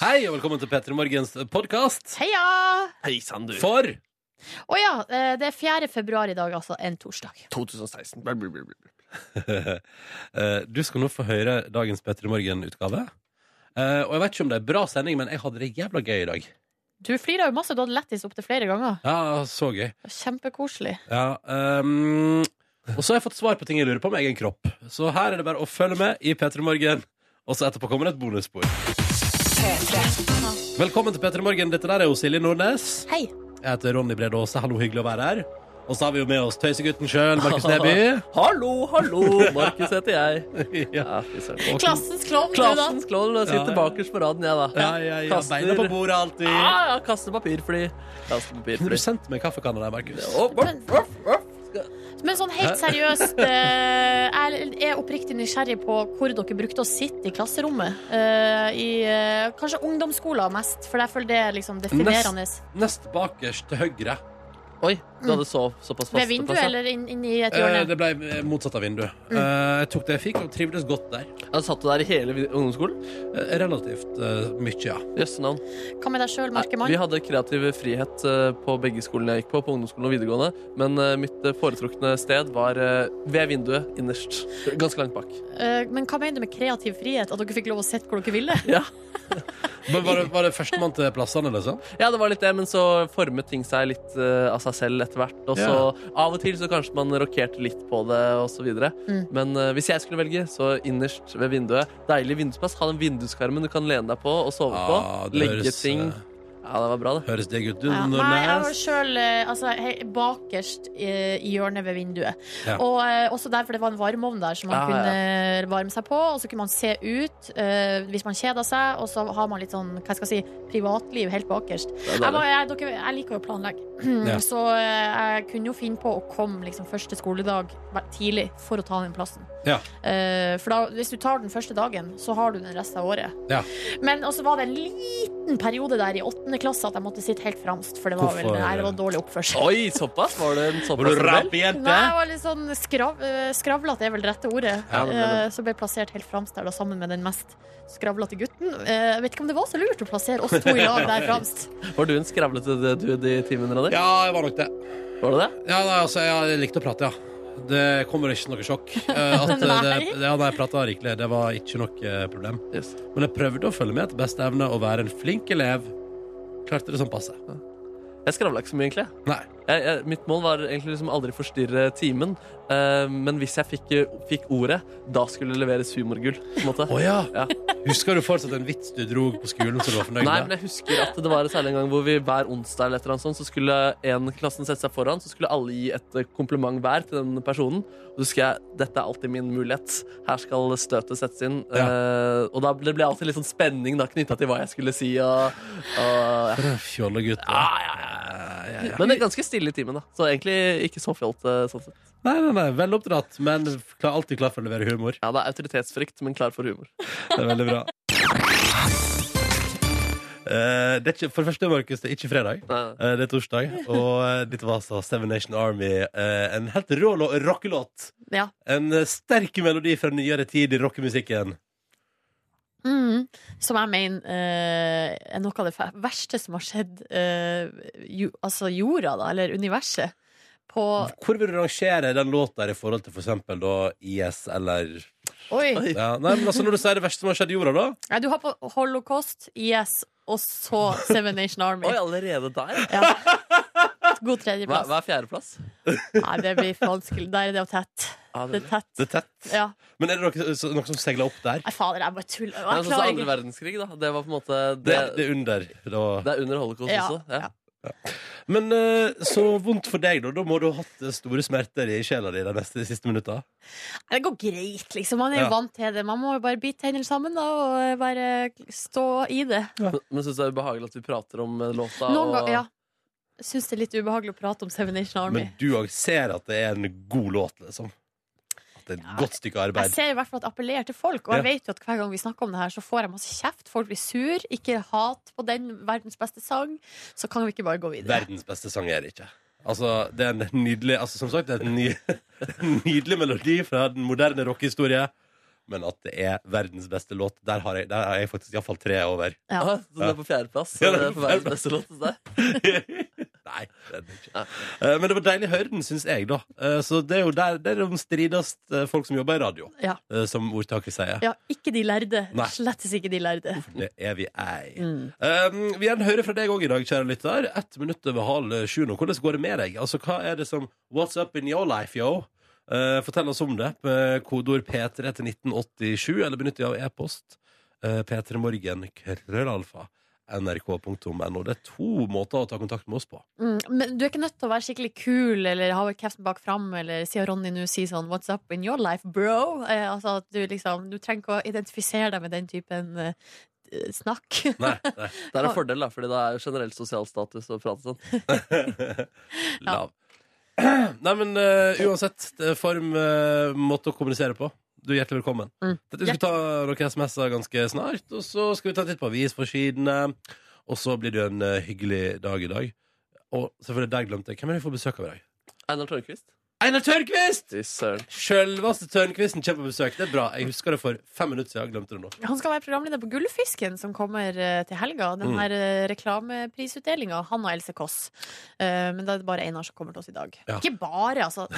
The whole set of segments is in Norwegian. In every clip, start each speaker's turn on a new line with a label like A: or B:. A: Hei, og velkommen til P3 Morgens podkast.
B: Heia!
C: Hei, Sander.
A: For
B: Å ja, eh, det er 4. februar i dag, altså. En torsdag.
C: 2016. Blah, blah, blah, blah.
A: eh, du skal nå få høre dagens P3 Morgen-utgave. Eh, og jeg vet ikke om det er bra sending, men jeg hadde det jævla gøy i dag.
B: Du flira jo masse. Du hadde lettis opptil flere ganger.
A: Ja, så gøy.
B: Det var Kjempekoselig.
A: Ja, ehm, og så har jeg fått svar på ting jeg lurer på om egen kropp. Så her er det bare å følge med i P3 Morgen. Og så etterpå kommer det et bonusspor. Velkommen til P3 Morgen. Dette der er jo Silje Nordnes.
B: Hei.
A: Jeg heter Ronny Brede Aase. Hallo, hyggelig å være her. Og så har vi jo med oss tøysegutten sjøl, Markus Neby.
C: Hallo, hallo! Markus heter jeg.
A: ja.
C: Ja, fy søren.
B: Klassens klovn, du, da.
C: Klassens klovn. Jeg
A: Ja, ja.
C: sitter bakerst på raden, jeg, da.
A: Ja, ja, ja.
C: Kaster-
A: Beina på bordet alltid.
C: Ja, ja, kaster papirfly. Kaster
A: Kunne
C: papirfly.
A: du sendt meg kaffekanna der, Markus?
C: Opp, opp, opp, opp. Skal-
B: Men sånn helt seriøst, eh, jeg er oppriktig nysgjerrig på hvor dere brukte å sitte i klasserommet. Eh, I eh, kanskje ungdomsskolen mest, for jeg føler det er liksom definerende.
A: Nest bakerst til høyre.
C: Oi, du hadde så, såpass
B: Ved
C: fast
B: vinduet
C: plass, ja.
B: eller inn, inn i et
A: Eh,
B: hjørne?
A: det ble eh, motsatt av vinduet. Eh, jeg tok det jeg fikk, og trivdes godt der.
C: Ja, Satt du der i hele vid- ungdomsskolen?
A: Eh, Relativt eh, mye, ja.
C: Jøssenavn.
B: Hva med deg sjøl,
C: Vi
B: Markemann?
C: hadde kreativ frihet eh, på begge skolene jeg gikk på, på ungdomsskolen og videregående, men eh, mitt eh, foretrukne sted var eh, ved vinduet innerst. Ganske langt bak.
B: Eh, Men hva mener du med kreativ frihet? At dere fikk lov å sitte hvor dere ville?
C: Ja.
A: Men var det, var det førstemann til plassene, liksom?
C: Ja, det var litt det, men så formet ting seg litt eh, av seg selv etter hvert. Og så av og til så kanskje man rokerte litt på det, og så videre.
B: Mm.
C: Men eh, hvis jeg skulle velge, så innerst ved vinduet. Deilig vindusplass. Ha den vinduskarmen du kan lene deg på og sove
A: Ja,
C: på.
A: Ah, det
C: Legge
A: høres,
C: ting.
A: eh,
C: Ja, det var bra, det.
A: Høres digg ut. Du,
B: Ja, nei, jeg var
A: Nordnes.
B: sjøl altså, he- bakerst eh, i hjørnet ved vinduet.
A: Ja.
B: Og eh, også der, for det var en varmeovn der som man
C: Ah, ja.
B: kunne varme seg på. Og så kunne man se ut eh, hvis man kjeda seg, og så har man litt sånn hva skal jeg si, privatliv helt bakerst.
C: det, var
B: Jeg, var,
C: deilig.
B: jeg, dere, jeg liker jo å planlegge,
A: Ja.
B: så eh, jeg kunne jo finne på å komme liksom, første skoledag væ- tidlig for å ta den plassen.
A: Ja.
B: Eh, for da, hvis du tar den første dagen, så har du den resten av året.
A: Ja.
B: Men også var det en liten periode der i åttende klasse at jeg måtte sitte helt framst, for det var
A: Hvorfor?
B: vel nei, det var dårlig oppførsel.
C: Oi, såpass? Var det en
A: Var
C: såpass
A: du
C: rebell?
B: Nei,
A: rappjente?
B: jeg var litt sånn skrav, eh, skravlete, er vel det rette ordet.
C: Ja, det ble det.
B: Eh, Så ble jeg plassert helt fremst der, da, sammen med den mest skravlete gutten. Eh, Jeg vet ikke om det var så lurt å plassere oss to i lag der fremst.
C: Var du en skravlete eh, dude i timen, Ronny?
A: Ja, jeg var nok det.
C: Var du det?
A: Ja, nei, altså, jeg likte å prate, ja. Det kommer ikke noe sjokk. eh, At eh, det,
B: Nei.
A: det, ja, nei, jeg prata rikelig. Det var ikke noe eh, problem.
C: Yes.
A: Men jeg prøvde å følge med etter beste evne og være en flink elev. Klarte det sånn passe.
C: Jeg skravla ikke så mye, egentlig.
A: Nei.
C: jeg, jeg, mitt mål var egentlig liksom aldri forstyrre timen, eh, men hvis jeg fikk, fikk ordet, da skulle det leveres humorgull. På en måte.
A: Å ja.
C: Ja.
A: Husker du fortsatt en vits du dro på skolen som du var fornøyd
C: Nei,
A: med?
C: men jeg husker at det var særlig en gang hvor vi hver onsdag eller et eller annet sånt, så skulle en klassen sette seg foran, så skulle alle gi et eh, kompliment hver til den personen. Og så husker jeg dette er alltid min mulighet. Her skal støtet settes inn.
A: Ja.
C: Eh, og da ble det ble alltid litt sånn spenning da, knytta til hva jeg skulle si. Og, og, ja.
A: For en Fjollegutt. da.
C: Ja, ja,
A: Ja, ja, ja.
C: Men det er ganske stille i timen, da. Så egentlig ikke så fjolt. eh, Sånn sett.
A: Nei, nei, nei. Vel oppdratt, men klar- alltid klar for å levere humor.
C: Ja, det er autoritetsfrykt, men klar for humor.
A: Det er veldig bra. Eh, det er ikke, for det første, Markus, det er ikke fredag.
C: Nei.
A: Eh, det er torsdag. Og eh, dette var altså Seven Nation Army. eh, en helt rå lå- rockelåt.
B: Ja.
A: En eh, sterk melodi fra nyere tid i rockemusikken.
B: Mm. Som jeg mener eh, er noe av det fe- verste som har skjedd eh, jo, altså jorda, da, eller universet. På
A: Hvor vil du rangere den låta her i forhold til for eksempel da IS eller
B: Oi!
C: Oi.
A: ja, Nei, men altså Når du sier det verste som har skjedd i jorda, da?
B: Nei, du har på Holocaust, IS og så Seven Nation Army.
C: Oi, allerede der?
B: Ja. God
C: Hva,
B: tredjeplass.
C: hva er fjerdeplass?
B: Nei, det blir for vanskelig. Der er det jo tett.
C: Ah,
B: Det
C: det
B: er
C: er
B: tett.
A: Det er tett.
B: Ja.
A: Men er det noe, så- noe som seiler opp der?
B: Nei, fader, jeg bare tuller.
C: sånn
B: Jeg
C: som
B: klarer
C: andre
B: ikke.
C: verdenskrig, da. Det var på en måte Det,
A: Det, det er under. Da.
C: det er under holocaust
B: Ja,
C: også. Ja.
A: Men eh, så vondt for deg, da. Da må du ha hatt store smerter i sjela di de neste- de siste minutta.
B: Nei, Det går greit, liksom. Man er jo
A: Ja.
B: vant til det. Man må jo bare bite hendene sammen da, og eh, bare stå i det.
C: Men- Men syns du det er ubehagelig at vi prater om eh, låta?
B: Noen
C: og-
B: ganger, ja. Syns det er litt ubehagelig å prate om Seven Nation Army.
A: Men du òg ser at det er en god låt, liksom. At det er et godt stykke
B: Jeg
A: arbeid.
B: ser i hvert fall at jeg appellerer til folk, og jeg
A: Ja.
B: vet jo at hver gang vi snakker om det her, så får jeg masse kjeft. Folk blir sur. Ikke hat på den verdens beste sang. Så kan vi ikke bare gå videre.
A: Verdens beste sang er det ikke. Altså, det er en nydelig altså, Som sagt, det er en, ny, en nydelig melodi fra den moderne rockehistorie. men at det er verdens beste låt. Der har jeg, der har jeg faktisk iallfall tre over.
B: Ja.
C: Ah, så den er på fjerdeplass.
A: Ja,
C: Ja,
A: den er
C: på
A: på fjerdeplass.
C: verdens beste låt hos deg.
A: Nei, det er det ikke. Eh, Men det var deilig å høre den, syns jeg, da. Eh, Så det er jo der det er de strides eh, folk som jobber i radio,
B: Ja.
A: eh, som ordtaket sier.
B: Ja, ikke de lærde.
A: Nei.
B: Slettes ikke de lærde.
A: Det er vi ei.
B: Mm.
A: Um, vi gjerne hører fra deg òg i dag, kjære lytter. Ett minutt over halv eh, sju nå. Hvordan går det med deg? Altså, hva er det som What's up in your life, yo? Eh, fortell oss om det. Med kodeord P3 til 1987, eller benytt deg av e-post. Uh, P3morgen, krøllalfa, nrk.no. Det er to måter å ta kontakt med oss på.
B: Mm. Men du er ikke nødt til å være skikkelig kul eller ha kjeften bak fram eller sier Ronny nå sier sånn 'What's up in your life, bro?' Eh, altså at du liksom Du trenger ikke å identifisere deg med den typen eh, snakk.
A: Nei, nei.
C: Det er en fordel, da, fordi det er jo generell sosial status å prate sånn.
A: Lav. Nei, men eh, uansett det er form, eh, måte å kommunisere på. Du er hjertelig velkommen.
B: Mm.
A: Dette, vi skal ta noen SMS-er ganske snart, og så skal vi ta en titt på avisforsidene. Og så blir det jo en eh, hyggelig dag i dag. Og selvfølgelig, der glemte jeg. Hvem er det vi får besøk av i dag?
C: Einar Tørnquist.
A: Einar Tørnquist!
C: Fy søren.
A: Sjølveste Tørnquisten kommer på besøk. Det er bra. Jeg husker det for fem minutter siden. Jeg glemte det nå.
B: Han skal være programleder på Gullfisken, som kommer eh, til helga. Den
A: Mm.
B: her eh, reklameprisutdelinga. Han og Else Kåss. Eh, Men da er det bare Einar som kommer til oss i dag.
A: Ja.
B: Ikke bare, altså.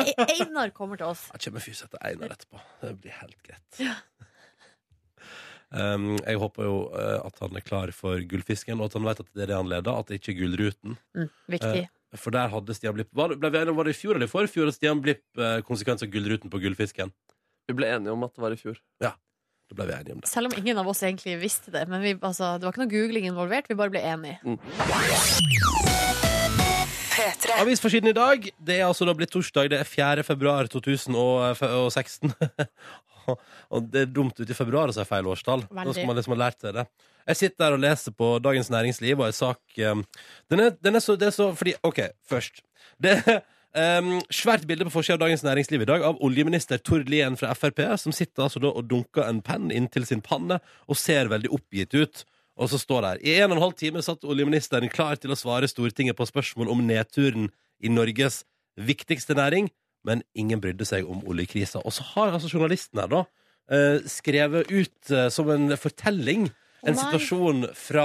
B: E- Einar kommer til oss.
A: Jeg kommer fys etter Einar etterpå. Det blir helt greit. Um, jeg håper jo eh, at han er klar for Gullfisken, og at han vet at det er det han leder, at det ikke er Gullruten.
B: Mm,
A: Eh.
B: viktig.
A: For der hadde Stian Blipp Var, det- ble vi enige om var det i fjor eller i forfjor at Stian Blipp eh, konsekvens av Gullruten på Gullfisken?
C: Vi ble enige om at det var i fjor.
A: Da ble vi enige om det.
B: Selv om ingen av oss egentlig visste det. Men vi, altså, det var ikke noe googling involvert. Vi bare ble enige.
A: Avisforsiden i dag. Det er altså da blitt torsdag. Det er 4. februar eh, 2016. og det er dumt ut i februar å si feil årstall. Da
B: Veldig.
A: skal man liksom ha lært seg det. Jeg sitter der og leser på Dagens Næringsliv og en sak um, den, er, den er så Det er så fordi OK, først. Det er um, svært bilde på forsida av Dagens Næringsliv i dag av oljeminister Tord Lien fra Frp, som sitter altså da og dunker en penn inntil sin panne og ser veldig oppgitt ut. Og så står det her I en og en halv time satt oljeministeren klar til å svare Stortinget på spørsmål om nedturen i Norges viktigste næring, men ingen brydde seg om oljekrisa. Og så har altså journalisten her da eh, skrevet ut eh, som en fortelling en
B: Å nei.
A: situasjon fra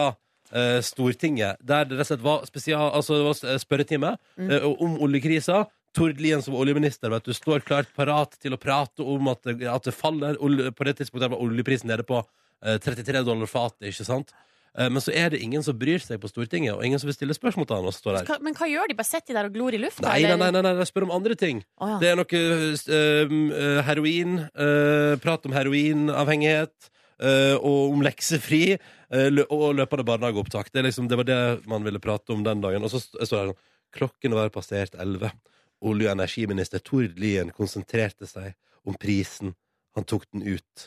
A: eh, Stortinget, der det rett og slett var, spesial, altså, det var spørretime
B: Mm.
A: eh, om oljekrisa. Tord Lien som oljeminister vet du, står klart parat til å prate om at det, at det faller. Olje, på det tidspunktet var oljeprisen nede på eh, 33 dollar fatet, ikke sant? Eh, men så er det ingen som bryr seg på Stortinget, og ingen som vil stille spørsmål til han. Og står der.
B: Hva, men hva gjør de? Bare sitter de der og glor i lufta?
A: Nei, nei, nei,
B: eller?
A: nei, nei, de spør om andre ting.
B: Å, ja.
A: Det er noe eh, eh, heroin, eh, prat om heroinavhengighet, eh, og om leksefri, eh, lø og løpende barnehageopptak. Det, er liksom, det var det man ville prate om den dagen. Og så st- står det sånn Klokken var passert elleve. Olje- og energiminister Tord Lien konsentrerte seg om prisen. Han tok den ut.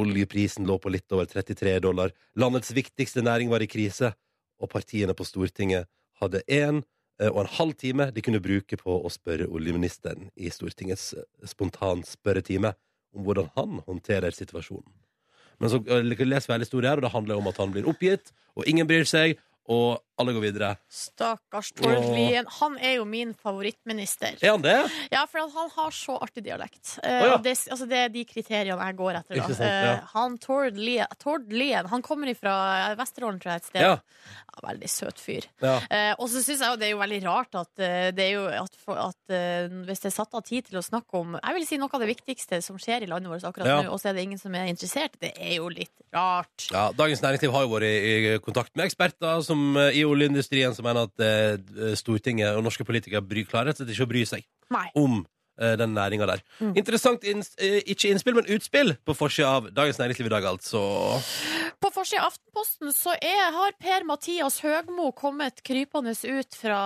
A: Oljeprisen lå på litt over 33 dollar. Landets viktigste næring var i krise, og partiene på Stortinget hadde én eh, og en halv time de kunne bruke på å spørre oljeministeren i Stortingets eh, spontanspørretime om hvordan han håndterer situasjonen. Men så eh, leser vi hele historien her, og det handler om at han blir oppgitt, og ingen bryr seg, og alle går videre.
B: Stakkars Tord
A: Åh.
B: Lien. Han er jo min favorittminister.
A: Er han det?
B: Ja, for han- han har så artig dialekt. Eh,
A: Å, ja.
B: og det, altså, det er de kriteriene jeg går etter. Da.
A: Ikke sant,
B: Eh,
A: ja.
B: han Tord Lien, Tord Lien Han kommer fra Vesterålen, tror jeg, et sted.
A: Ja.
B: Ja, veldig søt fyr.
A: ja.
B: Eh, og så syns jeg jo det er jo veldig rart at, eh, det er jo at, for, at eh, hvis det er satt av tid til å snakke om Jeg vil si noe av det viktigste som skjer i landet vårt akkurat
A: Ja.
B: nå, og så er det ingen som er interessert. Det er jo litt rart.
A: Ja, Dagens Næringsliv har jo vært i, i kontakt med eksperter som, eh, i oljeindustrien som mener at eh, Stortinget og norske politikere bry, klarer rett og slett ikke å bry seg
B: Nei.
A: om eh, den næringa der. Interessant inns, eh, ikke innspill, men utspill på forsida av Dagens Næringsliv i dag, altså.
B: På forsida av Aftenposten så er, har Per-Mathias Høgmo kommet krypende ut fra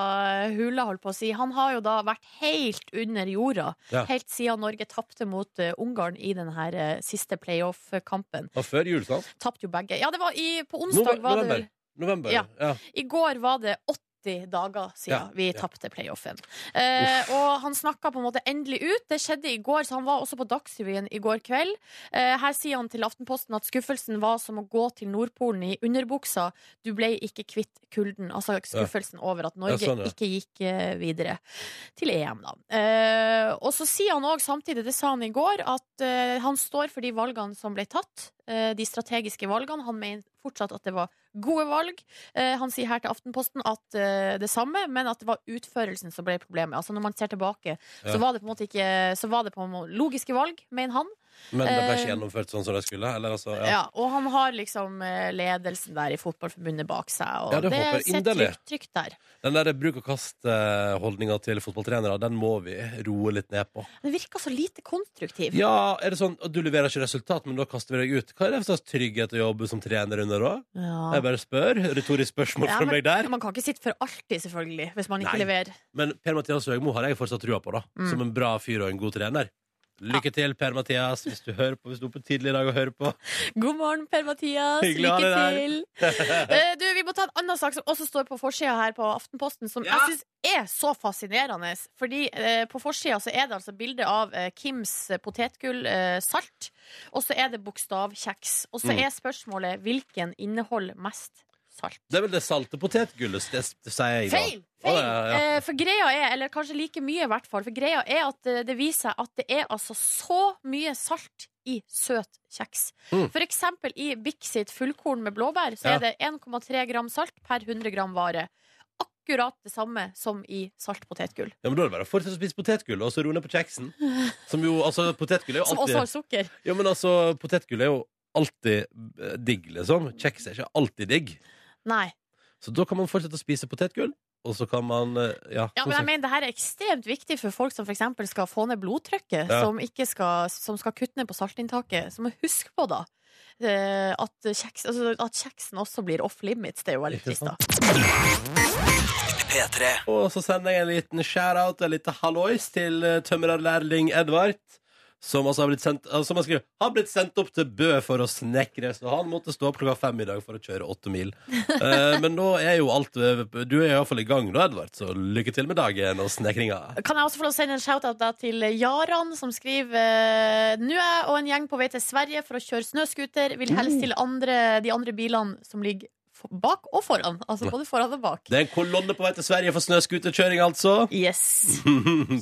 B: hula, holdt på å si. Han har jo da vært helt under jorda,
A: Ja.
B: helt siden Norge tapte mot eh, Ungarn i den her eh, siste playoff-kampen.
A: Og før jul, sant?
B: Tapte jo begge. Ja, det var i, på
A: Nove-
B: onsdag var det vel
A: November.
B: Ja.
A: Ja.
B: I går var det 80 dager siden
A: Ja,
B: vi
A: ja.
B: tapte playoffen. Eh, og han snakka på en måte endelig ut. Det skjedde i går, så han var også på Dagsrevyen i går kveld. Eh, her sier han til Aftenposten at skuffelsen var som å gå til Nordpolen i underbuksa. Du ble ikke kvitt kulden. Altså skuffelsen over at Norge
A: Ja, sånn, ja.
B: ikke gikk eh, videre til EM, da. Eh, og så sier han òg samtidig, det sa han i går, at eh, han står for de valgene som ble tatt. eh, de strategiske valgene. Han mener fortsatt at det var gode valg. Eh, han sier her til Aftenposten at eh, det samme, men at det var utførelsen som ble problemet. Altså Når man ser tilbake,
A: Ja.
B: så var det på en måte ikke Så var det på en måte logiske valg, mener han.
A: Men det ble ikke
B: Eh,
A: gjennomført sånn som de skulle? Eller altså,
B: Ja.
A: ja.
B: og han har liksom eh, ledelsen der i Fotballforbundet bak seg, og
A: Ja, det
B: det,
A: håper jeg
B: ser
A: inderlig.
B: trygt, trygt der.
A: Den der bruk og kast-holdninga til fotballtrenere, den må vi roe litt ned på.
B: Det virker så lite konstruktiv.
A: Ja, er det sånn at du leverer ikke resultat, men da kaster vi deg ut? Hva er det for slags trygghet å jobbe som trener under da?
B: Ja.
A: Jeg bare spør. Retorisk spørsmål
B: Ja,
A: fra meg der.
B: Man kan ikke sitte for alltid, selvfølgelig, hvis man ikke
A: Nei.
B: leverer.
A: Men Per-Mathias Høgmo har jeg fortsatt trua på, da.
B: Mm.
A: Som en bra fyr og en god trener. Lykke til, Per-Mathias, hvis du hører på, hvis du er oppe tidlig i dag og hører på.
B: God morgen, Per-Mathias.
A: Hyggelig å ha
B: Lykke til.
A: deg
B: Eh, du, vi må ta en annen sak som også står på forsida her på Aftenposten, som
A: Ja.
B: jeg syns er så fascinerende. Fordi eh, på forsida så er det altså bilde av eh, Kims eh, potetgull eh, salt, og så er det bokstavkjeks. Og så
A: Mm.
B: er spørsmålet hvilken inneholder mest salt?
A: Det er vel det salte potetgullet, det, det sier jeg da.
B: Feil! feil.
A: Å, ja, ja.
B: Eh, For greia er, eller kanskje like mye i hvert fall, for greia er at eh, det viser seg at det er altså så mye salt i søt kjeks.
A: Mm.
B: For eksempel i Bix sitt fullkorn med blåbær, så
A: Ja.
B: er det 1,3 gram salt per 100 gram vare. Akkurat det samme som i salt potetgull,
A: Ja, men da er det bare å fortsette å spise potetgull, og så roe ned på kjeksen. Som jo, altså, potetgull er jo
B: som også har
A: alltid
B: sukker.
A: Ja, men altså, potetgull er jo alltid eh, digg, liksom. Kjeks er ikke alltid digg.
B: Nei.
A: Så da kan man fortsette å spise potetgull, og så kan man eh, Ja,
B: Ja,
A: som
B: men jeg
A: sagt.
B: mener, det her er ekstremt viktig for folk som for eksempel skal få ned blodtrykket,
A: Ja.
B: som, ikke skal, som skal kutte ned på saltinntaket. Så må vi huske på, da, eh, at, kjeks, altså, at kjeksen også blir off limits. Det er jo veldig
A: Ikke
B: trist, da.
A: Og så sender jeg en liten shout-out, en liten hallois, til eh, tømrerlærling Edvard. Som altså har blitt sendt, altså, som han skriver, har blitt sendt opp til Bø for å snekre, så han måtte stå opp klokka fem i dag for å kjøre åtte mil. Eh, men nå er jo alt eh, Du er iallfall i gang nå, Edvard, så lykke til med dagen og snekringa.
B: Kan jeg også få lov å sende en shout-out da til Jaran, som skriver eh, Nå er jeg og en gjeng på vei til Sverige for å kjøre snøskuter. Vil
A: Mm.
B: helst til andre, de andre bilene som ligger for- bak og foran. Altså både foran og bak.
A: Det er en kolonne på vei til Sverige for snøscooterkjøring, altså.
B: Yes.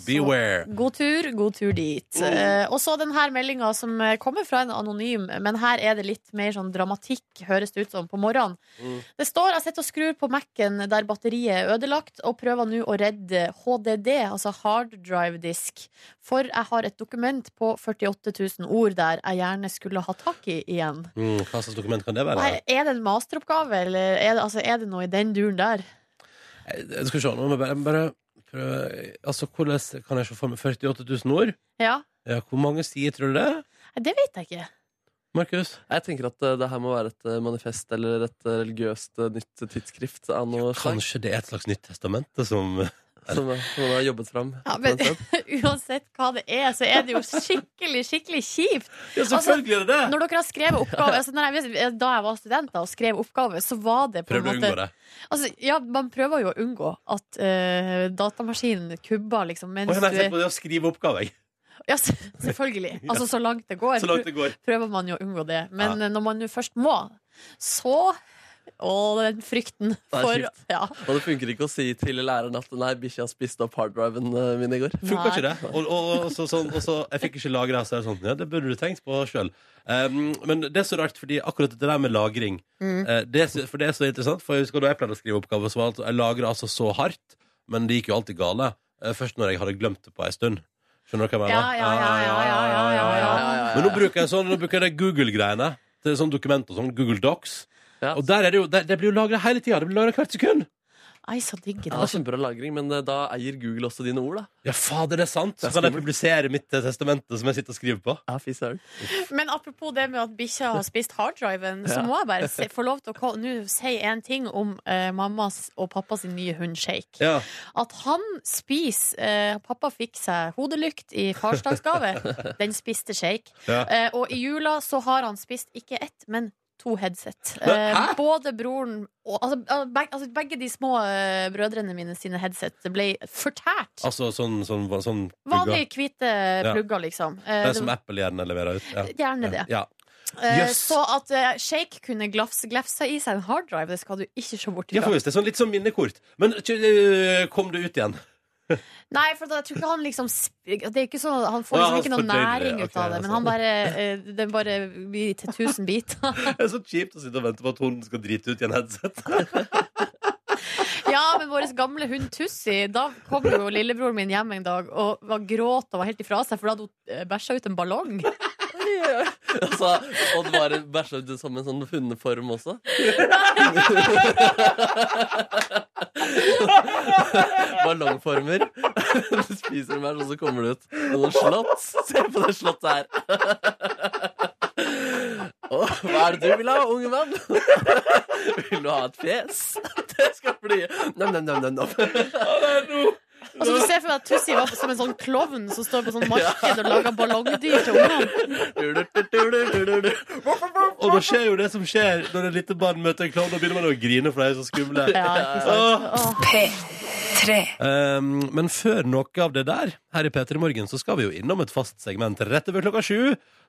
A: Beware.
B: God tur, god tur dit. Eh, og så denne meldinga som eh, kommer fra en anonym, men her er det litt mer sånn dramatikk, høres det ut som, på morgenen.
A: Mm.
B: Det står jeg sitter og skrur på Mac-en der batteriet er ødelagt, og prøver nå å redde HDD, altså hard drive disk, for jeg har et dokument på 48 000 ord der jeg gjerne skulle ha tak i igjen.
A: Mm, hva slags dokument kan det være?
B: Nei, er det en masteroppgave, eller er det, altså, er det noe i den duren der?
A: Jeg, jeg Eh, skal se, nå må jeg bare, jeg må bare prøve Altså, hvordan kan jeg se for meg 48 000 ord?
B: Ja,
A: Ja, hvor mange sider tror du det? er,
B: Nei, det vet jeg ikke.
A: Markus?
C: Jeg tenker at eh, det her må være et eh, manifest eller et eh, religiøst eh, nytt tidsskrift av noe slag.
A: Kanskje det er et slags nytt testamente som
C: Som eh, som man har jobbet fram.
B: Ja, men-
C: på en sted.
B: Uansett hva det er, så er det jo skikkelig, skikkelig kjipt.
A: Ja, selvfølgelig er det det!
B: Altså, Når dere har skrevet oppgave altså når jeg, Da jeg var student da, og skrev oppgave, så var det på en
A: Prøv å
B: måte
A: unngå det.
B: Altså, ja, Man prøver jo å unngå at eh, datamaskinen kubber, liksom. Mens
A: Og jeg har
B: du
A: sett
B: er,
A: på det å skrive oppgave, jeg.
B: ja, s- selvfølgelig. Altså, så langt det går,
A: Så langt det går.
B: prøver man jo å unngå det. Men
A: Ja.
B: eh, når man nå først må, så Å, den frykten
C: er
B: for
C: kjipt.
B: ja.
C: Og det funker ikke å si til læreren at nei, bikkja spiste opp harddriven eh, min i går.
A: Funka
B: Nei.
A: ikke det? Og, og, og, så, sånn, og så Jeg fikk ikke lagra, så er det sånn Ja, det burde du tenkt på sjøl. Um, men det er så rart, fordi akkurat det der med lagring
B: Mm.
A: eh, det, er så- For det er så interessant, for jeg husker da jeg pleide å skrive oppgaver, så var det, jeg lagra altså så hardt, men det gikk jo alltid gale. Eh, Først når jeg hadde glemt det på ei stund. Skjønner du hva jeg
B: Ja,
A: mener?
B: ja, ja, ja, ja, ja, ja, ja.
A: Men nå bruker jeg sånn, nå bruker jeg det Google-greiene til sånn dokument og sånn, Google Docs.
C: Ja.
A: Og der er det jo, det, det blir jo lagra hele tida. Det blir lagra hvert sekund.
B: Nei, så digg,
C: Ja,
B: da.
C: det er kjempebra lagring, men eh, da eier Google også dine ord, da.
A: Ja, fader, det er sant. Så
C: Det er
A: kan jeg
C: skummelt.
A: publisere mitt eh, testamente som jeg sitter og skriver på.
C: Ja, fy søren.
B: Men apropos det med at bikkja har spist harddriven, så
C: Ja.
B: må jeg bare se, få lov til å ko- nå si en ting om eh, mammas og pappas sin nye hund Shake.
A: Ja.
B: At han spiser eh, Pappa fikk seg hodelykt i farsdagsgave. Den spiste Shake.
A: Ja.
B: Eh, og i jula så har han spist ikke ett, men to headset.
A: Hæ?
B: Eh, både broren og altså, al- beg, altså, Begge de små eh, brødrene mine sine headset ble fortært.
A: Altså sånn, sånn, sånn, plugger.
B: Vanlige hvite
A: Ja.
B: plugger, liksom. Eh,
A: Det
B: det-
A: er som Apple gjerne leverer ut. Ja.
B: Gjerne det.
A: Ja.
B: Eh,
A: Jøss.
B: Så at eh, Shake kunne glafse, glefse i seg en harddrive, det skal du ikke se bort
A: Ja,
B: ifra.
A: for visst, det er sånn litt som minnekort. Men øh, kom det ut igjen?
B: Nei, for da- jeg tror ikke han liksom sp- Det er ikke sånn, Han får
A: Å, ja,
B: liksom ikke
A: han
B: noe
A: fordøyer det.
B: næring
A: Ok,
B: ut
A: altså.
B: av det, men han bare eh, Den bare blir til tusen biter.
A: Det er så kjipt å sitte og vente på at hunden skal drite ut i en headset.
B: Ja, men vår gamle hund Tussi, da kom jo lillebroren min hjem en dag og var gråt og var helt ifra seg, for da hadde hun eh, bæsja ut en ballong.
C: Altså, og det var bæsja ut som en sånn hundeform også. Ballongformer. Du spiser en bæsj, og så kommer det ut noen slott. Se på det slottet her. Å, hva er det du vil ha, unge mann? Vil du ha et fjes? Det skal bli nam-nam-nam.
B: Og så Altså, du ser for deg at Tussi var som en sånn klovn som står på sånn marked og lager ballongdyr til ungene.
A: Og da skjer jo det som skjer når et lite barn møter en klovn. Da begynner man å grine, for de er så skumle.
B: Ja, ikke sant? Åh.
A: Um, men før noe av det der, her i P3 Morgen, så skal vi jo innom et fast segment rett over klokka sju,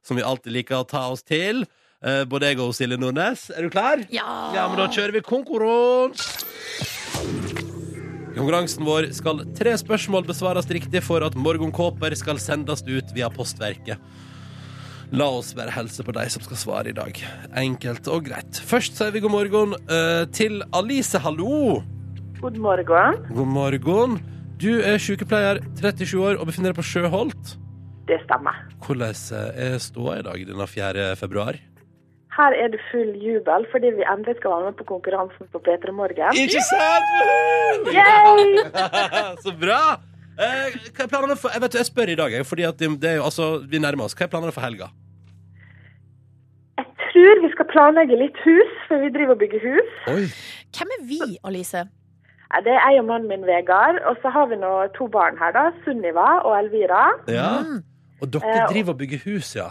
A: som vi alltid liker å ta oss til. Eh, både jeg og Silje Nordnes. Er du klar? Ja, men da kjører vi konkurranse. Konkurransen vår skal tre spørsmål besvares riktig for at morgenkåper skal sendes ut via postverket. La oss være helse på de som skal svare i dag. Enkelt og greit. Først sier vi god morgen eh, til Alice. Hallo!
D: God morgen.
A: God morgen. Du er sykepleier, 37 år, og befinner deg på Sjøholt.
D: Det stemmer.
A: Hvordan er ståa i dag, denne 4. februar?
D: Her er det full jubel fordi vi endelig skal være med på konkurransen på P3 Morgen.
A: Ikke sant?
D: Yay!
A: Så bra! Eh, hva er planene for Jeg vet du, jeg spør i dag, jeg, fordi at det det er jo, altså, vi nærmer oss. Hva er planene for helga?
D: Jeg tror vi skal planlegge litt hus, for vi driver og bygger hus.
A: Oi.
B: Hvem er vi, Alice?
D: Eh, Det er jeg og mannen min Vegard, og så har vi nå to barn her, da. Sunniva og Elvira.
A: Ja.
B: Mm.
A: Og dere
D: Eh, og-
A: driver og bygger hus, ja?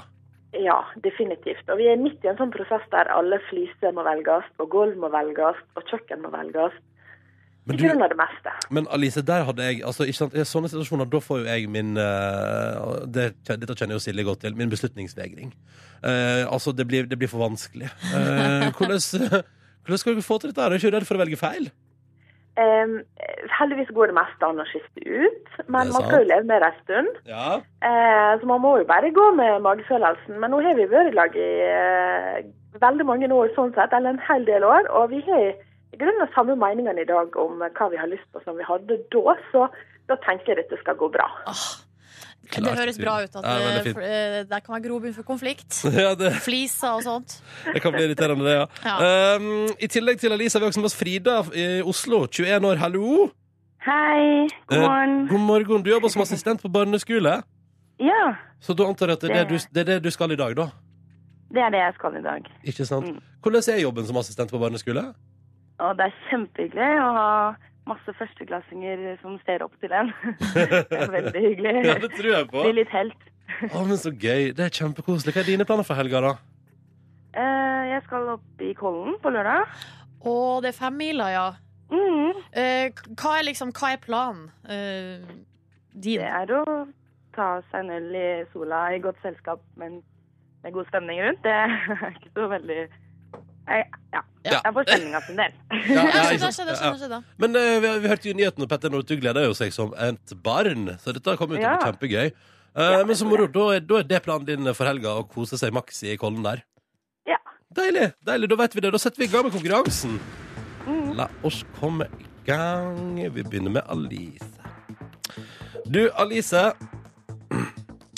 D: Ja, definitivt. Og vi er midt i en sånn prosess der alle fliser må velges, og gulv må velges, og kjøkken må velges. I
A: Men, du,
D: grunnen av det meste.
A: men Alice, der hadde jeg altså, ikke sant, I sånne situasjoner da får jo jeg min eh, det, Dette kjenner jo Silje godt til. Min beslutningsvegring. Eh, altså, det blir, det blir for vanskelig. Eh, hvordan, hvordan skal dere få til dette? her? Er dere ikke redd for å velge feil?
D: Em, heldigvis går det meste an å skifte ut,
A: Det er
D: men man skal
A: sant.
D: jo leve med det en stund.
A: Ja.
D: Eh, så man må jo bare gå med magefølelsen. Men nå har vi vært i lag i eh, veldig mange år, sånn sett, eller en hel del år. Og vi har i grunnen samme meningene i dag om hva vi har lyst på som vi hadde da. Så da tenker jeg dette skal gå bra.
B: Åh. Det
A: Klart
B: høres bra ut. At
A: Ja, veldig
B: eh,
A: fint.
B: for- eh, der kan være grobunn for konflikt.
A: ja det,
B: Fliser og sånt.
A: Det kan bli irriterende, det, ja. Um, I tillegg til Elise har vi også med oss Frida i Oslo, 21 år. Hallo!
E: Hei, god
A: Eh,
E: morgen.
A: God morgen. Du jobber som assistent på barneskole.
E: Ja,
A: Så da antar jeg at det er det du, det er det du skal i dag, da?
E: det er det jeg skal i dag.
A: Ikke sant?
E: Mm.
A: Hvordan er jobben som assistent på barneskole?
E: Og det er kjempehyggelig å ha masse førsteklassinger som ser opp til en. Det er veldig
A: Ja,
E: hyggelig.
A: det tror jeg på.
E: Blir litt helt.
A: Å, men så gøy. Det er kjempekoselig. Hva er dine planer for helga, da?
E: Eh, Jeg skal opp i Kollen på lørdag.
B: Og det er femmila, ja.
E: Mm,
B: Eh, hva er liksom, hva er planen eh, din?
E: Det er å ta seg en øl i sola i godt selskap, men med god stemning rundt. Det er ikke så veldig... Jeg, ja,
A: Ja.
E: jeg får stemninga sin del.
A: Ja,
B: Ja,
A: ikke
B: skjønner,
A: sant?
B: skjønner,
A: Ja.
B: skjønner, skjønner.
A: Men eh, vi, vi hørte jo i nyheten at Petter Northug gleder jo seg som et barn, så dette kommer jo til å bli
E: Ja.
A: kjempegøy. Eh, men så moro, da, er- da er det planen din for helga, å kose seg maks i kollen der.
E: Ja.
A: Deilig. deilig, Da vet vi det. Da setter vi i gang med konkurransen. La oss komme i gang. Vi begynner med Alice. Du, Alice.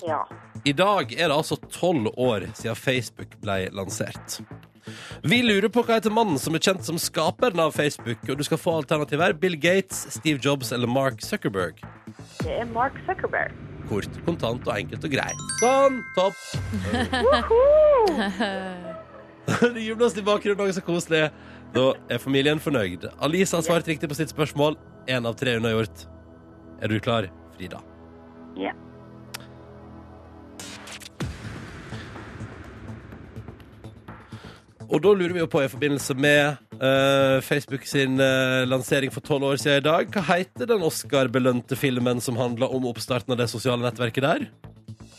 D: Ja.
A: I dag er det altså tolv år siden Facebook ble lansert. Vi lurer på hva heter mannen som er kjent som skaperen av Facebook, og du skal få alternativ her. Bill Gates, Steve Jobs eller Mark Zuckerberg.
D: Det er Mark Zuckerberg.
A: Kort, kontant og enkelt og greit. Sånn, topp. det jubles i bakgrunnen, noe så koselig. Da er familien fornøyd. Alice har svart riktig på sitt spørsmål. Én av tre hun har gjort. Er du klar, Frida?
E: Ja.
A: Og da lurer vi jo på, i forbindelse med eh, Facebook sin eh, lansering for tolv år siden i dag, hva heter den Oscar-belønte filmen som handler om oppstarten av det sosiale nettverket der?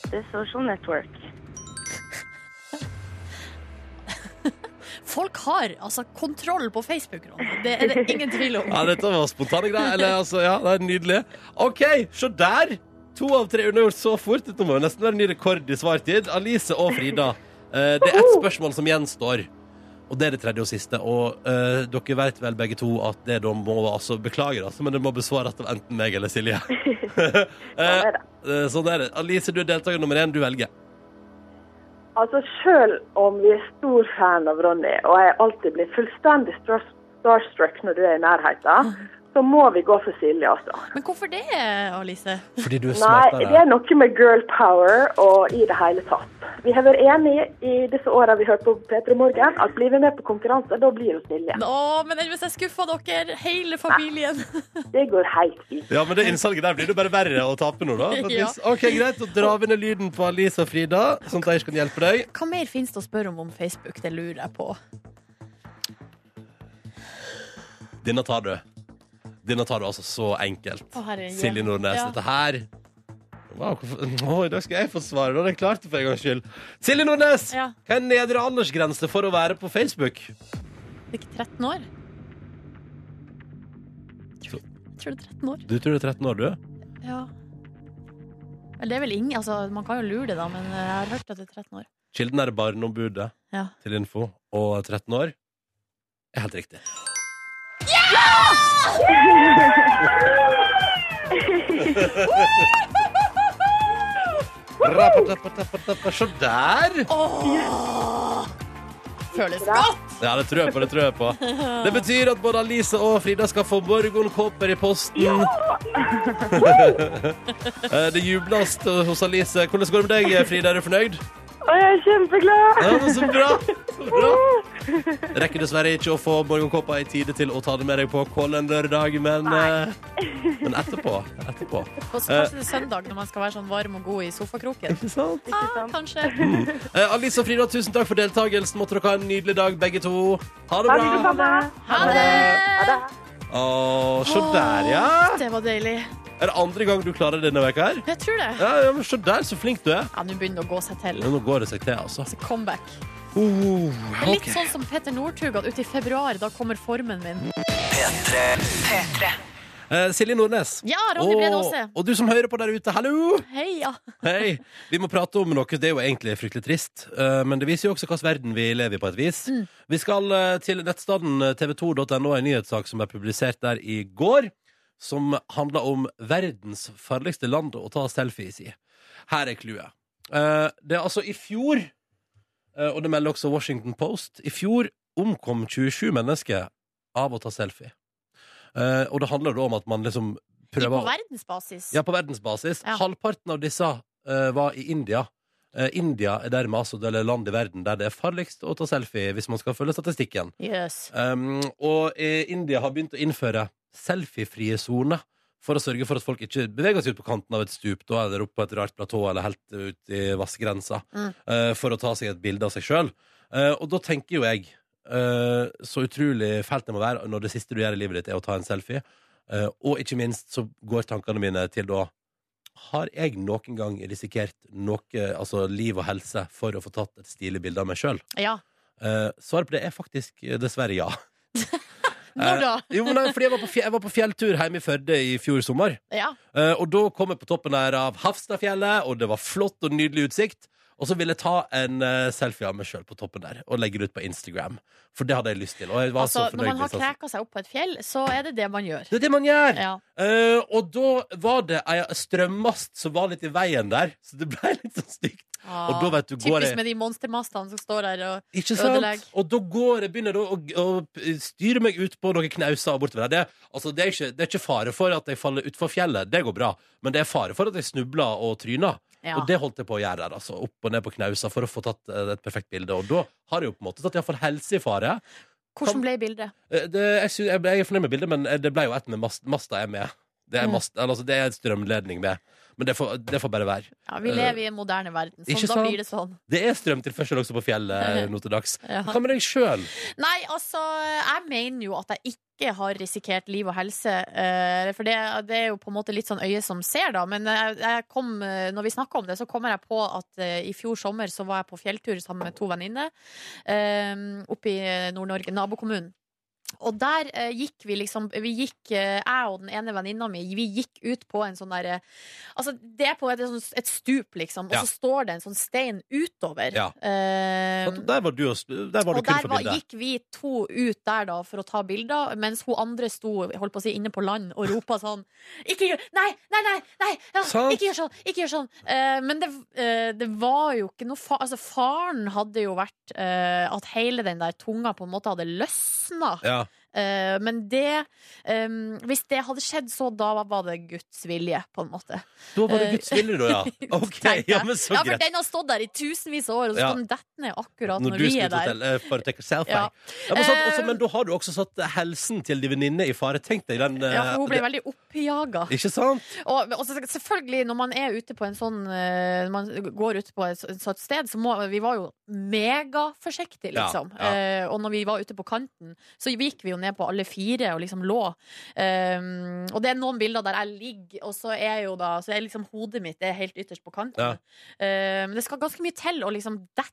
E: The Social Network.
B: Folk har altså kontroll på Facebook, Ron. Det er det ingen tvil om.
A: Ja, dette var spontane greier. Eller, altså, ja, det er nydelig. OK, se der! To av tre undergjort så fort. Dette må jo nesten være en ny rekord i svartid. Alice og Frida. eh, det er ett spørsmål som gjenstår. Og det er det tredje og siste. Og eh, dere vet vel begge to at det da må altså Beklager, altså, men det må besvares av enten meg eller Silje.
E: Sånn
A: Eh,
E: er det.
A: eh, sånn er det. Alice, du er deltaker nummer én. Du velger.
D: Altså, selv om vi er stor fan av Ronny, og jeg alltid blir fullstendig star- starstruck når du er i nærheten,
A: Mm.
D: så må vi gå for Silje, altså.
B: Men hvorfor det, Alice?
A: Fordi du er
D: Nei, det
A: smartere.
D: er noe med girl power og i det hele tatt. Vi har vært enige i disse årene vi hørte på P3 Morgen, at blir vi med på konkurranse, da blir hun Silje.
B: Å, men hvis jeg skuffa dere, hele familien
D: Det går helt fint.
A: Ja, men det innsalget der blir det bare verre å tape nå, da. på et
B: Ja.
A: vis. OK, greit. Da drar vi ned lyden på Alice og Frida, sånn at de ikke kan hjelpe deg.
B: Hva mer finnes det å spørre om om Facebook? Det lurer jeg på.
A: Denne tar du. Denne tar du altså så enkelt.
B: Å, herre,
A: Silje
B: hjelp.
A: Nordnes,
B: Ja.
A: dette her wow, hvorfor- Å, I dag skal jeg få svare. Da hadde jeg klart det for en gangs skyld. Silje Nordnes,
B: Ja.
A: hva er nedre aldersgrense for å være på Facebook?
B: Det er ikke 13 år? Tror, tror det er 13 år.
A: Du tror du er 13 år, du?
B: Ja. Men det er vel ingen altså, Man kan jo lure det, da, men jeg har hørt at det er 13 år.
A: Kilden er Barneombudet
B: Ja.
A: til info og 13 år. Er helt riktig. Rappa-tappa-tappa-tappa. Se der!
B: Åh! Føles godt!
A: Ja, det tror jeg på. Det tror jeg på Det betyr at både Alice og Frida skal få morgenkåper i posten. Eh, det jubles hos Alice. Hvordan går det med deg, Frida? Er du fornøyd?
E: Og jeg er kjempeglad!
A: Ja, men så bra! Så bra. Rekker dessverre ikke å få morgenkåpa i tide til å ta det med deg på Kollen lørdag, men, eh, men etterpå. etterpå.
B: På
A: Eh.
B: kanskje det er søndag når man skal være sånn varm og god i sofakroken.
A: Ikke sant?
B: Ah, kanskje.
A: Eh, Alice og Frida, tusen takk for deltakelsen. Måtte dere ha en nydelig dag, begge to. Ha det
E: Ha det
A: bra.
E: bra.
B: Ha det!
A: Å, se der, ja.
B: Det var deilig.
A: Er det andre gang du klarer det denne veka her?
B: Jeg tror det.
A: Ja, ja, men Se der, så flink du er.
B: Ja, Nå begynner det å gå seg til.
A: Ja, nå går det seg til, altså.
B: Så comeback.
A: Oh,
B: Det er litt
A: ok.
B: sånn som Petter Northugan ute i februar. Da kommer formen min.
A: Eh, Silje Nordnes.
B: Ja, Ronny Brede Aase.
A: og, og du som hører på der ute, hallo!
B: Heia.
A: Hei, Vi må prate om noe. Det er jo egentlig fryktelig trist, eh, men det viser jo også hvilken verden vi lever i. på et vis.
B: Mm.
A: Vi skal eh, til nettstedet tv2.no, en nyhetssak som er publisert der i går, som handler om verdens farligste land å ta selfies i. Her er clouet. Eh, Det er altså i fjor, eh, og det melder også Washington Post, i fjor omkom 27 mennesker av å ta selfie. Eh, Og det handler da om at man liksom
B: I
A: prøver
B: på
A: å
B: verdensbasis.
A: ja, på verdensbasis.
B: Ja.
A: Halvparten av disse eh, var i India. Eh, India er dermed altså det landet i verden der det er farligst å ta selfie, hvis man skal følge statistikken.
B: Yes.
A: Um, og eh, India har begynt å innføre selfiefrie soner for å sørge for at folk ikke beveger seg ut på kanten av et stup da, eller opp på et rart platå eller helt ut i vassegrensa
B: Mm.
A: eh, for å ta seg et bilde av seg sjøl. og da tenker jo jeg eh, så utrolig fælt det må være når det siste du gjør i livet ditt, er å ta en selfie. Eh, og ikke minst så går tankene mine til da har jeg noen gang risikert noe, altså liv og helse, for å få tatt et stilig bilde av meg sjøl?
B: Ja.
A: Eh, svaret på det er faktisk eh, dessverre ja.
B: Når da?
A: Eh, jo, men nei, fordi jeg var, på fje- jeg var på fjelltur hjemme i Førde i fjor sommer.
B: Ja.
A: Eh, og da kom jeg på toppen der av Hafstadfjellet, og det var flott og nydelig utsikt. Og så ville jeg ta en eh, selfie av meg sjøl på toppen der og legge det ut på Instagram. For det hadde jeg lyst til. Og jeg var så
B: Altså,
A: fornøyd
B: når man
A: med
B: har
A: innsatsen.
B: kræka seg opp på et fjell, så er det det man gjør.
A: Det er det man gjør!
B: Ja.
A: Eh, og da var det ei strømmast som var litt i veien der, så det ble litt sånn stygt. Og da vet du, går
B: Typisk
A: jeg-
B: med de monstermastene som står der og
A: Ikke sant?
B: Ødelegg.
A: Og da går jeg begynner jeg å, å styre meg ut på noen knauser og bortover der. Det, altså, det, er ikke, det er ikke fare for at jeg faller utfor fjellet, det går bra, men det er fare for at jeg snubler og tryner.
B: ja.
A: Og det holdt jeg på å gjøre der, altså. Opp og ned på knauser for å få tatt eh, et perfekt bilde. Og da har jeg jo på en måte satt iallfall helse i fare.
B: Hvordan ble bildet?
A: Eh, Det, jeg, synes, jeg, ble- jeg er fornøyd med bildet, men eh, det ble jo ett med mast, masta jeg er med. Det er, mast, eller, altså, det er strømledning med. Men det får, det får bare være.
B: Ja, vi lever i en moderne verden,
A: Eh, ikke
B: så da
A: sant?
B: blir det sånn.
A: Det er strømtilførsel også på fjellet nå til dags.
B: Ja.
A: Hva med deg sjøl?
B: Nei, altså, jeg mener jo at jeg ikke har risikert liv og helse. eh, For det, det er jo på en måte litt sånn øye som ser, da. Men jeg, jeg kom, eh, når vi snakka om det, så kommer jeg på at eh, i fjor sommer så var jeg på fjelltur sammen med to venninner eh, oppe i Nord-Norge, nabokommunen. Og der eh, gikk vi liksom Vi gikk, eh, jeg og den ene venninna mi, vi gikk ut på en sånn derre Altså, det er på et, sånn- et stup, liksom, og
A: Ja.
B: så står det en sånn stein utover.
A: Ja.
B: Eh,
A: Der var du, og s- der var du
B: og
A: kun
B: der
A: for
B: var,
A: bildet.
B: gikk vi to ut der da for å ta bilder, mens hun andre sto holdt på å si, inne på land og ropa sånn Ikke gjør Nei, nei, nei! nei ja,
A: Sant.
B: ikke gjør sånn! Ikke gjør sånn! Eh, men det, eh, det var jo ikke noe fa Altså, faren hadde jo vært eh, at hele den der tunga på en måte hadde løsna.
A: Ja.
B: Eh, men det eh, Hvis det hadde skjedd, så da var det Guds vilje, på en måte.
A: Da var det
B: Eh,
A: Guds vilje, da, ja. Ok,
B: tenker jeg.
A: ja, men så
B: Ja, for
A: greit.
B: den har stått der i tusenvis av år, og så
A: Ja.
B: kan den dette ned akkurat når,
A: Når du
B: vi
A: skal
B: er
A: ut og
B: der.
A: telle, eh, foretrekker selfie. Ja.
B: Ja.
A: men, sant,
B: Eh,
A: også, men da har du også satt helsen til din venninne i fare. Tenk deg den eh,
B: Ja, for hun ble
A: det-
B: veldig oppjaga.
A: Ikke sant?
B: Og, og så- selvfølgelig, når man er ute på en sånn eh, Når man går ut på et så- et sånt sted, så må Vi var jo megaforsiktige,
A: Ja,
B: liksom.
A: ja.
B: Eh, og når vi var ute på kanten, så gikk vi jo ned på alle fire og liksom lå. Eh, og det er noen bilder der jeg ligger, og så er jo da Så er liksom hodet mitt er helt ytterst på kanten.
A: Ja.
B: Eh, men det skal ganske mye til å liksom dette.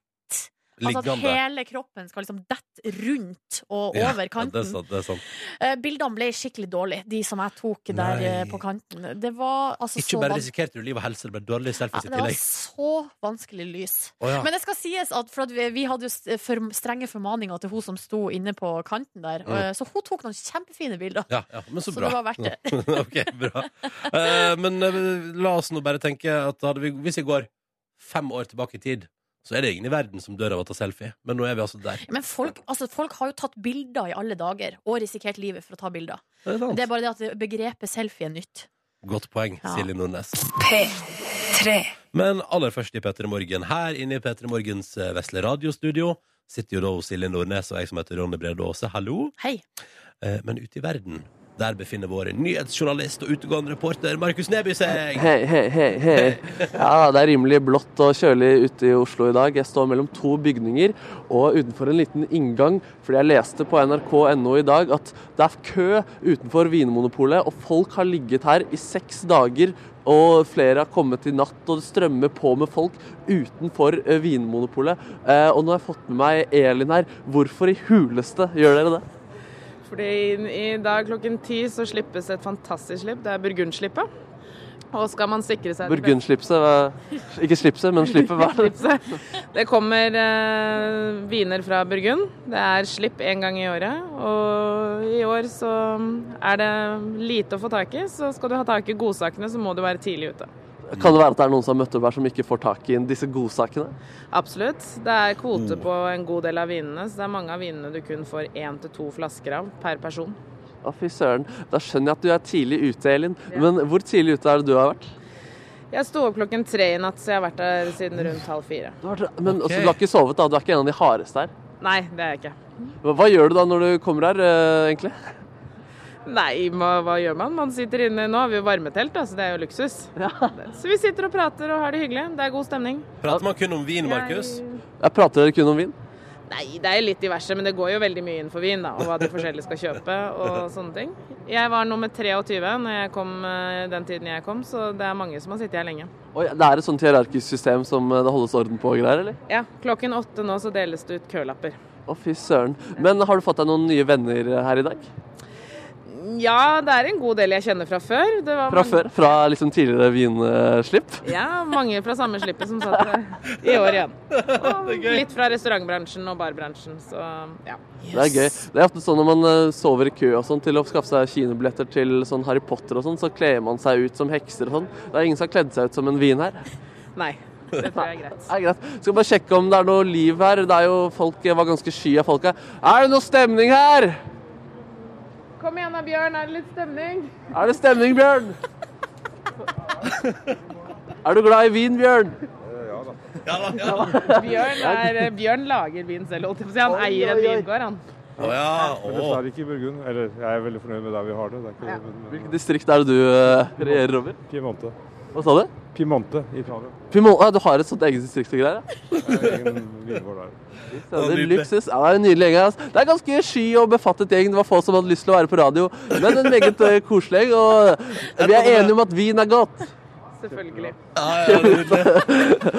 B: Altså at
A: Liggende.
B: hele kroppen skal liksom dette rundt og
A: Ja,
B: over
A: Ja, det er
B: kanten.
A: sant. Det er sant.
B: Eh, Bildene ble skikkelig dårlige, de som jeg tok der
A: Nei.
B: eh, på kanten. Det var altså
A: Ikke
B: så
A: bare
B: vanskelig.
A: risikerte du liv og helse, det ble dårlig
B: Ja,
A: selfies i
B: det var
A: tillegg.
B: så vanskelig lys.
A: Å, ja.
B: Men det skal sies at, for at vi, vi hadde jo s- for, strenge formaninger til hun som sto inne på kanten der,
A: Mm.
B: eh, så hun tok noen kjempefine bilder.
A: Ja, ja, men så,
B: Så
A: bra.
B: det var verdt det.
A: ok, bra. Eh, men eh, la oss nå bare tenke at hadde vi, hvis vi går fem år tilbake i tid, så er det ingen i verden som dør av å ta selfie. Men nå er vi altså der.
B: Men folk, altså, folk har jo tatt bilder i alle dager, og risikert livet for å ta bilder.
A: Er det sant?
B: Det er bare det at begrepet selfie er nytt.
A: Godt poeng,
B: Ja.
A: Silje Nordnes. Men aller først i P3 Morgen. Her inne i P3 Morgens eh, vesle radiostudio sitter jo da Silje Nordnes og jeg som heter Ronny Brede Aase. Hallo.
B: Hei.
A: Eh, Men ute i verden, der befinner vår nyhetsjournalist og utegående reporter Markus Neby seg.
C: Hei, hei, hei, hei. Ja, det er rimelig blått og kjølig ute i Oslo i dag. Jeg står mellom to bygninger og utenfor en liten inngang, fordi jeg leste på nrk.no i dag at det er kø utenfor Vinmonopolet, og folk har ligget her i seks dager, og flere har kommet i natt, og det strømmer på med folk utenfor eh, Vinmonopolet. Eh, Og nå har jeg fått med meg Elin her. Hvorfor i huleste gjør dere det?
F: Fordi i dag klokken ti så slippes et fantastisk slipp. Det er burgundslippet. Og skal man sikre seg det
C: Burgundslipset? hva- Ikke slipset, men slippet. Hva er det?
F: beste- Det kommer eh, viner fra Burgund. Det er slipp én gang i året. Og i år så er det lite å få tak i, så skal du ha tak i godsakene, så må du være tidlig ute.
C: Kan det være at det er noen som har møtt opp her som ikke får tak i disse godsakene?
F: Absolutt. Det er kvote
A: Mm.
F: på en god del av vinene, så det er mange av vinene du kun får én til to flasker av per person.
C: Å, fy søren. Da skjønner jeg at du er tidlig ute, Elin. Men hvor tidlig ute er det du har vært?
F: Jeg sto opp klokken tre i natt, så jeg har vært der siden rundt halv fire.
C: Du har, men
A: Ok.
C: altså, du har ikke sovet, da. Du er ikke en av de hardeste her.
F: Nei, det er jeg ikke.
C: Hva, hva gjør du da når du kommer her, eh, egentlig?
F: Nei, hva, hva gjør man? Man sitter inne Nå har vi jo varmetelt, da, så det er jo luksus. Så vi sitter og prater og har det hyggelig. Det er god stemning.
A: Prater man kun om vin, Markus?
F: Jeg-
C: Jeg prater dere kun om vin.
F: Nei, det er jo litt diverse, men det går jo veldig mye inn for vin, da. Og hva de forskjellige skal kjøpe og sånne ting. Jeg var nummer 23 når jeg kom, eh, den tiden jeg kom, så det er mange som har sittet her lenge.
C: Oi, det er et sånt hierarkisk system som eh, det holdes orden på og greier, eller?
F: Ja, klokken åtte nå så deles det ut kølapper.
C: Å, fy søren. Men har du fått deg noen nye venner her i dag?
F: Ja, det er en god del jeg kjenner fra før. Det var
C: Fra
F: mange-
C: før? Fra liksom tidligere vinslipp?
F: Ja, mange fra samme slippet som satt eh, i år igjen. Og litt fra restaurantbransjen og barbransjen, så ja.
C: Det er gøy. Det er ofte sånn når man eh, sover i kø og sånn til å skaffe seg kinobilletter til sånn Harry Potter og sånn, så kler man seg ut som hekser og sånn. Det er ingen som har kledd seg ut som en vin her.
F: Nei, det tror jeg er greit.
C: Det er greit. Skal bare sjekke om det er noe liv her. Det er jo folk jeg var ganske sky av folka. Er det noe stemning her?
F: Kom igjen da, Bjørn, er det litt stemning?
C: Er det stemning, Bjørn? Er du glad i vin, Bjørn?
F: Bjørn, er, Bjørn lager vin selv, holdt jeg på å si. Han
C: Oi,
F: eier en
C: oi, oi.
F: vingård, han.
A: Å ja.
G: Men
A: å.
G: dessverre ikke i Burgund. Eller jeg er veldig fornøyd med der vi har det. det er ikke, men, men,
C: Hvilket distrikt er det du eh, regjerer over?
G: Piemonte.
C: Hva sa du?
G: Piemonte i Italia.
C: Pimol ah, du har et sånt eget distrikt og greier? ja.
G: Det er egen vingård der.
C: Ja, det er
A: nydelig.
C: luksus. Ja, det er en nydelig gjeng. her, Altså. Det er ganske sky og befattet gjeng. Det var få som hadde lyst til å være på radio, men en meget eh, koselig gjeng. Og vi er enige om at vin er godt.
F: Selvfølgelig.
A: Ja, ja, det, er nydelig.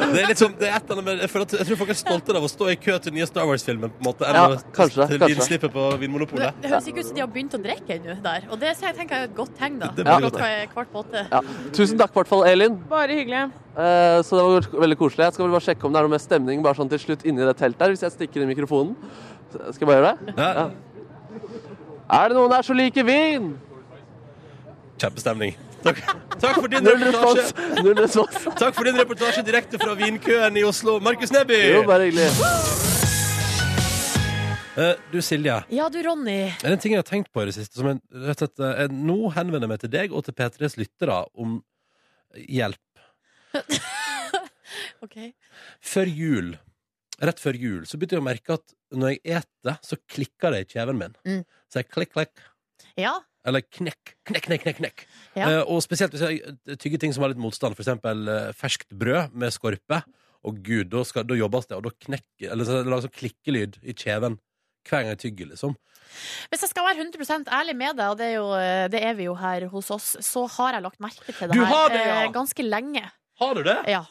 A: det er litt sånn, det er et eller annet med, jeg, føler at, jeg tror folk er stolte av å stå i kø til den nye Star Wars-filmen, på en måte. Eller
C: Ja, kanskje,
A: til
C: kanskje.
A: vinslippet på Vinmonopolet.
B: Det høres ikke ut som de har begynt å drikke ennå der. Og det ser jeg- tenker jeg er et godt tegn, da.
A: Det blir
B: Klokka er kvart på åtte.
C: Ja. Tusen takk, i hvert fall, Elin.
F: Bare hyggelig.
C: Eh, Så det var veldig koselig. Jeg skal vel bare sjekke om det er noe mer stemning bare sånn til slutt inni det teltet her, hvis jeg stikker i mikrofonen. Skal jeg bare gjøre det?
A: Ja,
C: Er det noen her som liker vin?
A: kjempestemning. Takk, takk for din
C: Null
A: reportasje.
C: respons. Null respons.
A: Takk for din reportasje direkte fra vinkøen i Oslo. Markus Neby!
C: Jo, bare hyggelig.
A: Eh, du, Silje.
B: Ja, du Ronny.
A: Det er en ting jeg har tenkt på i det siste. Som en, rett og slett, eh, nå henvender jeg meg til deg og til P3s lyttere om hjelp.
B: Ok.
A: Før jul, rett før jul, så begynte jeg å merke at når jeg eter, så klikker det i kjeven min.
B: Mm.
A: Så jeg klikk, klikk,
B: Ja.
A: eller knekk, knekk, knekk, knekk. knekk.
B: Ja.
A: Eh, og spesielt hvis jeg tygger ting som har litt motstand, for eksempel eh, ferskt brød med skorpe. Og gud, da, skal, da jobbes det, og da knekker, eller så, eller altså klikkelyd i kjeven hver gang jeg tygger, liksom.
B: Hvis jeg skal være 100 ærlig med deg, og det er, jo, eh, det er vi jo her hos oss, så har jeg lagt merke til det
A: Du
B: her
A: har det, ja!
B: eh, ganske lenge.
A: Har du det?
B: Ja.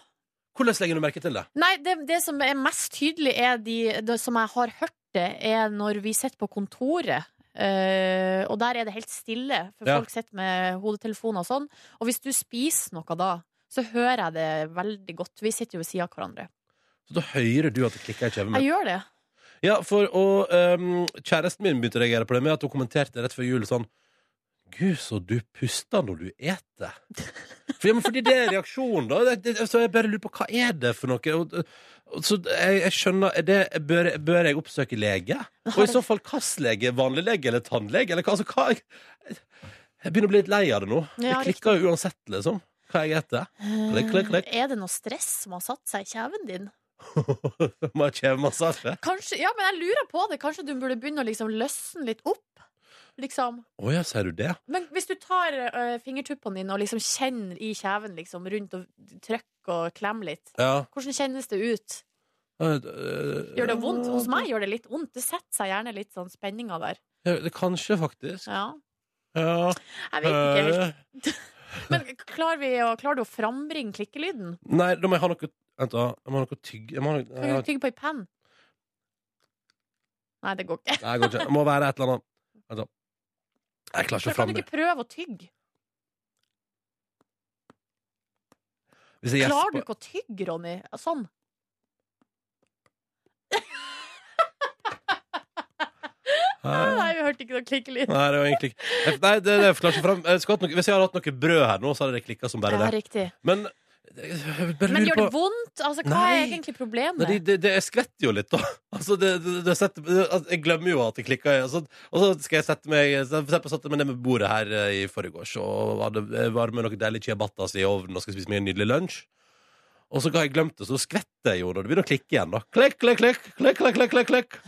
A: Hvordan legger du merke til det?
B: Nei, det, det som er mest tydelig, er de, det som jeg har hørt det, er når vi sitter på kontoret. eh, og der er det helt stille, for
A: Ja.
B: folk sitter med hodetelefoner og sånn. Og hvis du spiser noe da, så hører jeg det veldig godt. Vi sitter jo ved siden av hverandre.
A: Så da hører du at det klikker i kjeven min.
B: Jeg gjør det.
A: Ja, for og, ehm, kjæresten min begynte å reagere på det med at hun kommenterte rett før jul sånn Gud, så du puster når du eter. Fordi, men fordi det er reaksjonen, da. Det, det, så jeg bare lurer på hva er det for noe. Og, og, så jeg, jeg skjønner er det, bør, bør jeg oppsøke lege? Og i så fall hvilken lege? Vanlig lege eller tannlege? Eller hva, altså, hva jeg, jeg begynner å bli litt lei av det nå. Det
B: Ja,
A: klikker jo uansett, liksom. Hva jeg eter. Klikk, klikk, klikk.
B: Eh, Er det noe stress som har satt seg i kjeven din?
A: Må jeg kjevemassasje?
B: Kanskje, ja, men jeg lurer på det. Kanskje du burde begynne å liksom løsne litt opp? Liksom.
A: Å ja, sier du det?
B: Men hvis du tar eh, fingertuppene dine og liksom kjenner i kjeven liksom, rundt og trykker og klemmer litt,
A: Ja.
B: hvordan kjennes det ut?
A: Eh, eh,
B: Gjør det vondt? Hos meg gjør det litt vondt. Det setter seg gjerne litt sånn spenninger der.
A: Ja, det kanskje, faktisk.
B: Ja.
A: Ja.
B: Jeg vet ikke helt.
A: Eh,
B: Men klarer, vi å, klarer du å frambringe klikkelyden?
A: Nei, da må jeg ha noe Vent, da. Jeg må ha noe tygg... Jeg må ha noe,
B: Kan du tygge på ei penn? Nei, det går ikke.
A: Nei, jeg går ikke. Det må være et eller annet Vent, da. Jeg klarer ikke å
B: Men Kan du
A: frambringe
B: ikke prøve å tygge?
A: Hvis jeg
B: Klarer du
A: gjesper
B: ikke å tygge, Ronny? Sånn.
A: Nei,
B: Nei, vi hørte ikke noe klikkelyd.
A: Nei, det var egentlig ikke Jeg- Nei, det, det jeg klarer ikke fram jeg skulle hatt noe, Hvis jeg hadde hatt noe brød her nå, så hadde det klikka som bare
B: Ja,
A: det.
B: riktig.
A: Men eh, jeg bare
B: Men
A: lurer
B: gjør det
A: på
B: vondt? Altså, hva er
A: Nei. Nei,
B: egentlig
A: det,
B: problemet?
A: det, det, jeg skvetter jo litt, da. Altså, det, det, det setter, det, altså, jeg glemmer jo at det klikker. Og så, og så skal jeg sette meg så For eksempel satte jeg meg ned med bordet her eh, i forgårs og hadde eh, varme noen deilige ciabattas i ovnen og skal spise meg en nydelig lunsj. Og så har jeg glemt det, så skvetter jeg jo når det begynner å klikke igjen. da Klikk, klikk, klikk, klikk, klikk, klikk, klikk, klikk.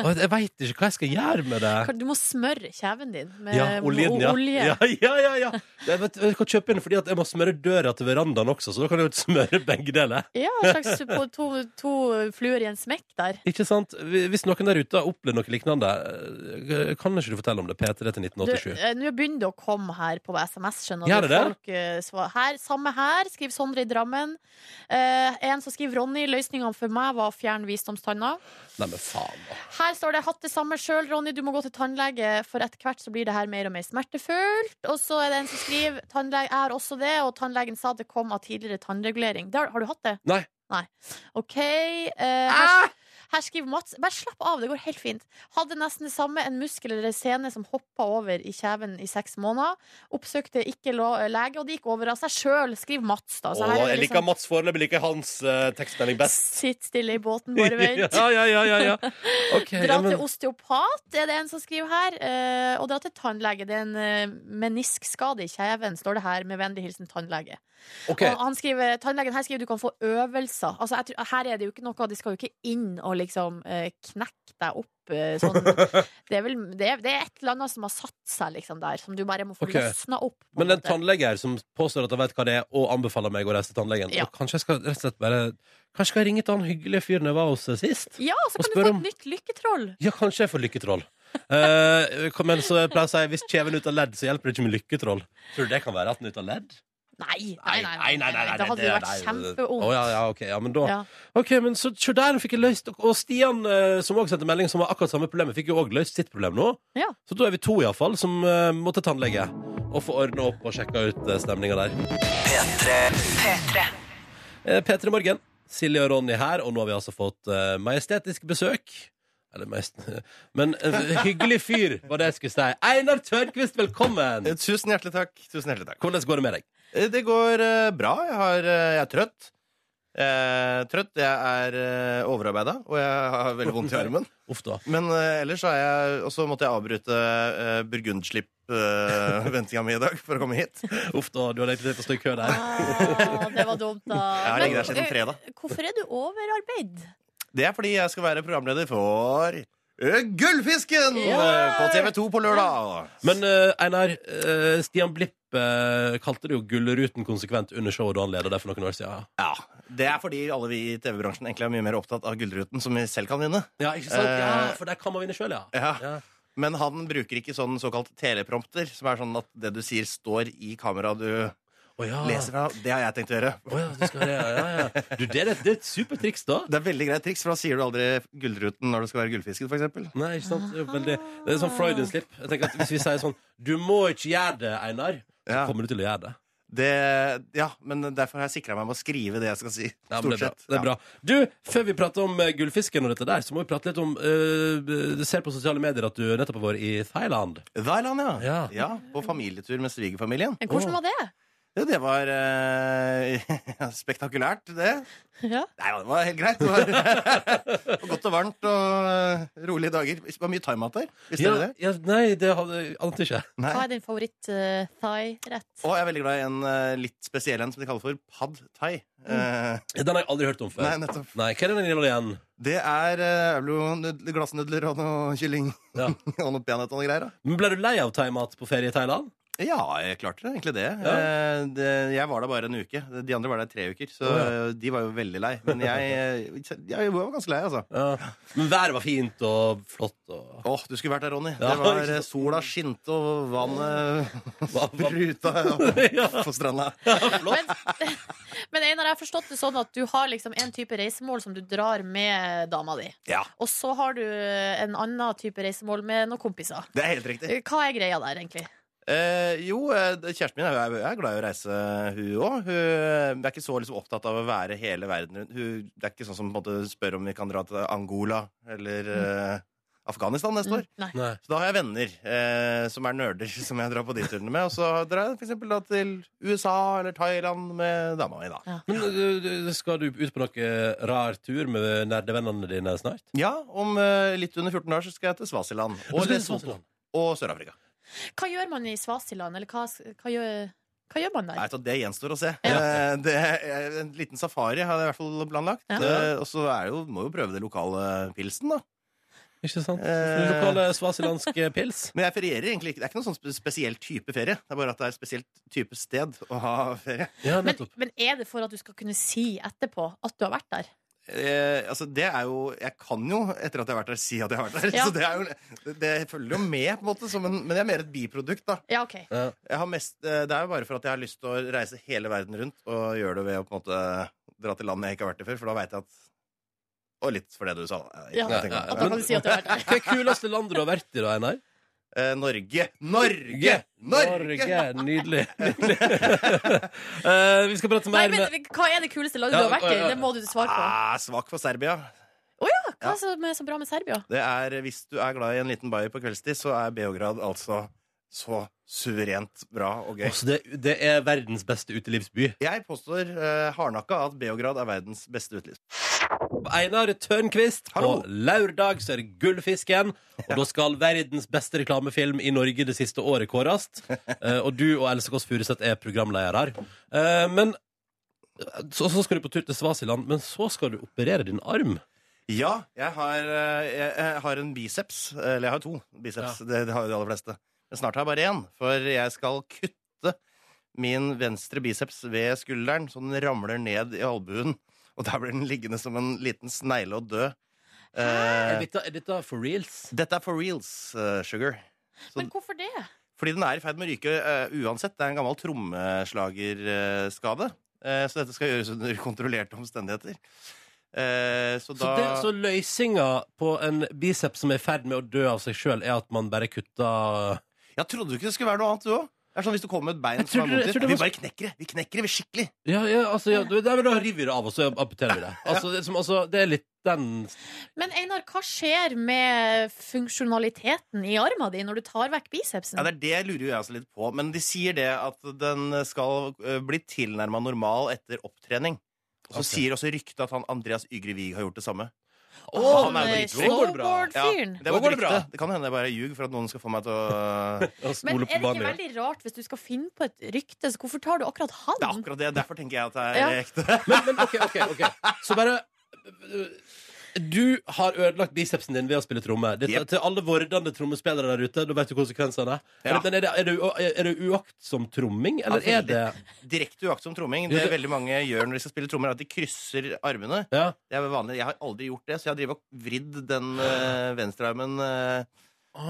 A: Og jeg- jeg veit ikke hva jeg skal gjøre med det.
B: Kan- Du må smøre kjeven din med
A: Ja, oljen, ja.
B: eh, olje.
A: Ja, ja, ja, ja. Jeg, vet, jeg kan kjøpe inn fordi at jeg må smøre døra til verandaen også, så da kan jeg jo smøre begge deler.
B: Ja, en slags på to, to fluer i en smekk der.
A: Ikke sant? Hvis noen der ute har opplevd noe lignende, eh, kan ikke du fortelle om det? P3 til
B: Du,
A: 1987.
B: eh, Nå begynner det å komme her på SMS, skjønner
A: Gjør
B: du.
A: det det?
B: Folk, eh, svar- her, samme her, skriver Sondre i Drammen. Eh, en som skriver Ronny, løsningene for meg var å fjerne visdomstanna.
A: Nei, men faen, da.
B: Her står det 'hatt det samme sjøl', Ronny, du må gå til tannlege, for etter hvert så blir det her mer og mer smertefullt. Og så er det en som skriver «Tannlege, 'jeg har også det', og tannlegen sa det kom av tidligere tannregulering. Det har, har du hatt det?
A: Nei. Ah!
B: Nei. OK. eh, her, her skriver Mats Bare slapp av, det går helt fint. Hadde nesten det samme, en muskel eller sene som hoppa over i kjeven i seks måneder. Oppsøkte ikke lo- lege, og det gikk over av seg sjøl, skriver Mats. Da. Så her
A: Åh,
B: er
A: jeg
B: det
A: liker
B: liksom
A: Mats foreløpig, liker hans eh, tekstmelding best.
B: Sitt stille i båten,
A: Ja,
B: bare vent.
A: ja, ja, ja, ja. Ok,
B: Dra
A: ja, men,
B: til osteopat, er det en som skriver her. eh, og dra til tannlege. Det er en eh, meniskskade i kjeven, står det her. Med vennlig hilsen tannlege.
A: ok.
B: Og han skriver, tannlegen her skriver du kan få øvelser. Altså, jeg tror, her er det jo ikke noe, de skal jo ikke inn og liksom eh, knekke deg opp eh, sånn det, er vel, det, er, det er et eller annet som har satt seg liksom der, som du bare må få
A: Ok.
B: løsna opp. på en
A: Men en
B: måte.
A: tannlege her som påstår at han vet hva det er, og anbefaler meg å reise til tannlegen.
B: Ja.
A: Og kanskje jeg skal rett og slett bare Kanskje skal jeg ringe til han hyggelige fyren jeg var hos eh, sist?
B: Ja,
A: Og
B: så kan du
A: spør
B: få
A: om-
B: et nytt lykketroll.
A: Ja, kanskje jeg får lykketroll. Eh, kom igjen, så jeg pleier å si hvis kjeven er ut av ledd, så hjelper det ikke med lykketroll. Tror du det kan være at den er ut av ledd?
B: Nei, nei, nei. nei, nei, nei, Da hadde det vært kjempevondt.
A: eh, Å, ja, ja, ok, ja, men da
B: Ja.
A: Ok, men så se der, fikk jeg løst Og Stian, eh, som også sendte melding, som har akkurat samme problem, fikk jo også løst sitt problem nå.
B: Ja.
A: Så da er vi to, iallfall, som eh, må til tannlege og få ordna opp og sjekka ut uh, stemninga der. Eh, P3 Morgen. Silje og Ronny her, og nå har vi altså fått eh, majestetisk besøk. Eller majest... Men en hyggelig fyr, var det jeg skulle si. Einar Tørnquist, velkommen!
H: Eh, Tusen hjertelig takk. Tusen hjertelig takk.
A: Hvordan går det med deg?
H: Eh, Det går eh, bra. Jeg, har, eh, jeg er trøtt. Eh, trøtt. Jeg er eh, overarbeida, og jeg har veldig vondt i armen.
A: Uff da.
H: Men eh, ellers så er jeg Og så måtte jeg avbryte eh, burgundslipp-ventinga mi i dag for å komme hit. Jeg
A: Uff da, du har lett litt å stå i kø der.
B: Ah, det var dumt, da.
H: har
B: Men,
H: ligget der siden
B: eh,
H: fredag.
B: Hvorfor er du overarbeid?
H: Det er fordi jeg skal være programleder for eh, Gullfisken
B: Ja!
H: eh, på TV2 på lørdag.
A: Men eh, Einar, eh, Stian Blipp eh, kalte det jo Gullruten konsekvent under showet da han leda der for noen år siden.
H: Ja, Det er fordi alle vi i TV-bransjen egentlig er mye mer opptatt av Gullruten, som vi selv kan vinne.
A: Ja, ikke sant?
H: Eh,
A: ja, for der kan man vinne sjøl, ja.
H: Ja.
A: Ja.
H: Men han bruker ikke sånn såkalt teleprompter, som er sånn at det du sier, står i kameraet du
A: Å ja.
H: leser fra. Det har jeg tenkt å gjøre.
A: Å ja, du skal det, ja, ja, ja. Du, det, er et, det er et supertriks, da.
H: Det er veldig greit triks, for da sier du aldri Gullruten når du skal være gullfisken, f.eks.
A: Nei, ikke sant? Det er, veldig, det er sånn Freudian-slipp. Jeg tenker at Hvis vi sier sånn 'Du må ikke gjøre det, Einar', så
H: Ja.
A: kommer du til å gjøre det.
H: Det, ja, men derfor har jeg sikra meg med å skrive det jeg skal si.
A: Ja, men
H: Stort
A: det er,
H: sett.
A: bra. det er bra. Du, Før vi prater om eh, gullfisken og dette der, så må vi prate litt om eh, Du ser på sosiale medier at du nettopp har vært i Thailand.
H: Ja. Thailand, ja.
A: Ja.
H: På familietur med svigerfamilien.
B: Men Eh, hvordan var det?
H: Ja, det var eh, spektakulært, det.
B: Ja.
H: Nei, ja, det var helt greit. Det var og godt og varmt og eh, rolige dager. Det var mye thaimat der. Visste
A: Ja,
H: dere det?
A: ja, nei, det hadde ante ikke.
H: Nei.
B: Hva er din eh, favoritt-thai-rett?
H: Og jeg er veldig glad i en eh, litt spesiell en som de kaller for pad thai. Eh,
A: Den har jeg aldri hørt om før.
H: Nei, nettopp.
A: Nei, hva er den inneholder igjen?
H: Det er eh, er vel jo nudler- glassnudler og noe kylling
A: Ja.
H: og noe peanøtter og noe greier. Da.
A: Men ble du lei av thaimat på ferie i Thailand?
H: Ja, jeg klarte det, egentlig det.
A: Ja.
H: Eh, det. Jeg var der bare en uke. De andre var der tre uker, så
A: Å,
H: eh, de var jo veldig lei. Men jeg, eh, jeg var ganske lei, altså.
A: Ja. Men været var fint og flott og
H: Åh, du skulle vært der, Ronny.
A: Ja,
H: Det var
A: ikke
H: eh, Sola skinte, og vannet
A: hva, hva,
H: spruta opp
A: ja,
H: på stranda.
B: Men, men Einar, jeg har forstått det sånn at du har liksom en type reisemål som du drar med dama di.
H: Ja.
B: Og så har du en annen type reisemål med noen kompiser. Eh,
H: Det er helt riktig.
B: Hva er greia der, egentlig?
H: Eh, jo, eh, kjæresten min er, jo- er glad i å reise, hun òg. Hun er ikke så liksom, opptatt av å være hele verden rundt. Hun det er ikke sånn som på en måte, spør om vi kan dra til Angola eller eh, Afghanistan neste år.
B: Mm, Nei.
A: nei.
H: Så da har jeg venner eh, som er nerder, som jeg drar på de turene med. Og så drar jeg for eksempel da til USA eller Thailand med dama mi, da.
A: Men uh, uh, skal du ut på noe rar tur med nerdevennene dine snart?
H: Ja, om eh, litt under 14 dager så skal jeg til Svasiland og Lesotho og Sør-Afrika.
B: Hva gjør man i Svasiland, eller hva, hva, gjør, hva gjør man der?
H: Nei, så Det gjenstår å se.
B: Ja.
H: Eh, Det er en liten safari har jeg i hvert fall planlagt.
B: Ja.
H: Eh, Og så er jo, må jo prøve det lokale pilsen, da.
A: Ikke sant?
H: Eh.
A: Lokale svasilandske pils.
H: Men jeg ferierer egentlig ikke. Det er ikke noen sånn spe- spesiell type ferie. Det er bare at det er et spesielt type sted å ha ferie.
A: Ja,
B: Men,
A: nettopp.
B: men er det for at du skal kunne si etterpå at du har vært der?
H: Eh, altså det er jo, Jeg kan jo, etter at jeg har vært der, si at jeg har vært der.
B: Ja.
H: Så det, er jo, det, det følger jo med, på en måte, som en, men det er mer et biprodukt. da.
B: Ja, ok.
A: Ja.
H: Jeg har mest, eh, det er jo bare for at jeg har lyst til å reise hele verden rundt og gjøre det ved å på en måte dra til land jeg ikke har vært i før, for da veit jeg at Og litt for det du sa. Jeg,
B: Ja.
H: jeg tenker
A: Ja, ja,
H: meg.
B: At
A: ja.
B: du kan si at du har vært der.
A: Hva er kuleste landet du har vært i, da, Einar?
H: Eh, Norge! Norge! Norge!
A: Nydelig. Nydelig. Eh, vi skal prate
B: Nei,
A: mer med
B: men hva er det kuleste landet
A: Ja,
B: du har vært i?
A: ja, ja.
B: Det må du svare på.
H: Ah, svak for Serbia.
B: Hva er det som er så bra med Serbia?
H: Det er, Hvis du er glad i en liten bayer på kveldstid, så er Beograd altså så suverent bra og gøy.
A: Altså, det, det er verdens beste utelivsby.
H: Jeg påstår eh, hardnakka at Beograd er verdens beste uteliv.
A: Einar Tørnquist.
H: Hallo.
A: På lørdag så er det Gullfisken. Og da skal verdens beste reklamefilm i Norge det siste året kåres. Eh, og du og Else Kåss Furuseth er programledere. Eh, men så, så skal du på tur til Svasiland, men så skal du operere din arm.
H: Ja, jeg har, eh, jeg, jeg har en biceps. Eller jeg har to biceps. Det, det har jo de aller fleste. Men snart har jeg bare én, for jeg skal kutte min venstre biceps ved skulderen, så den ramler ned i albuen. Og der blir den liggende som en liten snegle og dø.
I: Er
H: Eh,
I: dette, er dette for reals?
H: dette er for reals, eh, Sugar. Så-
B: Men hvorfor det?
H: Fordi den er i ferd med å ryke eh, uansett. Det er en gammel trommeslagerskade. Eh, så dette skal gjøres under kontrollerte omstendigheter. Eh, så
A: Så,
H: da
A: det, så løsninga på en biceps som er i ferd med å dø av seg sjøl, er at man bare kutter
H: Jeg trodde jo ikke det skulle være noe annet, du òg. Det er sånn hvis du kommer med et bein
A: Jeg
H: som er
A: trodde-
H: vondt
A: jeg
H: i.
A: trodde det
H: Vi
A: var-
H: bare knekker det. Vi knekker det vi skikkelig.
A: Ja, ja, altså, ja, du- nei, men da river vi det av, og så amputerer vi det. Altså, det, er som, altså, det er litt den
B: Men Einar, hva skjer med funksjonaliteten i armen din når du tar vekk bicepsen?
H: Ja, det er det jeg lurer jo jeg også litt på. Men de sier det at den skal eh, bli tilnærma normal etter opptrening. Og så
A: Ok.
H: sier også ryktet at han Andreas Ygre Wiig har gjort det samme.
A: Å,
H: han er jo
B: eh,
H: dritflink.
A: går det bra.
B: Snowboard-fyren.
H: det,
A: Da
H: var
A: går
H: et
A: det bra.
H: rykte. det kan hende jeg bare ljuger for at noen skal få meg til å
A: å
B: Men
A: spole
B: er det
A: på
B: ikke
A: banen.
B: veldig rart hvis du skal finne på et rykte, så hvorfor tar du akkurat
H: Det er
B: han?
H: akkurat det. Derfor tenker jeg at det er
B: Ja.
H: ekte.
A: Men, men ok, ok, ok Så bare øh, Du har ødelagt bicepsen din ved å spille tromme Dette,
H: Jep.
A: Til alle vordende trommespillere der ute Da vet du konsekvensene
H: Ja.
A: Men er det, er, det, u- er det uaktsom tromming? Eller
H: Ja,
A: er det
H: Direkte uaktsom tromming.
A: Ja,
H: Det
A: det-
H: veldig mange gjør når de skal spille trommer, er at de krysser armene.
A: ja.
H: Det er vanlig. Jeg har aldri gjort det, så jeg har drevet og vridd den eh, venstrearmen eh,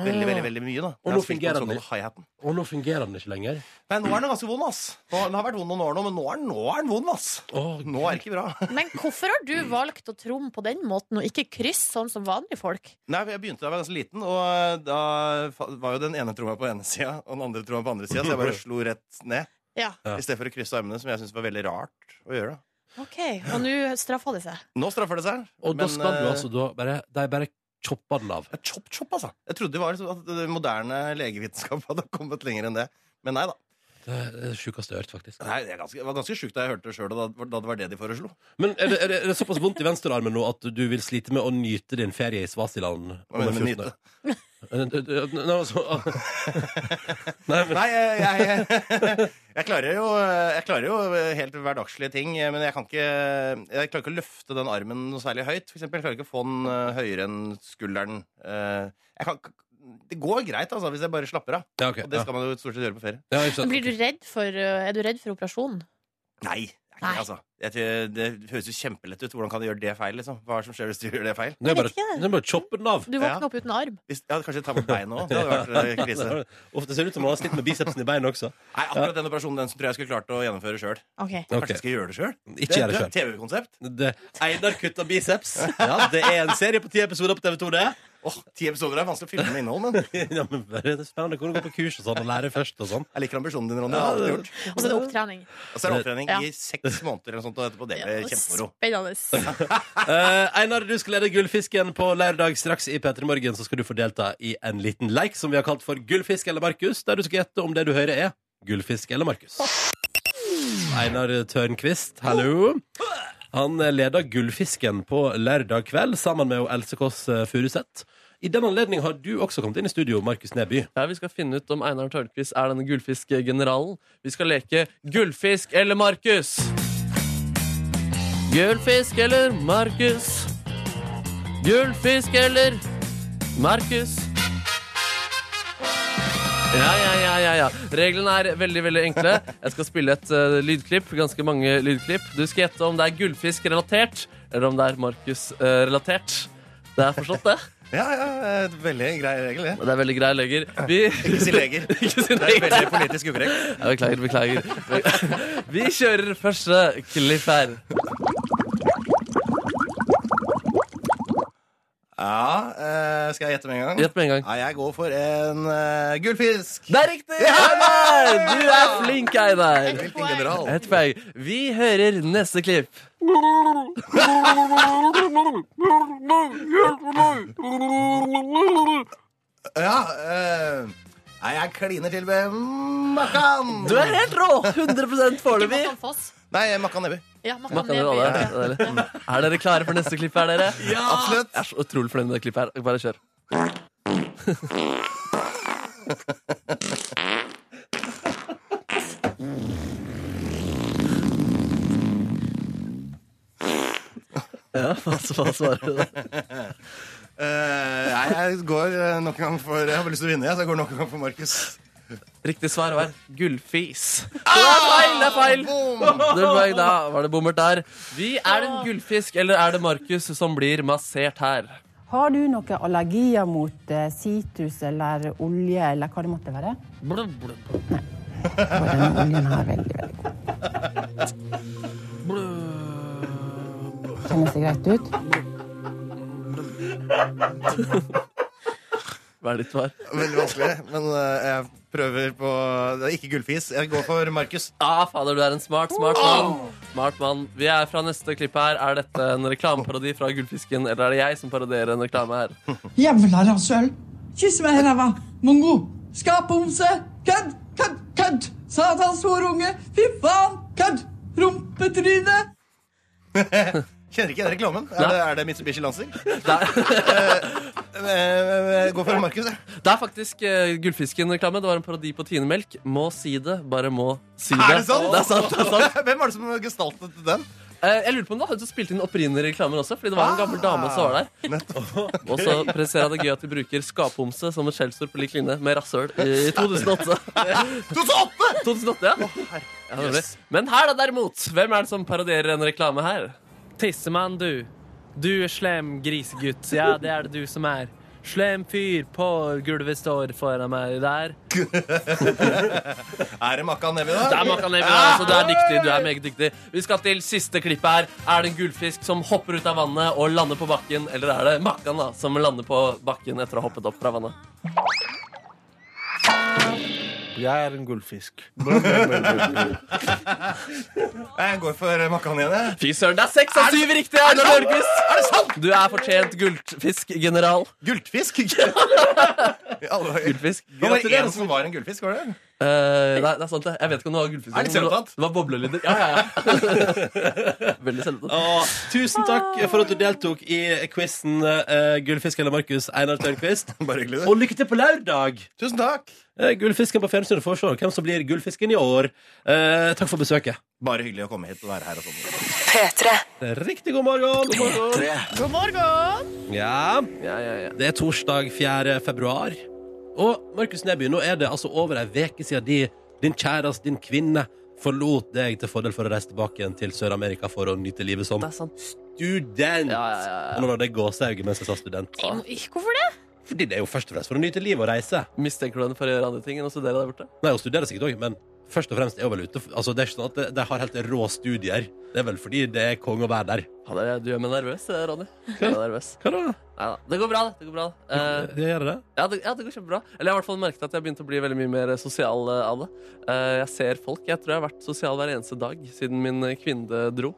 H: veldig, veldig veldig mye. da
A: Ah. Og nå fungerer den
H: den hi-haten.
A: Og nå fungerer den ikke lenger
H: Nei, nå er den ganske vond, ass. Nå, den har vært vond noen år nå, men nå er den, nå er den vond, ass.
A: Åh,
H: Nå er det ikke bra.
B: Men hvorfor har du valgt å tromme på den måten, og ikke kryss sånn som vanlige folk?
H: Nei, for Jeg begynte da jeg var ganske liten, og eh, da fa- var jo den ene tromma på ene sida og den andre tromma på andre sida, så jeg bare slo rett ned.
B: Ja.
A: Ja.
H: I stedet for å krysse armene, som jeg syntes var veldig rart å gjøre.
B: OK, og nå straffa det seg.
H: Nå straffer det seg.
A: Og da
H: men,
A: skal du
H: eh,
A: altså da bare De bare chopper den av
H: Ja, Chop, chop, altså. Jeg trodde det var liksom at det moderne legevitenskap hadde kommet lenger enn det. Men nei da.
A: Det er det sjukeste jeg har hørt faktisk
H: Nei, det, er ganske, det var ganske sjukt da jeg hørte det sjøl, da, da det var det de foreslo.
A: Men er det, er det, er det såpass vondt i venstrearmen nå At du vil slite med å nyte din ferie i Svasiland
H: Hva mener du med nyte?
A: Eh, Nei, altså Nei, men
H: Nei, jeg, jeg, jeg, klarer jo, jeg klarer jo helt hverdagslige ting, men jeg kan ikke Jeg klarer ikke å løfte den armen noe særlig høyt. For eksempel, jeg klarer ikke å få den eh, høyere enn skulderen. Eh, Jeg kan, det går greit altså, hvis jeg bare slapper av.
A: ja, ok,
H: Og det
A: ja.
H: skal man jo stort sett gjøre på ferie.
A: Ja, ikke sant.
B: Men Blir du redd for, uh, er du redd for operasjon?
H: Nei. det er ikke
B: Nei.
H: det, Altså. Jeg, tror- det høres jo kjempelett ut. Hvordan kan du gjøre det feil? Liksom? Hva er det som skjer hvis du gjør det feil?
A: Det er
B: Jeg
A: bare,
B: vet ikke.
A: det er bare å choppe den av
B: Du våkner
H: Ja.
B: opp uten arm.
H: Hvis, ja, kanskje ta bort beinet òg. Det hadde vært eh, krise.
A: Ofte ser det ut som man har slitt med bicepsen i beinet også.
H: Nei, akkurat den operasjonen den som tror jeg skulle klart å gjennomføre sjøl.
B: OK.
H: Kanskje
A: Ok.
H: jeg skal gjøre det sjøl?
A: Ikke gjør det sjøl.
H: TV-konsept.
A: Det- Einar kutta biceps. Ja, det er en serie på ti episoder på TV2, det.
H: Åh, Ti episoder er vanskelig å fylle med innhold, men
A: Ja, men det er spennende hvordan du går på kurs og sånn og lærer først og sånn.
H: jeg liker ambisjonen din, Ronny. Jeg har alltid gjort.
B: Og så er det opptrening.
H: Og så er det opptrening
B: Ja.
H: i seks måneder eller noe sånt, og etterpå det blir kjempemoro.
B: Spennende.
A: Eh, Einar, du skal lede Gullfisken på lørdag straks i P3 Morgen. Så skal du få delta i en liten leik som vi har kalt for Gullfisk eller Markus, der du skal gjette om det du hører er Gullfisk eller Markus. Einar Tørnquist, hallo. Han leder Gullfisken på lørdag kveld sammen med Else Kåss eh, Furuseth. I den anledning har du også kommet inn i studio, Markus Neby.
C: Ja, Vi skal finne ut om Einar Tørnquist er denne gullfiskgeneralen. Vi skal leke Gullfisk eller Markus. Gullfisk eller Markus? Gullfisk eller Markus? Ja, ja, ja, ja, ja. Reglene er veldig veldig enkle. Jeg skal spille et eh, lydklipp. ganske mange lydklipp. Du skal gjette om det er gullfisk-relatert, eller om det er Markus-relatert. Det er forstått, det?
H: Ja, ja, eh, veldig grei regel, det.
C: Det er veldig grei leger. Vi...
H: Ikke si leger.
C: Ikke si
H: Det er
C: leger.
H: veldig politisk ukorrekt.
C: Ja, beklager, beklager. Vi kjører første klipp her.
H: Ja, eh, skal jeg gjette med en gang?
C: Gjett med en gang.
H: Ja, jeg går for en eh, gullfisk.
C: Det er riktig! Einar! Du er flink, Einar.
H: Hvilken general?
C: Et poeng. Vi hører neste klipp.
H: Ja, eh, nei, jeg kliner til med Makkan.
C: Du er helt rå! 100 foreløpig.
B: Makkan Foss.
H: Nei, Makkan Neby.
B: Ja, Makkan
C: Makkan, det var det.
B: Neby.
C: Det var det. Er dere klare for neste klipp her, dere?
H: Absolutt. Eh,
C: Jeg er så utrolig fornøyd med det klippet her. Bare kjør. Ja, Hva hva svarer du da?
H: Eh, nei, jeg går eh, nok en gang for Jeg har bare lyst til å vinne, jeg, så jeg går nok en gang for Markus.
C: Riktig svar var gullfis. Det er feil! Det er feil! Det var, da var det bommert der. Vi Er det en gullfisk, eller er det Markus som blir massert her?
J: Har du noen allergier mot eh, sitrus eller olje eller hva det måtte være?
C: Blum, blum, blum.
J: Bare den oljen her er veldig, veldig god. Kjennes det greit ut?
C: Hva er ditt svar?
H: Veldig vanskelig, men eh, jeg prøver på Det er ikke gullfis. Jeg går for Markus.
C: Ah, fader, du er en smart, smart mann. Smart mann. Vi er fra neste klipp her. Er dette en reklameparodi fra Gullfisken, eller er det jeg som parodierer en reklame her?
K: Jævla rasshøl! Kyss meg i ræva! Mongo! Skapomse! Kødd! Kødd! Kødd! Satans horunge! Fy faen! Kødd! Rumpetryne!
H: Kjenner ikke den reklamen. Er det, er det Mitsubishi Lancer? Eh, eh, jeg går for Markus, jeg.
C: Det er faktisk eh, Gullfisken-reklame. Det var en parodi på Tinemelk. Må si det, bare må si det.
H: Er det sant?
C: Det er sant, det er sant.
H: Hvem var det som gestaltet den?
C: Eh, Jeg lurer på om det var hun som spilte inn opprinnende reklamer også, fordi det var en gammel dame som var der. Og så presiserer jeg det gøy at de bruker skapomse som et skjellsord på lik linje med rasshøl i 2008.
H: 2008!
C: 2008, ja. ja det var det. Men her, da, derimot. Hvem er det som parodierer en reklame her? Tissemann, du. Du er slem grisegutt. Ja, det er det du som er. Slem fyr på gulvet står foran meg der.
H: Er det Makka Neby,
C: Det
H: da?
C: er Makanemi, altså. Du er dyktig. du er meget dyktig Vi skal til siste klippet her. Er det en gullfisk som hopper ut av vannet og lander på bakken, eller er det Makan da, som lander på bakken etter å ha hoppet opp fra vannet?
L: Jeg er en gullfisk.
H: Jeg går for Makkan igjen, jeg.
C: Fy søren, det er seks av syv riktige! Er det sant? Du er fortjent gullfiskgeneral.
H: Gullfisk? I alle dager.
C: Gullfisk.
H: Det var bare
C: Gratulerer.
H: én som var en gullfisk, var det?
C: Eh, nei, det er sant, det. Jeg vet ikke om det var gullfisk.
H: Er det
C: men
H: selvtatt?
C: Det var boblelyder. Ja, ja, ja. Veldig selvtatt.
A: Å, tusen takk for at du deltok i quizen eh, Gullfisk eller Markus Einar Tørnquist.
H: Bare hyggelig, det.
A: Og lykke til på lørdag!
H: Tusen takk.
A: Eh, Gullfisken på fjernsynet får se hvem som blir gullfisken i år. Eh, takk for besøket.
H: Bare hyggelig å komme hit og være her og sånn.
A: Riktig god morgen! God morgen.
B: God morgen!
A: Ja,
C: Ja, ja, ja.
A: det er torsdag 4. februar. Og Markus Neby, nå er det altså over ei uke siden de, din kjæreste, din kvinne, forlot deg til fordel for å reise tilbake igjen til Sør-Amerika for å nyte livet som
C: Det er sant.
A: student.
C: Ja, ja, ja, ja.
A: Og nå hadde jeg gåsehauge mens jeg sa student.
B: Hvorfor det?
A: Fordi det er jo først og fremst for å nyte livet og reise.
C: Mistenker du henne for å gjøre andre ting enn å studere der borte?
A: Nei, og studere sikkert òg, men først og fremst er hun vel ute. Altså, det er ikke sånn at de- de har helt rå studier. Det er vel fordi det er konge å være der.
C: Ja, det er, du gjør meg nervøs, eh, Ronny. Jeg er nervøs.
A: Hva da?
C: Neida, Det går bra, det. det, går bra, det. Eh,
A: Jeg gjør det?
C: ja, det, ja, det går kjempebra. Eller jeg har i hvert fall merket at jeg begynte å bli veldig mye mer sosial eh, av det. Eh, jeg ser folk. Jeg tror jeg har vært sosial hver eneste dag siden min eh, kvinne dro.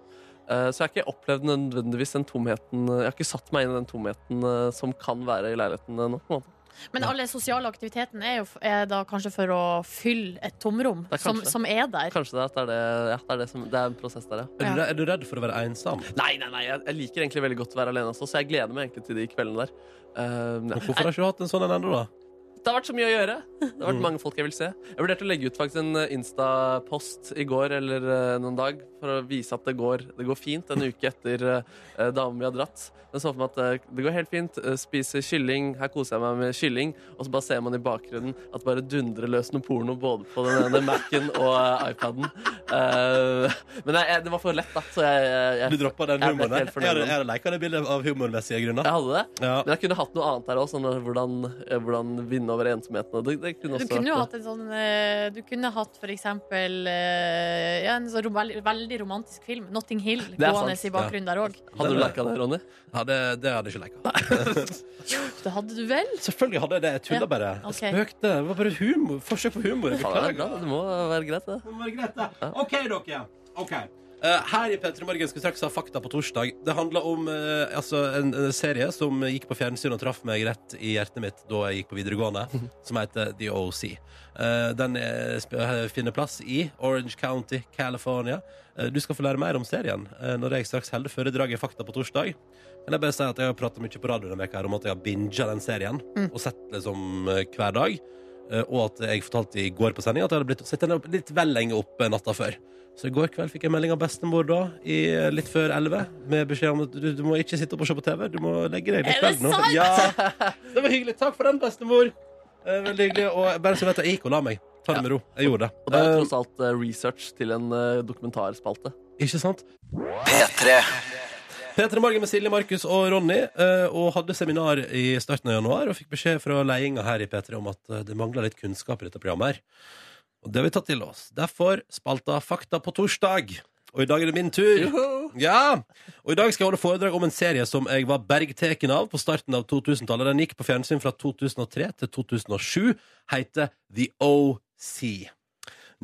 C: Eh, så jeg har ikke opplevd nødvendigvis den tomheten eh, Jeg har ikke satt meg inn i den tomheten eh, som kan være i leiligheten eh, nå. på en måte.
B: Men alle sosiale aktiviteten er jo er da kanskje for å fylle et tomrom
C: Det er kanskje
B: som,
C: det.
B: som er der.
C: Kanskje det er, at det, er det, ja, det, er det, som, det er en prosess der, ja.
A: Er du,
B: Ja.
A: re- er du redd for å være ensom?
C: Nei, nei, nei, jeg, jeg liker egentlig veldig godt å være alene også, så jeg gleder meg egentlig til de kveldene der. Eh, ja.
A: Og hvorfor har ikke du hatt en sånn en ennå, da?
C: Det har vært så mye å gjøre. Det har vært mange folk jeg vil se. Jeg vurderte å legge ut faktisk en eh, Insta-post i går eller eh, noen dag for å vise at det går, det går fint en uke etter eh, damen vi har dratt. Den så for meg at eh, det går helt fint. eh, Spiser kylling. Her koser jeg meg med kylling. Og så bare ser man i bakgrunnen at det bare dundrer løs noe porno både på den ene Mac-en og eh, iPaden. Eh, men jeg, jeg, det var for lett, da, så jeg, jeg,
A: Du
C: jeg,
A: droppa den
C: Jeg ble
A: humoren der.
C: helt fornøyd
A: Jeg
C: med den.
A: har leika det bildet av humormessige grunner.
C: jeg hadde det.
A: Ja.
C: Men jeg kunne hatt noe annet der òg, sånn eh, hvordan, eh, hvordan vinne over ensomheten. og Det, det kunne
B: Du
C: også
B: kunne jo
C: vært-
B: hatt en sånn eh, Du kunne hatt for eksempel eh, ja, en sånn rom- veldig- veldig romantisk film. Notting Hill
C: er
B: gående
C: sant.
B: i bakgrunnen der òg.
C: Hadde du lika det, Ronny?
A: Ja, det, det hadde jeg ikke leka.
B: Det hadde du vel?
A: Selvfølgelig hadde jeg det. Jeg tulla
B: Ja,
A: bare. Jeg
B: ok.
A: spøkte. Det var bare humor. forsøk på humor. Jeg
C: Faen, det, er bra.
A: beklager.
C: det må være greit, det.
A: Det må være greit, det. OK, dere. OK. Eh, her i P3 Morgen skal vi straks ha Fakta på torsdag. Det handler om eh, altså en, en serie som gikk på fjernsyn og traff meg rett i hjertet mitt da jeg gikk på videregående, som heter The OC. Eh, den eh, sp- eh, finner plass i Orange County, California. Eh, du skal få lære mer om serien eh, når jeg straks holder foredraget Fakta på torsdag. Men jeg bare sier at jeg har prata mye på radioen denne veka her om at jeg har binga den serien og sett liksom eh, hver dag. Eh, Og at jeg fortalte i går på sending at jeg hadde blitt sett henne litt vel lenge oppe natta før. Så i går kveld fikk jeg melding av bestemor da, i eh, litt før 11, med beskjed om at du, du må ikke sitte opp og se på TV, du må legge deg litt
K: Er det
A: kveld nå.
K: sant?
A: Ja. Det var hyggelig. Takk for den, bestemor. Eh, Veldig hyggelig. Og bare så du vet jeg gikk og la meg. Ta det med ro. Jeg gjorde det.
C: Og det er jo tross alt eh, research til en eh, dokumentarspalte.
A: Ikke sant? P3 Morgen med Silje, Markus og Ronny eh, og hadde seminar i starten av januar og fikk beskjed fra ledelsen her i P3 om at eh, det mangla litt kunnskap i dette programmet. her. Og det har vi tatt til oss. Derfor spalta Fakta på torsdag. Og i dag er det min tur. Ja! Og i dag skal jeg holde foredrag om en serie som jeg var bergteken av på starten av 2000-tallet. Den gikk på fjernsyn fra 2003 til 2007. Heter The OC.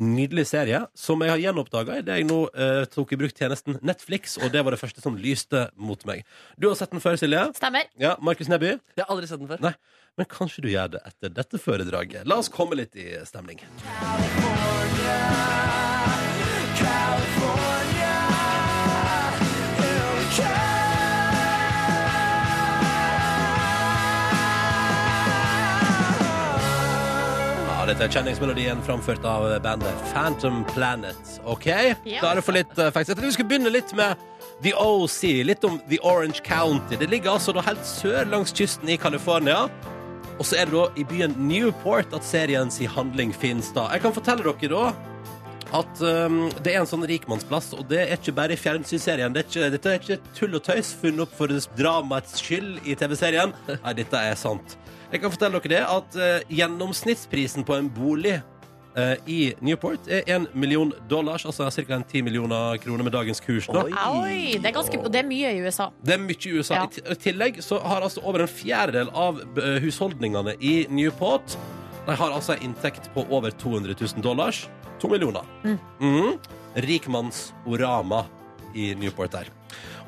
A: Nydelig serie som jeg har gjenoppdaga idet jeg nå eh, tok i bruk tjenesten Netflix. Og det var det første som lyste mot meg. Du har sett den før, Silje?
B: Stemmer.
A: Ja, Markus Neby?
C: Jeg har aldri sett den før.
A: Nei, Men kanskje du gjør det etter dette foredraget. La oss komme litt i stemning. Ja, Dette er kjenningsmelodien framført av bandet Phantom Planet. OK?
K: Ja.
A: Da er det for litt eh, facts. Jeg tenkte vi skulle begynne litt med The OC. Litt om The Orange County. Det ligger altså da helt sør langs kysten i California. Og så er det da i byen Newport at serien sin handling finnes da. Jeg kan fortelle dere da at um, det er en sånn rikmannsplass, og det er ikke bare i fjernsynsserien. Det er ikke, dette er ikke tull og tøys funnet opp for dramaets skyld i TV-serien. Nei, dette er sant. Jeg kan fortelle dere det at eh, gjennomsnittsprisen på en bolig eh, i Newport er 1 million dollars, altså ca. 10 millioner kroner med dagens kurs. Da.
B: Oi, det er ganske, og det er mye i USA.
A: Det er mye i USA.
B: Ja.
A: I ti- I tillegg så har altså over en fjerdedel av eh, husholdningene i Newport De har altså en inntekt på over 200 000 dollars. To millioner.
K: Mm.
A: Mhm. Rikmannsorama i Newport der.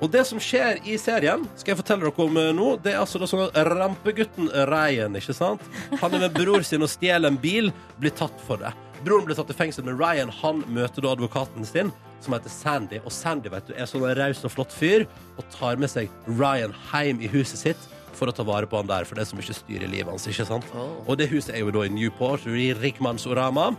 A: Og det som skjer i serien, skal jeg fortelle dere om eh, nå. Det er altså da sånn at rampegutten Ryan, ikke sant? Han er med bror sin og stjeler en bil, blir tatt for det. Broren blir tatt i fengsel, men Ryan han møter da advokaten sin, som heter Sandy. Og Sandy vet du, er sånn en raus og flott fyr og tar med seg Ryan hjem i huset sitt for å ta vare på han der, for det er så mye styr i livet hans. ikke sant? Og det huset er jo da i Newport, i rikmannsorama.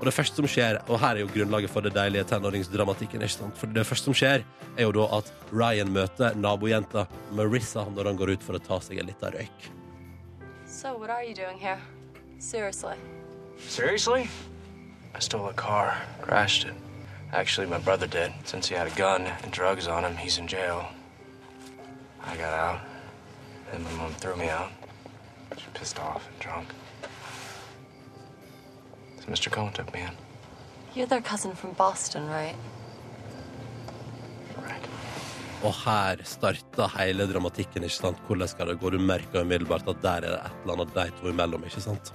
A: Og det første som skjer, og her er jo grunnlaget for det deilige tenåringsdramatikken, ikke sant? for det første som skjer, er jo da at Ryan møter nabojenta Marissa når han går ut for å ta seg en liten røyk.
M: So, what are you doing here? Seriously.
N: Seriously? I stole a car, crashed it. Actually, my brother did. Since he had a gun and drugs on him, he's in jail. I got out, and my mom threw me out. She was pissed off and drunk. So Mr. Cohen took me in.
M: You're their cousin from Boston, right?
A: Og her starter hele dramatikken, ikke sant? Hvordan skal det gå? Du merker umiddelbart at der er det et eller annet de to imellom, ikke sant?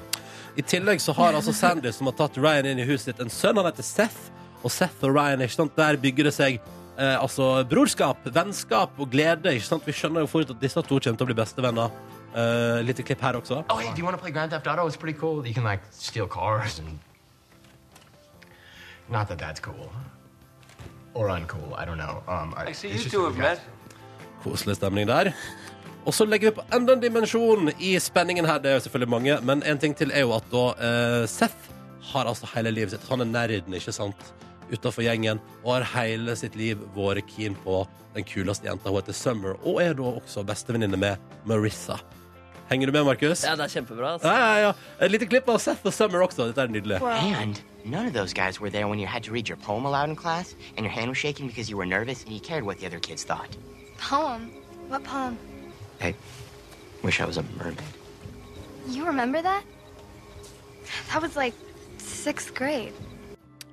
A: I tillegg så har altså Sandy, som har tatt Ryan inn i huset sitt, en sønn. Han heter Seth. Og Seth og Ryan, ikke sant? der bygger det seg eh, altså brorskap, vennskap og glede. ikke sant? Vi skjønner jo fort at disse to kommer til å bli bestevenner. Eh, litt klipp her også.
N: Oh, hey, do you want to play Grand Theft Auto? It's pretty cool. You can, like, steal cars and. Not that that's cool. Or uncool. I don't know. Um, I,
O: see
N: it's
O: you
N: just
O: two
N: that we got-
O: have met.
A: Koselig stemning der. Og så legger vi på enda en dimensjon i spenningen her. Det er jo selvfølgelig mange, men en ting til er jo at da eh, Seth har altså hele livet sitt. Han er nerden, ikke sant, utafor gjengen, og har hele sitt liv vært keen på den kuleste jenta. Hun heter Summer, og er da også bestevenninne med Marissa. Henger du med, Markus?
C: Ja, det er kjempebra. Altså.
A: Ja, ja, ja. Et lite klipp av Seth og Summer også. Dette er nydelig.
P: Oh.
Q: And none of those guys were there when you had to read your poem aloud in class, and your hand was shaking because you were nervous and you cared what the other kids thought.
R: Poem? What poem?
Q: Hey, wish I was a mermaid.
R: You remember that? That was like sixth grade.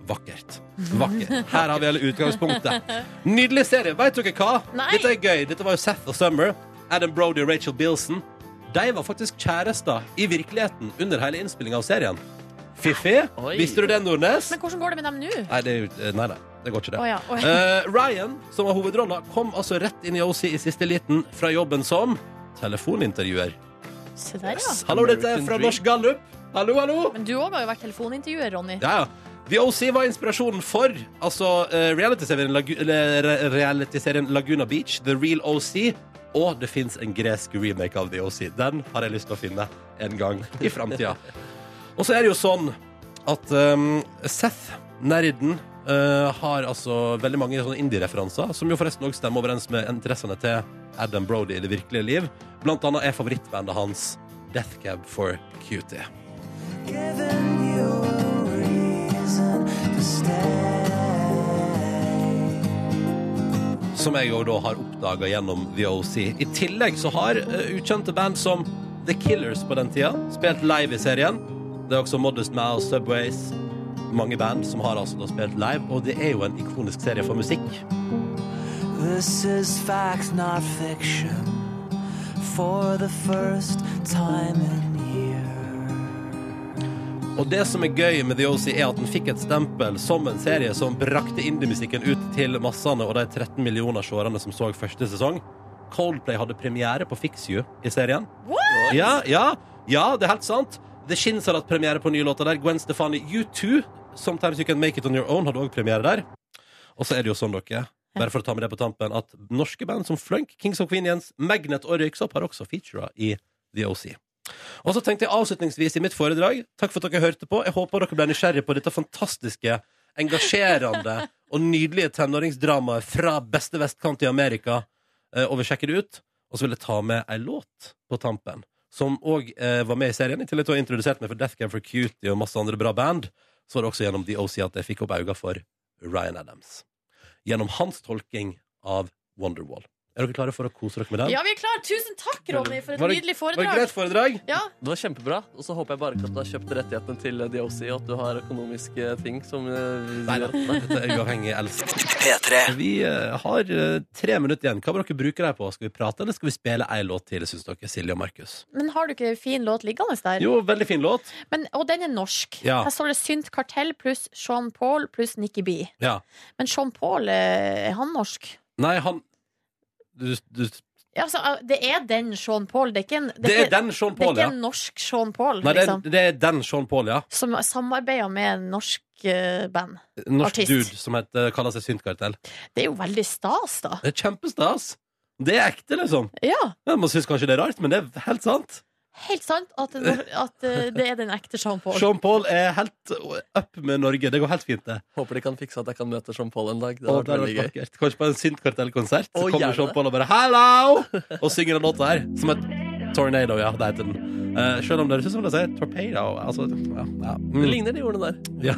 A: Vakkert. Vakkert. Her har vi hele utgangspunktet. Nydelig serie. Vet dere hva?
K: Nei.
A: Dette er gøy. Dette var jo Seth og Summer. Adam Brody og Rachel Bilson. De var faktisk kjærester i virkeligheten under hele innspillinga av serien. Fiffig. Visste du det, Nordnes?
B: Men hvordan går det med dem nå?
A: Nei, det, er jo- eh, nei, nei, det går ikke det.
B: Å ja, å ja.
A: Eh, Ryan, som var hovedrolla, kom altså rett inn i OC i siste liten fra jobben som telefonintervjuer.
B: Se der, ja.
A: Hallo, dette er fra Norsk Gallup. Hallo, hallo.
B: Men du òg har jo vært telefonintervjuer, Ronny.
A: Ja, ja. The OC var inspirasjonen for altså, eh, realityserien Lagu eller re- realityserien Laguna Beach, The Real OC, og det fins en gresk remake av The OC. Den har jeg lyst til å finne en gang i framtida. Og så er det jo sånn at um, Seth, ehm, nerden, eh, har altså veldig mange sånne indie-referanser, som jo forresten også stemmer overens med interessene til Adam Brody i det virkelige liv. Blant annet er favorittbandet hans Death Cab for Cutie. Som jeg jo da har oppdaga gjennom The OC. I tillegg så har eh, ukjente band som The Killers på den tida spilt live i serien. Det er også Modest Mouse, Subways Mange band som har altså da spilt live, og det er jo en ikonisk serie for musikk.
O: This is fact, not fiction. For the first time in
A: Og det som er gøy med The OC, er at den fikk et stempel som en serie som brakte indiemusikken ut til massene og de 13 millioner seerne som så første sesong. Coldplay hadde premiere på Fix You i serien.
S: What?
A: Ja, ja, ja, det er helt sant. The Shins hadde hatt premiere på nye låter der. Gwen Stefani, U2, Sometimes You Can Make It On Your Own, hadde òg premiere der. Og så er det jo sånn, dere, bare for å ta med det på tampen, at norske band som Flunk, Kings of Queenians, Magnet og Røyksopp har også featura i The OC. Og så tenkte jeg avslutningsvis i mitt foredrag Takk for at dere hørte på. Jeg håper dere ble nysgjerrige på dette fantastiske, engasjerende og nydelige tenåringsdramaet fra beste vestkant i Amerika. Eh, Og vil sjekke det ut. Og så vil jeg ta med ei låt på tampen, som òg eh, var med i serien. I tillegg til å ha introdusert meg for Death Cab for Cutie og masse andre bra band, så var det også gjennom The OC at jeg fikk opp øynene for Ryan Adams. Gjennom hans tolking av Wonderwall. Er dere klare for å kose dere med den?
B: Ja, vi er klare. Tusen takk, Ronny, for et
A: Var det-
B: nydelig
A: var det
B: foredrag.
A: greit foredrag?
B: Ja.
C: Det var kjempebra. Og så håper jeg bare ikke at du har kjøpt rettighetene til eh, The OC, og at du har økonomiske ting som eh, Nei,
A: Dette er uavhengig elsk. Vi eh, har eh, tre minutter igjen. Hva vil dere bruke deg på? Skal vi prate, eller skal vi spille ei låt til, syns dere, Silje og Markus?
B: Men har du ikke en fin låt liggende der?
A: Jo, veldig fin låt.
B: Men, og den er norsk.
A: Ja.
B: Her står det Synt Kartell pluss Sean Paul pluss Nikki B.
A: Ja.
B: Men Sean Paul, eh, er han norsk?
A: Nei, han du, du,
B: Ja, altså, eh, det er den Sean Paul. Det er ikke en,
A: Det er
B: ikke-
A: den Sean
B: det er
A: Paul, ja.
B: ikke en norsk Sean Paul,
A: Nei, det er,
B: liksom.
A: det er den Sean Paul, ja.
B: Som samarbeider med en norsk eh, band.
A: Norsk
B: Artist.
A: dude som heter, kaller seg Syntkartell.
B: Det er jo veldig stas, da.
A: Det er kjempestas. Det er ekte, liksom.
B: Ja.
A: Ja, Man syns kanskje det er rart, men det er helt sant.
B: Helt sant at, det- at eh, det er den ekte Sean Paul.
A: Sean Paul er helt up med Norge. Det går helt fint, det.
C: Håper de kan fikse at jeg kan møte Sean Paul en dag. Det
A: Og
C: hadde vært
A: det hadde
C: veldig
A: vært
C: gøy.
A: vakkert. Kanskje på en Sint-kartell-konsert. Så
C: Å,
A: kommer
C: gjerne
A: Sean
C: det.
A: Paul og bare 'Hello!' og synger den låta her. Som et tornado, ja. Det heter den. Eh, selv om det høres ut som det sier torpedo. Altså, ja, ja. Mm.
C: Det ligner de ordene der.
A: Ja.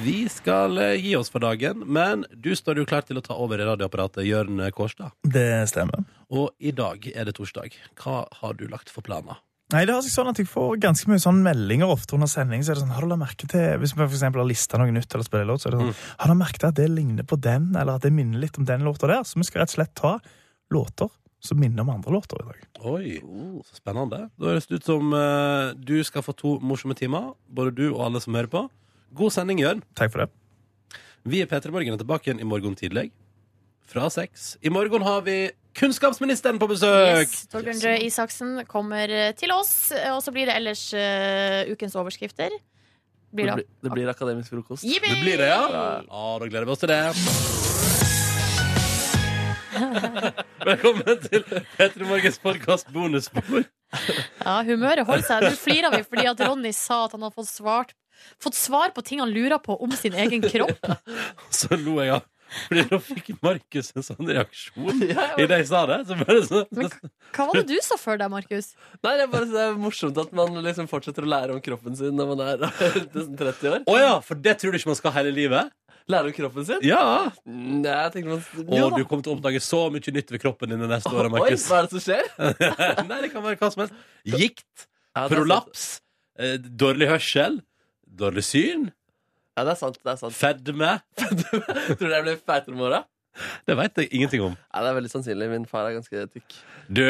A: Vi skal eh, gi oss for dagen, men du står jo klar til å ta over i radioapparatet, Jørn Kårstad.
P: Det stemmer.
A: Og i dag er det torsdag. Hva har du lagt for planer?
P: Nei, det har seg sånn at Jeg får ganske mye sånn meldinger ofte under sending. så er det sånn, har du lagt merke til, Hvis vi for eksempel har lista noe nytt, eller spiller en låt, så er det sånn, har du merket at det ligner på den, eller at det minner litt om den låta der? Så vi skal rett og slett ta låter som minner om andre låter i dag.
A: Oi, så spennende. Da høres det ut som eh, du skal få to morsomme timer, både du og alle som hører på. God sending, Jørn.
P: Takk for det.
A: Vi i P3 Morgen er tilbake igjen i morgen tidlig. Fra seks. I morgen har vi kunnskapsministeren på besøk!
B: Yes, Torbjørn Røe Isaksen kommer eh, til oss, eh, og så blir det ellers eh, ukens overskrifter. Blir det.
C: blir, det blir akademisk frokost.
B: Yippee!
A: Det blir det, ja? Ja, da gleder vi oss til det. Velkommen til P3 Morgens podkast bonusspor.
B: Ja, humøret holder seg. Nå flirer vi fordi at Ronny sa at han har fått, svart, fått svar på ting han lurer på om sin egen kropp.
A: Så lo jeg av. Fordi nå fikk Markus en sånn reaksjon
C: Ja,
A: idet jeg sa det. Så bare sånn
B: Hva var det du så for deg, Markus?
C: Nei, det er bare det er morsomt at man liksom fortsetter å lære om kroppen sin når man er nesten 30 år.
A: Å ja, for det tror du ikke man skal hele livet?
C: Lære om kroppen sin?
A: Ja.
C: Nei, jeg tenker man
A: Og du kommer til å oppdage så mye nytt ved kroppen din de neste åra, Markus.
C: Oi, hva er det som skjer?
A: Nei, det kan være hva som helst. Gikt,
C: Ja, det er
A: prolaps, eh, dårlig hørsel, dårlig syn.
C: Ja, det er sant. det er sant
A: Fedme.
C: Tror du jeg blir feitere om åra?
A: Det veit jeg ingenting om.
C: Ja, det er veldig sannsynlig. Min far er ganske tykk.
A: Du,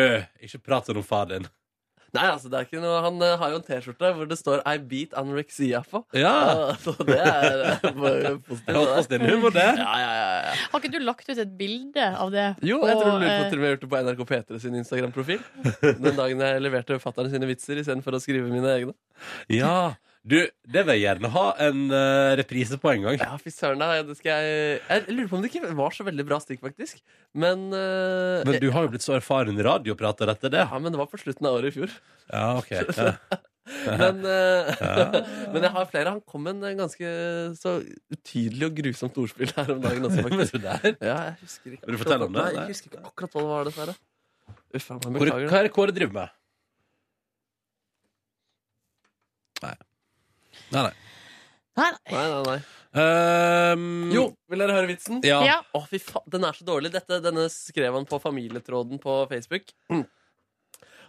A: ikke prat sånn om far din.
C: Nei, altså, det er ikke noe Han eh, har jo en T-skjorte hvor det står 'I beat anorexia' på.
A: Ja.
C: Så det er eh, bare
A: Det var
C: Ah. positivt.
A: positiv humor, det.
C: Ja, ja, ja, ja.
B: Har ikke du lagt ut et bilde av det?
C: Jo, jeg tror
B: på,
C: du lurer på
B: eh,
C: til og med jeg har gjort det på NRK P3 sin Instagram-profil. Den dagen jeg leverte fatterne sine vitser istedenfor å skrive mine egne.
A: Ja. Du, det vil jeg gjerne ha en eh, reprise på en gang.
C: Ja, fy søren, da. Det skal jeg Jeg lurer på om det ikke var så veldig bra stikk, faktisk. Men eh,
A: Men du har jo blitt så erfaren radioprater etter det.
C: Ja, men det var på slutten av året i fjor.
A: Ja, ok. Ja.
C: Men, eh, men jeg har flere. Han kom med en eh, ganske så utydelig og grusomt ordspill her om dagen også, faktisk. Ja, jeg husker ikke
A: Vil du fortelle om det?
C: Nei, jeg husker ikke akkurat hva det var, dessverre. Uff, jeg
A: Hvor,
C: beklager.
A: hva er det Kåre driver med? Nei. Nei, nei.
B: Nei,
C: nei, nei.
A: jo,
C: vil dere høre vitsen?
A: Ehm, Ja. Ja.
C: Å, fy fa den er så dårlig. Dette, denne skrev han på familietråden på Facebook.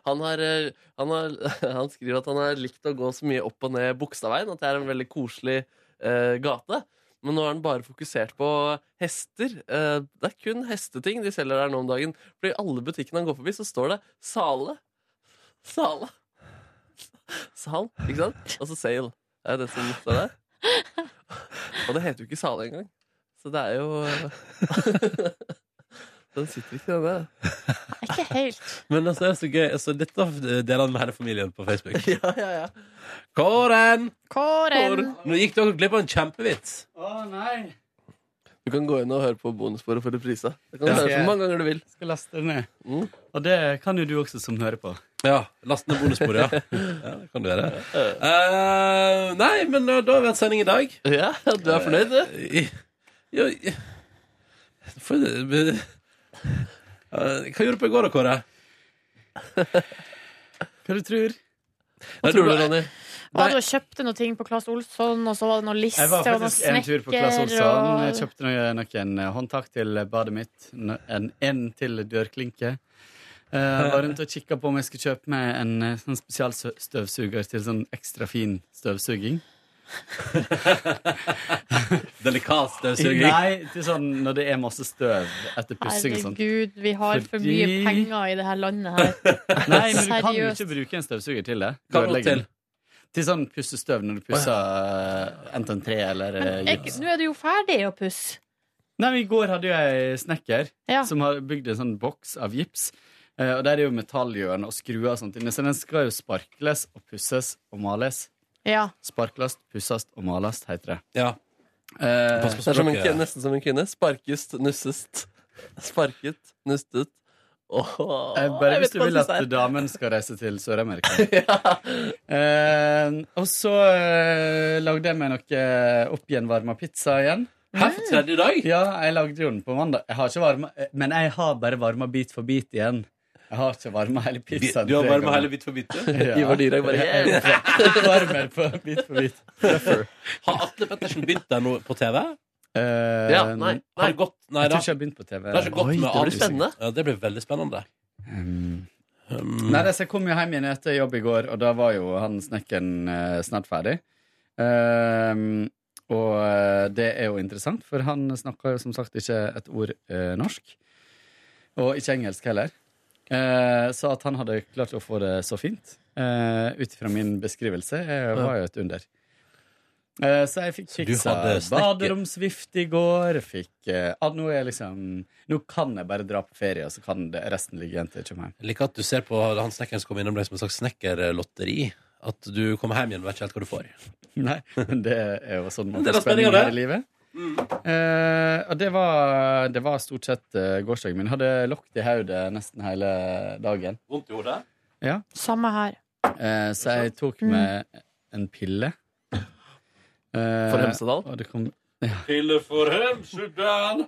C: Han, har, eh, han, har, han skriver at han har likt å gå så mye opp og ned Bogstadveien, at det er en veldig koselig eh, gate. Men nå er han bare fokusert på hester. Eh, det er kun hesteting de selger her nå om dagen. For i alle butikkene han går forbi, så står det 'Sale'. Sale. Sal, ikke sant? Og så sale. Det er det som står der. Og det heter jo ikke sale engang. Så det er jo eh, Den sitter ikke, den der.
B: Ikke helt.
A: Men altså, det er så gøy. Altså, dette deler han med hele familien på Facebook.
C: ja, ja, ja.
A: Kåren!
B: Kåren!
A: Nå gikk dere glipp av en kjempevits.
I: Å nei.
C: Du kan gå inn og høre på bonussporet for reprise. Det kan du
I: Ja.
C: høre så mange ganger du vil.
I: Skal laste det ned. Og det kan jo du også som hører på.
A: Ja. Last ned bonussporet, ja. ja. Det kan du gjøre. Eh, nei, men eh, da har vi hatt sending i dag.
C: Ja, du er fornøyd,
A: du? Ja, ja. For, eh, eh, hva gjorde du på i går da, Kåre?
I: Hva du tror?
A: Hva
C: tror du, Ronny?
B: Var det og kjøpte noen ting på Claes Olsson, og så var det noen liste
I: Jeg var
B: og noen
I: faktisk en tur på Claes
B: snekker
I: Olsson. Jeg
B: og
I: kjøpte noe- noen eh, håndtak til badet mitt. no- En, en til dørklinke. Jeg var rundt og kikka på om jeg skulle kjøpe meg en eh, sånn spesialstøvsuger til sånn ekstra fin støvsuging.
A: Delikat støvsuging?
I: Nei, til sånn når det er masse støv etter pussing og sånt.
B: Herregud, vi har for mye
I: Fordi-
B: penger i det her landet her.
I: Nei, men du kan jo
B: Seriøst.
I: ikke bruke en støvsuger til det.
A: Hva
I: Du
A: nå
I: ødelegger
A: til?
I: den. Til sånn pussestøv når du pusser eh, enten tre eller eh,
B: Men jeg-
I: gips.
B: Nå er du jo ferdig å pusse.
I: Nei, men I går hadde jo jeg snekker
B: Ja.
I: som har bygd en sånn boks av gips. Eh, og Der er jo metallhjørn og skruer og sånt inne, så den skal jo sparkles og pusses og males.
B: Ja.
I: Sparklast, pussast og malast, heter det.
A: Ja.
I: Eh,
C: Det er som en, kvinne- nesten som en kvinne. Sparkes, nussest. Sparket, nustet. Åh,
I: Eh,
C: jeg
I: Bare hvis
C: vet
I: du
C: hva
I: vil
C: jeg
I: at
C: synes er.
I: damen skal reise til Sør-Amerika. eh, og så eh, lagde jeg meg noe eh, oppgjenvarma pizza igjen.
A: Hæ, for tredje dag?
I: Ja, jeg lagde jo den på mandag. Jeg har ikke varma, eh, men jeg har bare varma bit for bit igjen. Jeg har ikke varma hele pizzaen.
A: Du har
I: tre
A: varma
I: ganger.
A: hele bit for bit, ja?
C: Ivar Dyrhaug bare,
I: Jeg- jeg Varmer på bit for bit. Fluffer.
A: Har Atle Pettersen begynt der nå på TV?
I: Eh,
A: Ja, nei, nei. Har det gått? Nei
I: jeg
A: da.
I: tror ikke jeg har begynt på TV.
A: Det har ikke gått
I: Oi,
A: med
I: det blir
A: avlyst.
I: spennende.
A: Ja, det blir veldig spennende. Mm.
I: Nei, det, så jeg kom jo hjem igjen etter jobb i går, og da var jo han snekkeren eh, snart ferdig. Ehm, og eh, det er jo interessant, for han snakker jo som sagt ikke et ord eh, norsk. Og ikke engelsk heller. Eh, så at han hadde klart å få det så fint uh, ut ifra min beskrivelse, eh, var jo et under. Eh, så jeg fikk
A: du
I: fiksa
A: hadde snekker-
I: baderomsvift i går. Fikk eh, at nå, er jeg liksom, nå kan jeg bare dra på ferie, og så kan det, resten ligge igjen til jeg kommer hjem.
A: Jeg liker at du ser på han snekkeren som kom innom deg som en slags snekkerlotteri. At du kommer hjem igjen og vet ikke helt hva du får.
I: Nei, men det er jo sånn man
A: Det er da
I: får
A: Mm.
I: spenning
A: spenningen,
I: her i
A: det.
I: livet. Eh, og det var, det var stort sett uh, gårsdagen min. Hadde lokk i hodet nesten hele dagen.
A: Vondt i hodet?
I: Ja.
B: Samme her.
I: Eh, så jeg tok med en pille. Eh,
A: For Hemsedal?
I: Og det kom,
A: Pille for Hemsedal.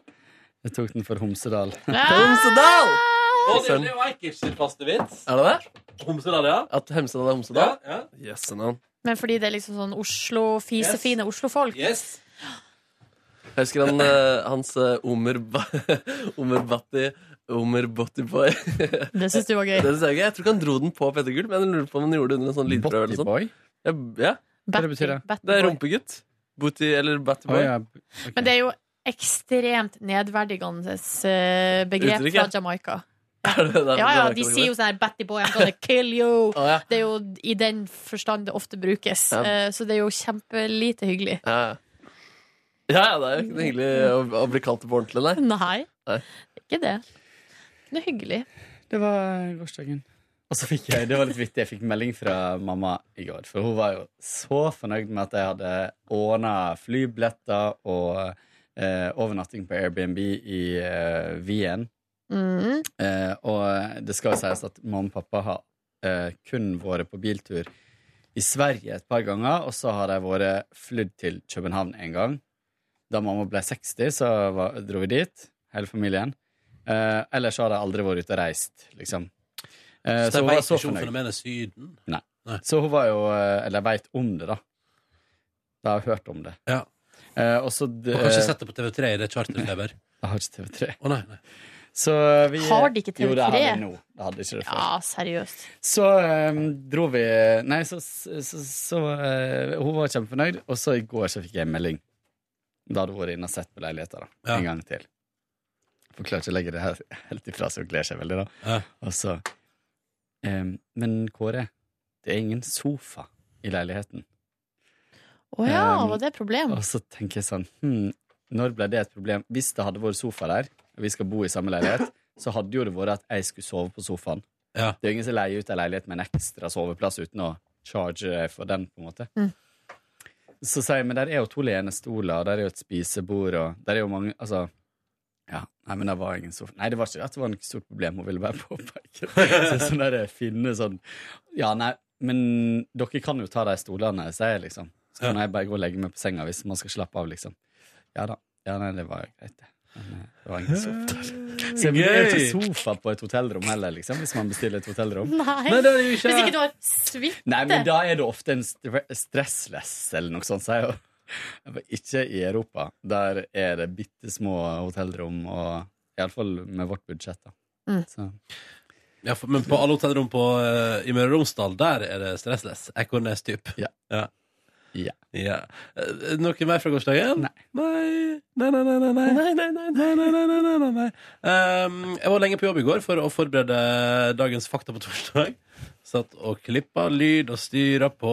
I: jeg tok den for Homsedal.
B: Ah!
C: Homsedal!
A: Og det er jo Eikirs sitt faste vits.
C: Er det det?
A: Homsedal, ja.
C: At Hemsedal er Homsedal?
A: Ja,
C: Yes, no.
B: Men fordi det er liksom sånn Oslo, fisefine Oslo-folk.
A: Yes.
C: Jeg husker han, eh, hans eh, Omer, Ba- Omer Batti Omer Bottyboy.
B: Det syns du var gøy.
C: Det synes jeg, er gøy. jeg tror ikke han dro den på Petter Gull, men jeg lurer på om han gjorde det under en sånn lydprøve. eller noe sånt. Ja,
B: Hva det betyr det? Batty
C: Det er
B: boy.
C: rumpegutt. Booty eller Battyboy.
I: Å, ja.
B: Men det er jo ekstremt nedverdigende eh, begrep
C: Uttrykk,
B: fra
C: ja.
B: Jamaica.
C: Er det- det er-
B: Ja, ja,
C: det er
B: de
C: ikke noe
B: sier jo
C: det.
B: sånn her 'Batty boy, I'm gonna kill you'.
C: Å, ja.
B: Det er jo i den forstand det ofte brukes.
C: Ja.
B: Eh, Så det er jo kjempelite hyggelig.
C: ja, ja. ja, ja, det er jo ikke noe hyggelig å, å bli kalt det på ordentlig, nei.
B: Nei,
C: nei.
B: ikke det. Det er hyggelig.
I: Det var gårsdagen. Og så fikk jeg, det var litt vittig, jeg fikk melding fra mamma i går, for hun var jo så fornøyd med at jeg hadde ordna flybilletter og eh, overnatting på Airbnb i eh, Wien.
B: Mm.
I: Eh, og det skal jo sies at mamma og pappa har eh, kun vært på biltur i Sverige et par ganger, og så har de vært flydd til København en gang. Da mamma ble 60, så var, dro vi dit, hele familien. Eh, ellers så har de aldri vært ute og reist, liksom. Eh,
A: Så de
I: hun var
A: vet ikke om
I: fornøyd.
A: fenomenet Syden?
I: Nei. Så hun var jo eh, Eller veit om det, da. Da har hun hørt om det.
A: Ja.
I: Eh, og så d-
A: Og kanskje sett det på TV3 i det charterfeber?
I: Jeg har ikke TV3.
A: Å, nei, nei.
I: Så vi
B: Har de ikke TV3?
I: Jo, det har de nå. Det hadde ikke det før.
B: Ja, seriøst.
I: Så ehm, dro vi Nei, så, så, så, så eh, Hun var kjempefornøyd, og så i går så fikk jeg en melding. Da hadde hun vært inne og sett på leiligheta da,
A: Ja.
I: en gang til. For klarer ikke å legge det her helt ifra seg, hun gleder seg veldig, da. Og så ehm, Men Kåre, det er ingen sofa i leiligheten.
B: Å ja,
I: Um,
B: var det et problem?
I: Og så tenker jeg sånn hm, Når ble det et problem? Hvis det hadde vært sofa der, og vi skal bo i samme leilighet, så hadde jo det vært at jeg skulle sove på sofaen. Det er jo ingen som leier ut en leilighet med en ekstra soveplass uten å charge for den, på en måte.
B: Mm.
I: Så sier jeg, men der er jo to lenestoler, og der er jo et spisebord, og der er jo mange Altså. Ja, nei, men det var ingen sofa Nei, det var ikke at det var noe stort problem hun ville bare påpeke. Så sånn der finne sånn Ja, nei, men dere kan jo ta de stolene, sier jeg liksom. Så kan jeg bare gå og legge meg på senga hvis man skal slappe av, liksom. Ja da. Ja, nei, det var jo greit, det. Men, eh, Det var ingen sofa der. Så det er jo
A: Gøy!
I: ikke sofa på et hotellrom heller, liksom, hvis man bestiller et hotellrom.
B: Nei. Hvis ikke du har suite.
I: Nei, men da er det ofte en stre- stressless eller noe sånt, sier jeg. jo. Jeg bare, Ikke i Europa. Der er det bitte små hotellrom, og iallfall med vårt budsjett, da. Så.
A: Ja, for, men på alle hotellrom på, eh, i Møre og Romsdal, der er det stressless. Ekornes-typ.
I: Ja.
A: Ja.
I: Ja.
A: Eh, Noe mer fra gårsdagen? Nei. Nei, nei, nei, nei, nei, nei, nei, nei, nei, nei, nei, nei, nei, nei, nei. Ehm, Jeg var lenge på jobb i går for å forberede dagens fakta på torsdag. Satt og klippa lyd og styra på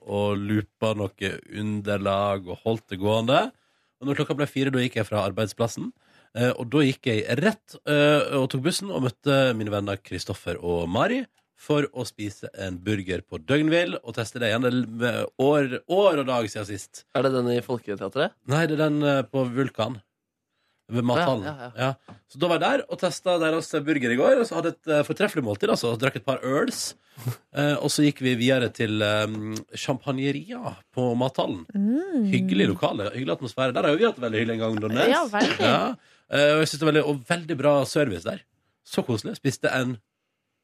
A: og loopa noe underlag og holdt det gående. Og når klokka ble fire, da gikk jeg fra arbeidsplassen. Eh, Og da gikk jeg rett eh, og tok bussen og møtte mine venner Kristoffer og Mari for å spise en burger på døgnvill og teste det igjen. Det er l- år, år og dag siden sist.
C: Er det den i Folketeatret?
A: Nei, det er den eh, på Vulkan. Ved mathallen.
C: Ja, ja,
A: Ja. Så da var jeg der og testa deres burger i går. Og så hadde jeg et eh, fortreffelig måltid. altså Drakk et par øls. Eh, og så gikk vi videre til um, Champagneria på mathallen.
B: Mm.
A: Hyggelig lokale, hyggelig atmosfære. Der har jo vi hatt det veldig hyggelig en gang. Nordnes.
B: Ja, veldig.
A: Ja. Eh, og jeg synes det er veldig, og veldig bra service der. Så koselig. Spiste en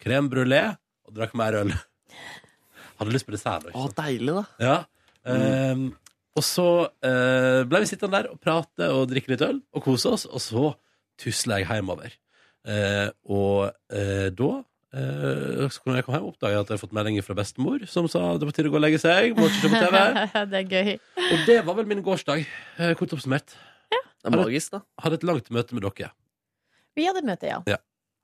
A: crème brulé og drakk mer øl. Hadde lyst på dessert. da, ikke
C: Å, deilig, da.
A: ja. Ehm, og så eh, ble vi sittende der og prate og drikke litt øl og kose oss, og så tusla jeg hjemover. Eh, og eh, da eh, så kunne jeg komme hjem og oppdage at jeg hadde fått melding fra bestemor, som sa det var på tide å gå og legge seg. Må ikke se på TV.
B: det er gøy.
A: Og det var vel min gårsdag, eh, kort oppsummert.
C: Det er magisk, da.
A: Hadde et langt møte med dere.
B: Vi hadde møte, ja.
A: Ja.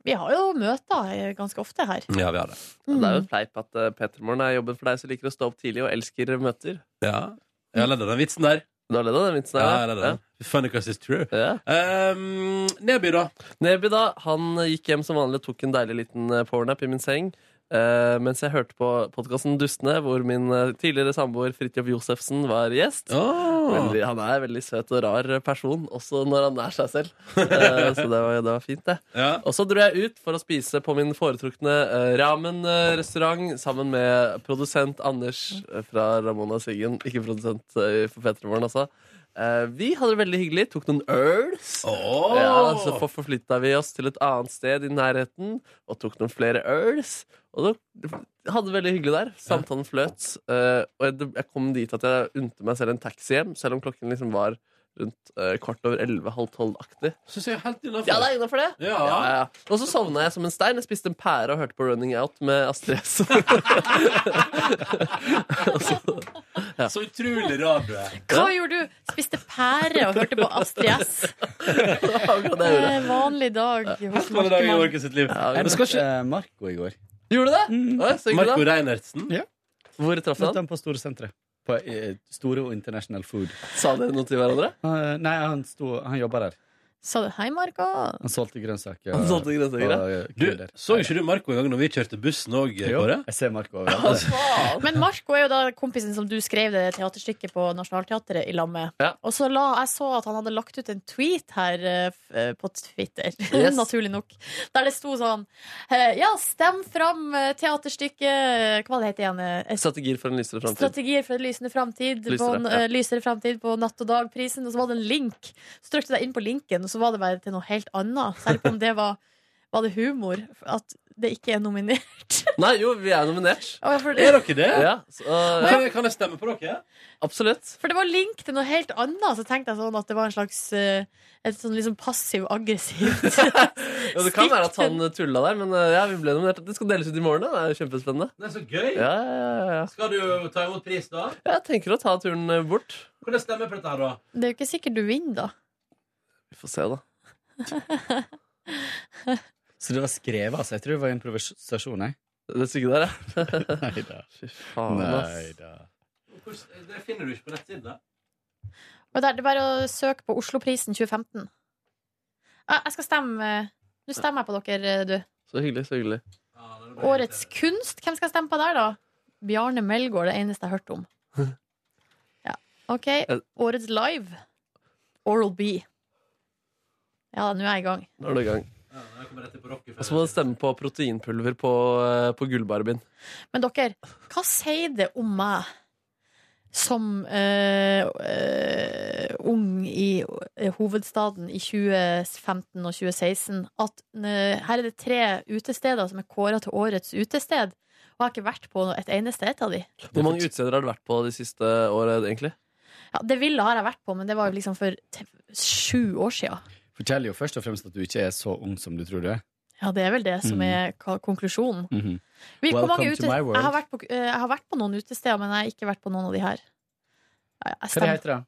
B: Vi har jo møter eh, ganske ofte her.
A: Ja, vi har det.
C: Ja, Det er jo et fleip at eh, Petermoren er jobben for deg som liker å stå opp tidlig og elsker møter.
A: Ja. Jeg har ledd av den vitsen der.
C: Du har ledd av den vitsen
A: Ja,
C: der?
A: jeg har ledd av den. Funny 'cause it's true. Um, Neby, da?
C: Neby da, Han gikk hjem som vanlig og tok en deilig liten eh, powernap i min seng. eh, mens jeg hørte på podkasten Dustene, hvor min eh, tidligere samboer Fridtjof Josefsen var gjest. Veldig, han er en veldig søt og rar person, også når han er seg selv. Eh, så det var, det var fint, det. Og så dro jeg ut for å spise på min foretrukne eh, ramen-restaurant sammen med produsent Anders eh, fra Ramona Siggen. Ikke produsent eh, for Petremorgen, altså. Eh, vi hadde det veldig hyggelig, tok noen øls. Ja,
A: altså,
C: så for- forflytta vi oss til et annet sted i nærheten og tok noen flere øls. Og da hadde det veldig hyggelig der. Samtalen fløt. eh, og jeg, jeg kom dit at jeg unte meg selv en taxi hjem, selv om klokken liksom var rundt eh, kvart over elleve, halv tolv-aktig.
A: Syns jeg er helt innafor.
C: Ja, det er innafor det.
A: Ja.
C: Ja, ja. Og så sovna jeg som en stein. Jeg spiste en pære og hørte på Running Out med Astrid S.
A: Så utrolig rar du er.
B: Hva gjorde du? Spiste pære og hørte på Astrid S. Eh, Vanlig dag.
A: Helt vanlig dag
B: hos
A: i
B: Markmann.
A: Markus sitt liv.
I: Jeg
A: Men skal
I: møtte eh,
A: ikke- Mm.
I: Marco i går.
C: Gjorde du det? Oi, så hyggelig,
A: Marco
C: da.
A: Reinertsen.
I: Ja.
C: Hvor traff du
I: Møtte
C: han?
I: han på Store Senteret. På eh, Store og International Food.
C: Sa dere noe til hverandre?
I: Eh, nei, han, sto- han jobba der.
B: Sa du hei, Marco?
I: Han solgte grønnsaker.
A: Han solgte grønnsaker, ja. Du, så ikke du Marco en gang når vi kjørte bussen òg, Kåre?
I: Jeg ser Marco overalt.
B: Men Marco er jo da kompisen som du skrev det teaterstykket på Nationaltheatret i lag med.
I: Ja.
B: Og så la, jeg så at han hadde lagt ut en tweet her eh, f- eh, på Twitter,
S: Yes.
B: naturlig nok, der det sto sånn eh, Ja, stem fram eh, teaterstykket Hva var det heter igjen? eh, et-
C: Strategier for en lysere framtid.
B: Strategier for en lysende framtid
C: Lysere,
B: på, en,
C: ja.
B: eh, lysere framtid på Natt og dag-prisen. Og så var det en link. Så trykte jeg inn på linken, og så var det bare til noe helt annet. Selv om det var, var det humor. At det ikke er nominert.
C: Nei, jo, vi er nominert.
B: Å, ja, for-
C: Ja, så, eh,
B: Kan jeg-
A: jeg stemme på dere?
C: Absolutt.
B: For det var link til noe helt annet. Så tenkte jeg sånn at det var en slags eh, et sånn liksom passiv-aggressivt
C: Ja, det kan være at han tulla der, men eh, ja, vi ble nominert. Det skal deles ut i morgen. da. Det er jo kjempespennende.
A: Det er så gøy.
C: Ja, ja, ja, ja.
A: Skal du ta imot pris, da?
C: Jeg tenker å ta turen eh, bort.
A: Hvordan stemmer på dette her, da?
B: Det er jo ikke sikkert du vinner, da.
C: Vi får se, da.
I: Så det var skrevet, altså. Jeg tror det var improvisasjon, jeg.
C: Det stykket der, ja.
I: Neida.
C: Fy faen, ass.
I: Neida.
A: Hvordan- Det finner du ikke på nettsiden. da.
B: Men det er- det er bare å søke på Osloprisen 2015. Ja, Jeg skal stemme. eh, Nå stemmer jeg på dere, eh, du.
C: Så hyggelig, så hyggelig.
B: Årets kunst, hvem skal jeg stemme på der, da? Bjarne Melgaard, det eneste jeg har hørt om. Ja, OK. Årets live. Oral B. Ja, nå er jeg i gang.
C: Nå er det i gang. Og så må du stemme på proteinpulver på, eh, på gullbarbien.
B: Men dere, hva sier det om meg som eh, eh, ung i eh, hovedstaden i 2015 og 2016 at eh, her er det tre utesteder som er kåra til årets utested, og jeg har ikke vært på et eneste et av de.
C: Hvor mange utesteder har du vært på de siste årene, egentlig?
B: Ja, det ville har jeg vært på, men det var jo liksom for te- sju år sia.
I: Forteller jo først og fremst at du ikke er så ung som du tror du er.
B: Ja, det er vel det som
I: Mm.
B: er ka- konklusjonen.
I: Mhm.
B: Vi- hvor mange
I: Welcome to
B: ute-
I: my
B: jeg, har
I: world.
B: vært på, eh, jeg har vært på noen utesteder, men jeg har ikke vært på noen av de her. Ja, jeg
I: Hva det
B: stemmer.
I: heter det?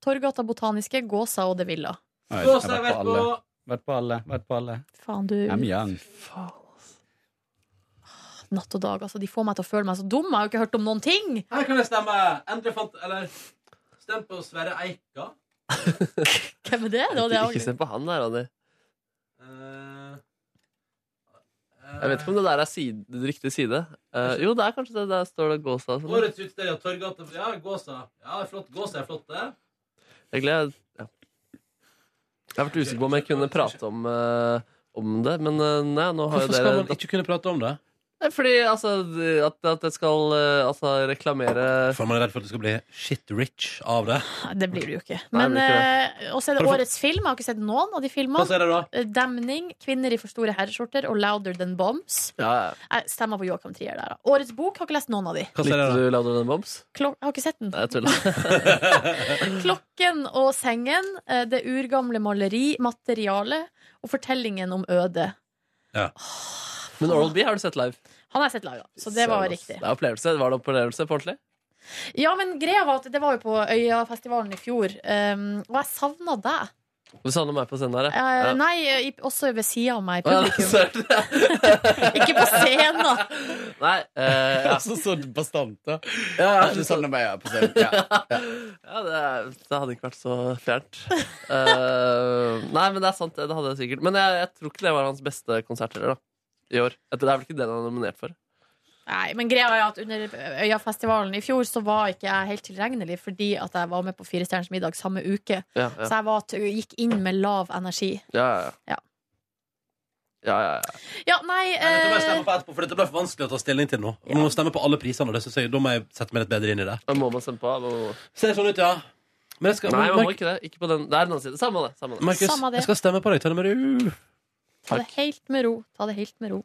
B: Torgata Botaniske, Gåsa og De Villa.
I: Nei,
B: Gås
I: jeg
B: har
I: har vært
B: vært
I: på alle.
B: på-
I: Vært på alle. Vært på alle.
B: Faen, du.
I: I'm young.
B: Faen, ass. Natt og dag, altså. De får meg til å føle meg så dum. Jeg har jo ikke hørt om noen ting!
A: Her kan jeg stemme. Endre fant Eller stem på Sverre Eika.
B: Hvem er det? det, var det
C: Ikke,
B: jeg
C: ikke se
B: angrer.
C: på han der, Ronny.
A: Eh,
C: Jeg vet ikke om det der er side, riktig side. Eh, jo, det er kanskje det. Der står det Gåsa. og sånn.
A: eh, Årets utested ja, Torgata. Ja, Gåsa. Ja, flott. Gåsa er flott, det.
C: Egentlig, jeg, ja. jeg har vært usikker på om jeg kunne prate om, eh, om det, men eh, nei, nå har jo
A: Hvorfor
C: dere
A: skal man ikke kunne prate om det?
C: Nei, Fordi altså, at, at jeg skal eh, altså, reklamere
A: For man er redd for at du skal bli shit rich av det.
B: Nei, Det blir det jo ikke.
A: Nei, det
B: Men
A: blir ikke
B: eh, også er
A: Har
B: det
A: du fått-
B: årets film. Jeg har ikke sett noen av de filmene.
A: Hva sier det da?
B: Eh, Demning, Kvinner i for store herreskjorter og Louder Than Bombs. Jeg stemmer på Joachim Trier der, da. Årets bok har ikke lest noen av de.
C: Likte du Louder Than Bombs?
B: Klok jeg har ikke sett den.
C: Nei, jeg tuller.
B: Klokken og sengen, eh, det urgamle maleri, materialet og fortellingen om Øde.
A: Ja.
C: Men Oral B har du sett live.
B: Han har jeg sett live, da. Så det var
C: Søren, ass.
B: riktig.
C: Det er opplevelse. Var det opplevelse på ordentlig?
B: Ja, men greia var at det var jo på Øyafestivalen i fjor, um, og jeg savna deg.
C: Du savner meg på scenen her,
B: Eh,
C: ja?
B: Nei, i, også ved sida av meg i
C: Ja,
B: publikum.
C: så er
B: Ikke på scenen!
C: Nei, eh, ja.
I: Altså så bastant, da.
C: Ja,
I: du savner meg, ja. På scenen. ja.
C: Ja, det, er- det hadde ikke vært så fjernt. Eh, nei, men det er sant. Det hadde jeg sikkert. Men jeg, jeg tror ikke det var hans beste konsert heller, da. I år. Jeg tror- Det er vel ikke den han er nominert for.
B: Nei, men greia er at under Øyafestivalen i fjor så var ikke jeg helt tilregnelig fordi at jeg var med på Fire stjerners middag samme uke.
C: Ja,
B: Så jeg var, t- gikk inn med lav energi.
C: Ja, ja,
B: ja.
C: Ja, ja, ja.
B: Ja, nei
A: Dette må jeg
B: eh,
A: stemme på etterpå, for dette ble for vanskelig å ta stilling til nå. Man må stemme på alle prisene, og det synes jeg, da må jeg sette meg litt bedre inn i det.
C: Da må man stemme på. da Må man...
A: Ser sånn ut, ja. Men jeg skal,
C: Nei, man må
A: Mark-
C: ikke det. Ikke på den. Det er den andre siden. Samme det. Samme det.
A: Markus,
B: Samme det.
A: jeg skal stemme på deg. Ta det med ro.
B: ta det helt med ro. Ta det helt med ro.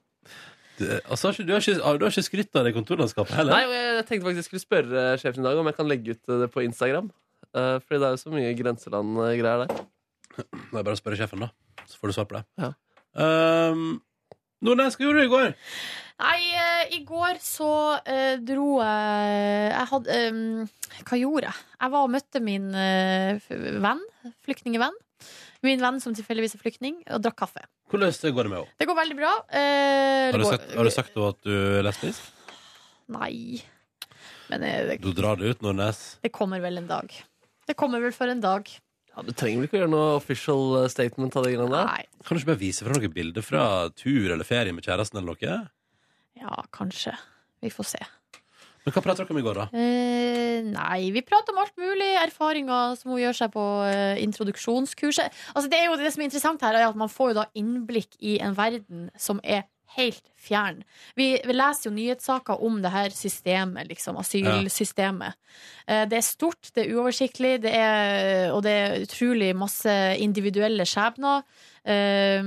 A: Du, altså, har ikke- du har ikke, du har ikke skrytt av det kontorlandskapet heller?
C: Nei, og jeg tenkte faktisk jeg skulle spørre eh, sjefen i dag om jeg kan legge ut det på Instagram. Eh, Fordi det er jo så mye grenseland-greier der.
A: Det er bare å spørre sjefen, da. Så får du svar på det.
C: Ja.
A: Um, Nordnes, hva gjorde du i går?
B: Nei, eh, i går så eh, dro jeg Jeg hadde eh, Hva gjorde jeg? Jeg var og møtte min eh, f- venn, flyktningevenn. Min venn som tilfeldigvis er flyktning, og drakk kaffe.
A: Hvordan går det med henne?
B: Det går veldig bra. Eh, det
A: Har du
B: går-
A: sagt, har du sagt til henne at du er lesbisk?
B: Nei. Men eh,
A: Du
B: det,
A: drar det ut, Nordnes.
B: det kommer vel en dag. Det kommer vel for en dag.
C: Ja, Du trenger vel ikke å gjøre noe official eh, statement av de greiene der?
B: Nei.
A: Kan du ikke bare vise fra noen bilder fra tur eller ferie med kjæresten eller noe?
B: Ja, kanskje. Vi får se.
A: Men hva prater dere om i går, da?
B: Eh, nei, vi prater om alt mulig. Erfaringer som hun gjør seg på eh, introduksjonskurset. Altså, det, er jo det som er interessant her, er at man får jo da innblikk i en verden som er helt fjern. Vi, vi leser jo nyhetssaker om det her systemet, liksom. Asylsystemet. Eh, det er stort, det er uoversiktlig, det er, og det er utrolig masse individuelle skjebner. eh,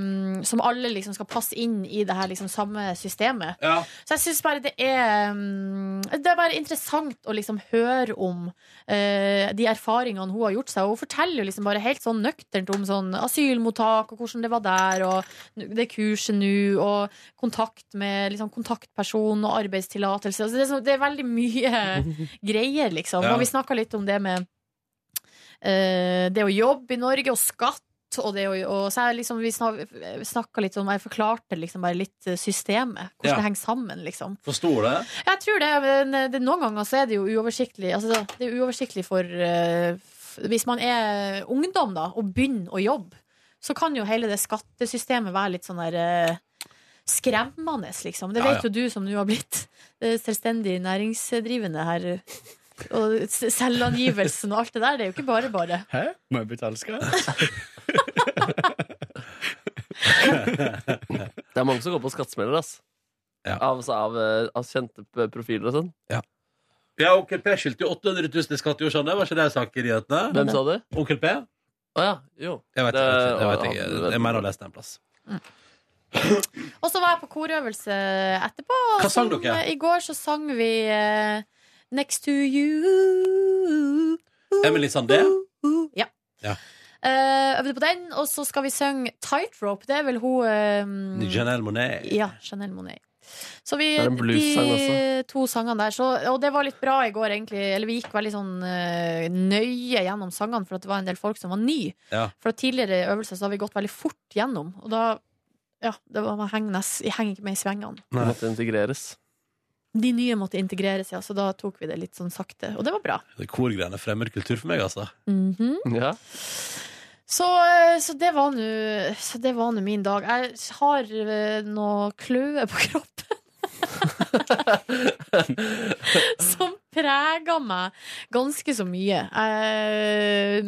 B: som alle liksom skal passe inn i det her liksom samme systemet. Så jeg syns bare det er mm, Det er bare interessant å liksom høre om eh, de erfaringene hun har gjort seg. Og hun forteller jo liksom bare helt sånn nøkternt om sånn asylmottak og hvordan det var der, og n- det kurset nå, og kontakt med liksom, kontaktperson og arbeidstillatelse. Altså, det, er så, det er veldig mye greier, liksom.
S: Ja.
B: Og vi snakka litt om det med eh, det å jobbe i Norge, og skatt. Og det, å- og så jeg liksom, vi snakka litt om Jeg forklarte liksom bare litt eh, systemet. Hvordan
A: Ja.
B: det henger sammen, liksom.
A: Forstår du det?
B: Jeg tror det, men det, noen ganger så er det jo uoversiktlig. Altså, det er uoversiktlig for eh, f- Hvis man er ungdom, da, og begynner å jobbe, så kan jo hele det skattesystemet være litt sånn der eh, skremmende, liksom. Det
S: Ja, ja.
B: vet jo du som nå har blitt eh, selvstendig næringsdrivende her. Og s- selvangivelsen og alt det der, det er jo ikke bare bare.
I: Hæ? Må jeg betale skatt?
C: Det er mange som går på skattesmeller, ass. Av, altså, av, eh, av kjente p- profiler og sånn.
A: Ja, Onkel P skyldte jo 800 000 i skatt i år, skjønner jeg. Var ikke det jeg sa i nyhetene?
C: Hvem sa du?
A: Onkel P?
C: Å ja, jo.
A: Jeg vet
C: Det-
A: ikke. Jeg, vet ikke.
C: han-
A: jeg, jeg mener å ha lest det en plass.
B: Og så var jeg på korøvelse etterpå. og
A: Hva sang
B: som,
A: dere?
B: eh, I går så sang vi eh, Next to you. Mm.
A: Emily Sandé?
B: Ja.
A: Ja.
B: Eh, øvde på den, og så skal vi synge Tightrope. Det er vel hun eh,
A: Janelle Monet?
B: Ja, Chanel Monet. Så vi,
A: Det er en blues-sang
B: de to sangene der så, Og det var litt bra i går, egentlig. Eller vi gikk veldig sånn eh, nøye gjennom sangene, for at det var en del folk som var nye.
A: Ja.
B: For at tidligere øvelser så har vi gått veldig fort gjennom, og da Ja, det var, man henger, nest, jeg henger ikke med i svingene.
C: Det måtte integreres.
B: De nye måtte integreres, ja, så da tok vi det litt sånn sakte. Og det var bra.
A: Det Korgreiene er fremmed kultur for meg, altså.
B: Mhm.
C: Ja.
B: Så, eh, så det var nå- så det var nå min dag. Jeg har eh, noe kløe på kroppen. Som prega meg ganske så mye. Eh,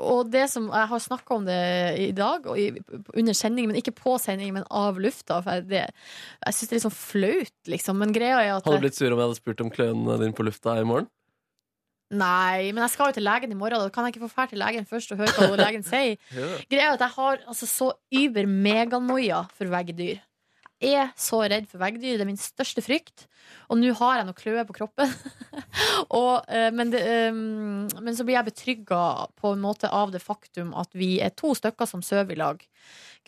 B: og det som jeg har snakka om det i dag, og i, under sending, men ikke på sending, men av lufta for jeg- det, Jeg syns det er litt sånn flaut, liksom. Men greia er at
C: Hadde du blitt sur om jeg hadde spurt om kløen din på lufta i morgen?
B: Nei, men jeg skal jo til legen i morgen. Da kan jeg ikke få fære til legen først og høre hva legen sier. Greia er at jeg har altså, så über meganoia for veggdyr. Jeg er så redd for veggdyr. Det er min største frykt. Og nå har jeg noe kløe på kroppen. og, eh, men, det, eh, men så blir jeg betrygga på en måte av det faktum at vi er to stykker som sover i lag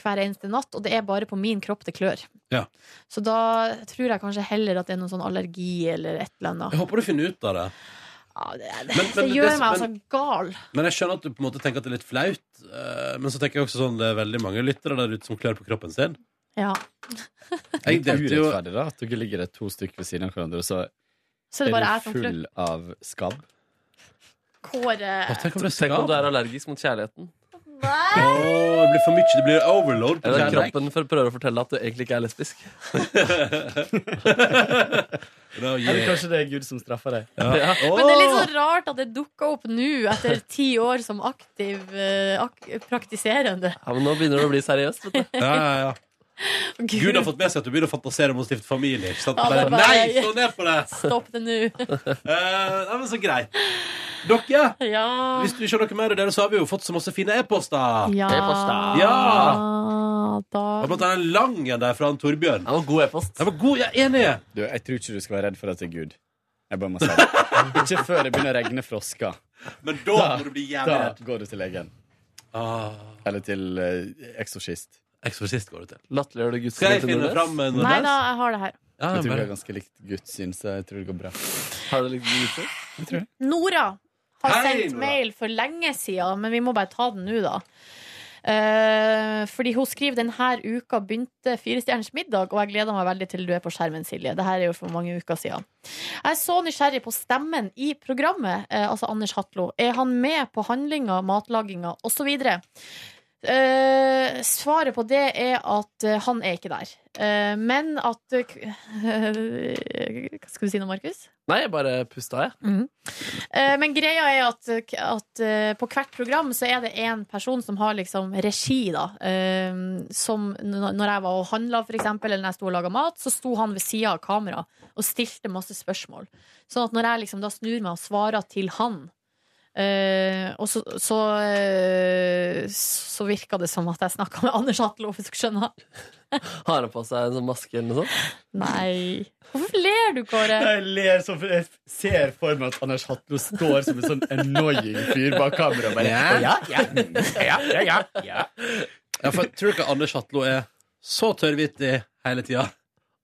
B: hver eneste natt, og det er bare på min kropp det klør.
A: Ja.
B: Så da tror jeg kanskje heller at det er noen sånn allergi eller et eller annet.
A: Jeg håper du finner ut av det. Men-
B: det
A: men
B: gjør
A: det- men-
B: meg altså gal.
A: Men jeg skjønner at du på en måte tenker at det er litt flaut. eh, Men så tenker jeg også sånn det er veldig mange lyttere der ute som klør på kroppen sin.
B: Ja.
A: Jeg
I: Det er
A: delte jo
I: urettferdig da, at dere ligger der to stykker ved siden av hverandre, og så,
B: Så det bare er
I: er
B: sånn
I: du full av skabb.
B: Kåre
C: Tenk om du er allergisk mot kjærligheten.
A: Åh, det blir for mye. Det blir overload. på
C: Eller
A: kjærleik.
C: kroppen for å prøve å fortelle at du egentlig ikke er lesbisk.
I: Eller kanskje det er Gud som straffer deg.
C: Ja.
B: Men det er litt så rart at det dukka opp nå, etter ti år som aktiv eh, ak praktiserende.
C: Ja, men nå begynner det å bli seriøst. Vet du.
A: Ja, ja, ja. Gud har fått med seg at du begynner å fantasere om å stifte familie. Ikke sant?
B: Ja, det
A: Bare,
B: er bare-
A: nei, slå ned på det!
B: Stopp det nå.
A: Eh, nei, men så greit. Dere,
B: Ja.
A: hvis du ikke har noe mer å dele, så har vi jo fått så masse fine e-poster.
B: Ja.
A: E-poster. Ja.
B: Da
A: Det var blant annet en lang en der fra han Torbjørn.
C: Det var god e-post.
A: Det var god, jeg er enig.
I: Du, jeg tror ikke du skal være redd for at det er Gud. Jeg bare må si det. Ikke før det begynner å regne frosker.
A: Men da, må du bli jævlig redd.
I: Da går du til legen. Eller til eh, eksorsist.
A: Eksorsist går du til.
C: Latterliggjør du Guds
A: Skal jeg finne fram en
B: Nei da, jeg har det her.
I: jeg tror
A: bare-
I: vi har ganske likt Guds syn, så jeg tror det går bra.
C: Har du likt Guds syn?
I: Jeg tror det.
B: Nora har
I: Hei,
B: sendt
I: Nora.
B: mail for lenge siden, men vi må bare ta den nå, da. Eh, fordi hun skriver denne uka begynte Firestjerners middag, og jeg gleder meg veldig til du er på skjermen, Silje. Dette er jo for mange uker siden. Jeg er så nysgjerrig på stemmen i programmet, eh, altså Anders Hatlo. Er han med på handlinga, matlaginga osv.? Eh, svaret på det er at eh, han er ikke der. Eh, men at eh, k- Hva skal du si nå, Markus?
C: Nei, jeg bare pusta, jeg.
B: Eh, Men greia er at, at eh, på hvert program så er det en person som har liksom regi, da. Eh, Som n- når jeg var og handla, for eksempel, eller når jeg sto og laga mat, så sto han ved sida av kamera og stilte masse spørsmål. Sånn at når jeg liksom da snur meg og svarer til han, eh, og så, så, eh, så virka det som at jeg snakka med Anders Hatlo, hvis dere skjønner.
C: Har han på seg en sånn maske eller noe sånt?
B: Nei. Hvorfor ler du, Kåre?
I: Jeg ler sånn, for jeg ser for meg at Anders Hatlo står som en sånn annoying fyr bak kameraet. og bare,
A: Ja.
I: «Å, Ja, ja, ja, ja, ja, ja.
A: Ja, for jeg tror ikke Anders Hatlo er så tørrvittig hele tida.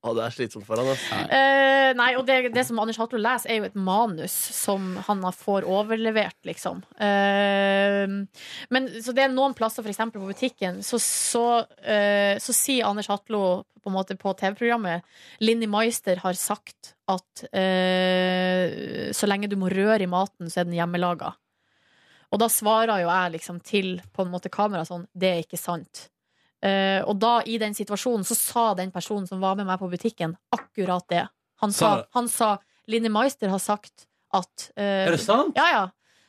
C: Å, det er slitsomt for han,
B: Eh, nei, og det, det som Anders Hatlo leser, er jo et manus som han har- får overlevert, liksom. Eh, men så det er noen plasser, for eksempel på butikken, så, så, eh, så sier Anders Hatlo på en måte på TV-programmet Linni Meister har sagt at eh, så lenge du må røre i maten, så er den hjemmelaga. Og da svarer jo jeg liksom til på en måte kamera sånn Det er ikke sant. Eh, og da, i den situasjonen, så sa den personen som var med meg på butikken, akkurat det. Han
A: Sa
B: sa,
A: det?
B: han sa Linni Meister har sagt at eh,
A: Er det sant?
B: Ja, ja.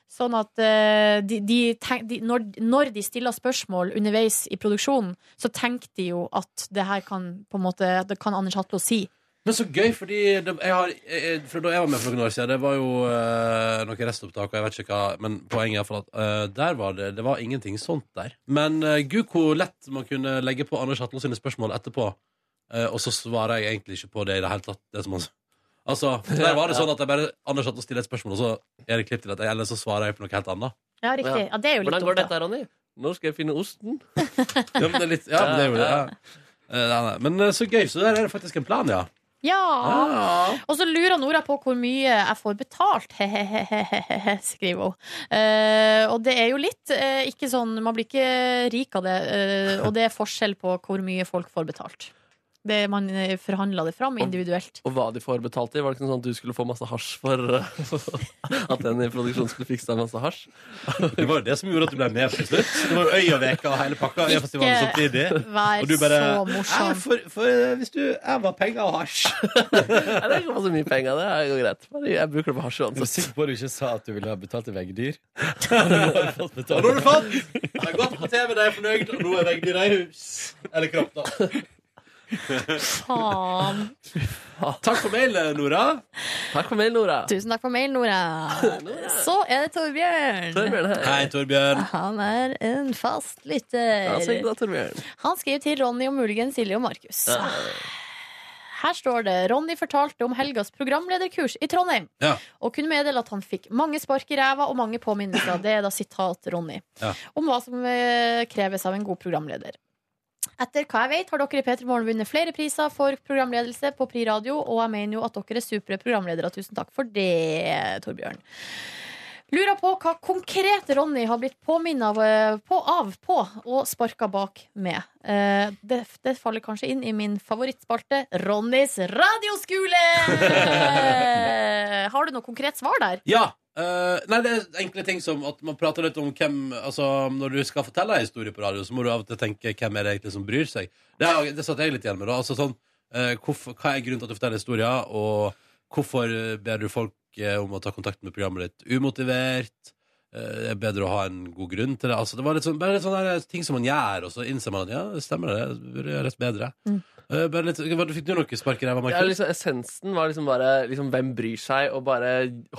B: Sånn at eh, de, de tenk, de, når, når de stiller spørsmål underveis i produksjonen, så tenker de jo at det her kan på en måte Det kan Anders Hatlo si.
A: Men så gøy, fordi det, jeg har, jeg, fra da jeg var med for noen år siden, det var jo eh, noen restopptak, og jeg vet ikke hva, men poenget er for at eh, der var det, det var ingenting sånt der. Men eh, gud, hvor lett man kunne legge på Anders Hatlo sine spørsmål etterpå, eh, og så svarer jeg egentlig ikke på det i det hele tatt, det som han s- Altså, der var det sånn at jeg bare, Anders Hatlo stiller et spørsmål, og så er det klipp til dette, eller så svarer jeg på noe helt annet.
B: Ja, riktig. Ja, det er jo litt
C: Hvordan
B: dumt,
C: går
B: da.
C: dette, Ronny? Når skal jeg finne osten?
A: Ja, men det er litt, ja, men det er jo det, ja. Eh, nei, nei. Men eh, så gøy, så der er det faktisk en plan, ja.
B: Ja!
A: Ah.
B: Og så lurer Nora på hvor mye jeg får betalt, he-he-he, skriver hun. Eh, og det er jo litt eh, ikke sånn Man blir ikke rik av det, eh, og det er forskjell på hvor mye folk får betalt. Det, man eh, forhandler det fram individuelt.
C: Og hva de får betalt i? Var det ikke sånn at du skulle få masse hasj for eh, at den i produksjonen skulle fikse deg masse hasj?
A: Det var jo det som gjorde at du ble med til slutt. Det var jo Øyaveka og hele pakka. Øya festivalen samtidig.
B: vær
A: Og du bare,
B: så morsom.
A: «Ja, For, for hvis du Jeg var penger og hasj.
C: Nei, det er ikke så mye penger, det er jo greit. Bare jeg bruker det på hasj
I: Er du
C: uansett.
I: sikker på at du ikke sa at du ville ha betalt til veggdyr?
A: Og nå er du fått! Jeg har gått på TV, de er fornøyd, og nå er veggdyra i hus. Eller kropp, da.
B: Faen.
A: Takk for mail, Nora.
C: Takk for mail, Nora.
B: Tusen takk for mail, Nora. Så er det Torbjørn.
C: Torbjørn, hei.
A: Hei, Torbjørn.
B: Han er en fast
C: Ja, så hyggelig
B: lytter.
C: da, Torbjørn.
B: Han skriver til Ronny og muligens Silje og Markus. Her står det Ronny fortalte om helgas programlederkurs i Trondheim.
A: Ja.
B: Og kunne meddele at han fikk mange spark i ræva og mange påminnelser. Det er da sitat Ronny.
A: Ja.
B: Om hva som eh, kreves av en god programleder. Etter hva jeg vet, har dere i P3 Morgen vunnet flere priser for programledelse på Pri Radio, og jeg mener jo at dere er supre programledere. Tusen takk for det, Torbjørn. Lurer på hva konkret Ronny har blitt påminnet av, eh, på, av på og sparka bak med. Eh, det, det faller kanskje inn i min favorittspalte, Ronnys radioskole! har du noe konkret svar der?
A: Ja. eh, nei, det er enkle ting som at man prater litt om hvem Altså, når du skal fortelle en historie på radio, så må du av og til tenke hvem er det egentlig som bryr seg. Det, er- det satt jeg litt igjen med, da. Altså sånn eh, hvorfor, Hva er grunnen til at du forteller historier, og hvorfor eh, ber du folk eh, om å ta kontakt med programmet ditt umotivert? Eh, det er bedre å ha en god grunn til det. Altså, det var litt sånn, bare litt sånne der ting som man gjør, og så innser man at ja, det stemmer det, det burde gjøres bedre. Eh, bare litt, hva- fikk du noe spark i ræva,
C: Ja,
A: Markus?
C: liksom, essensen var liksom bare liksom, hvem bryr seg, og bare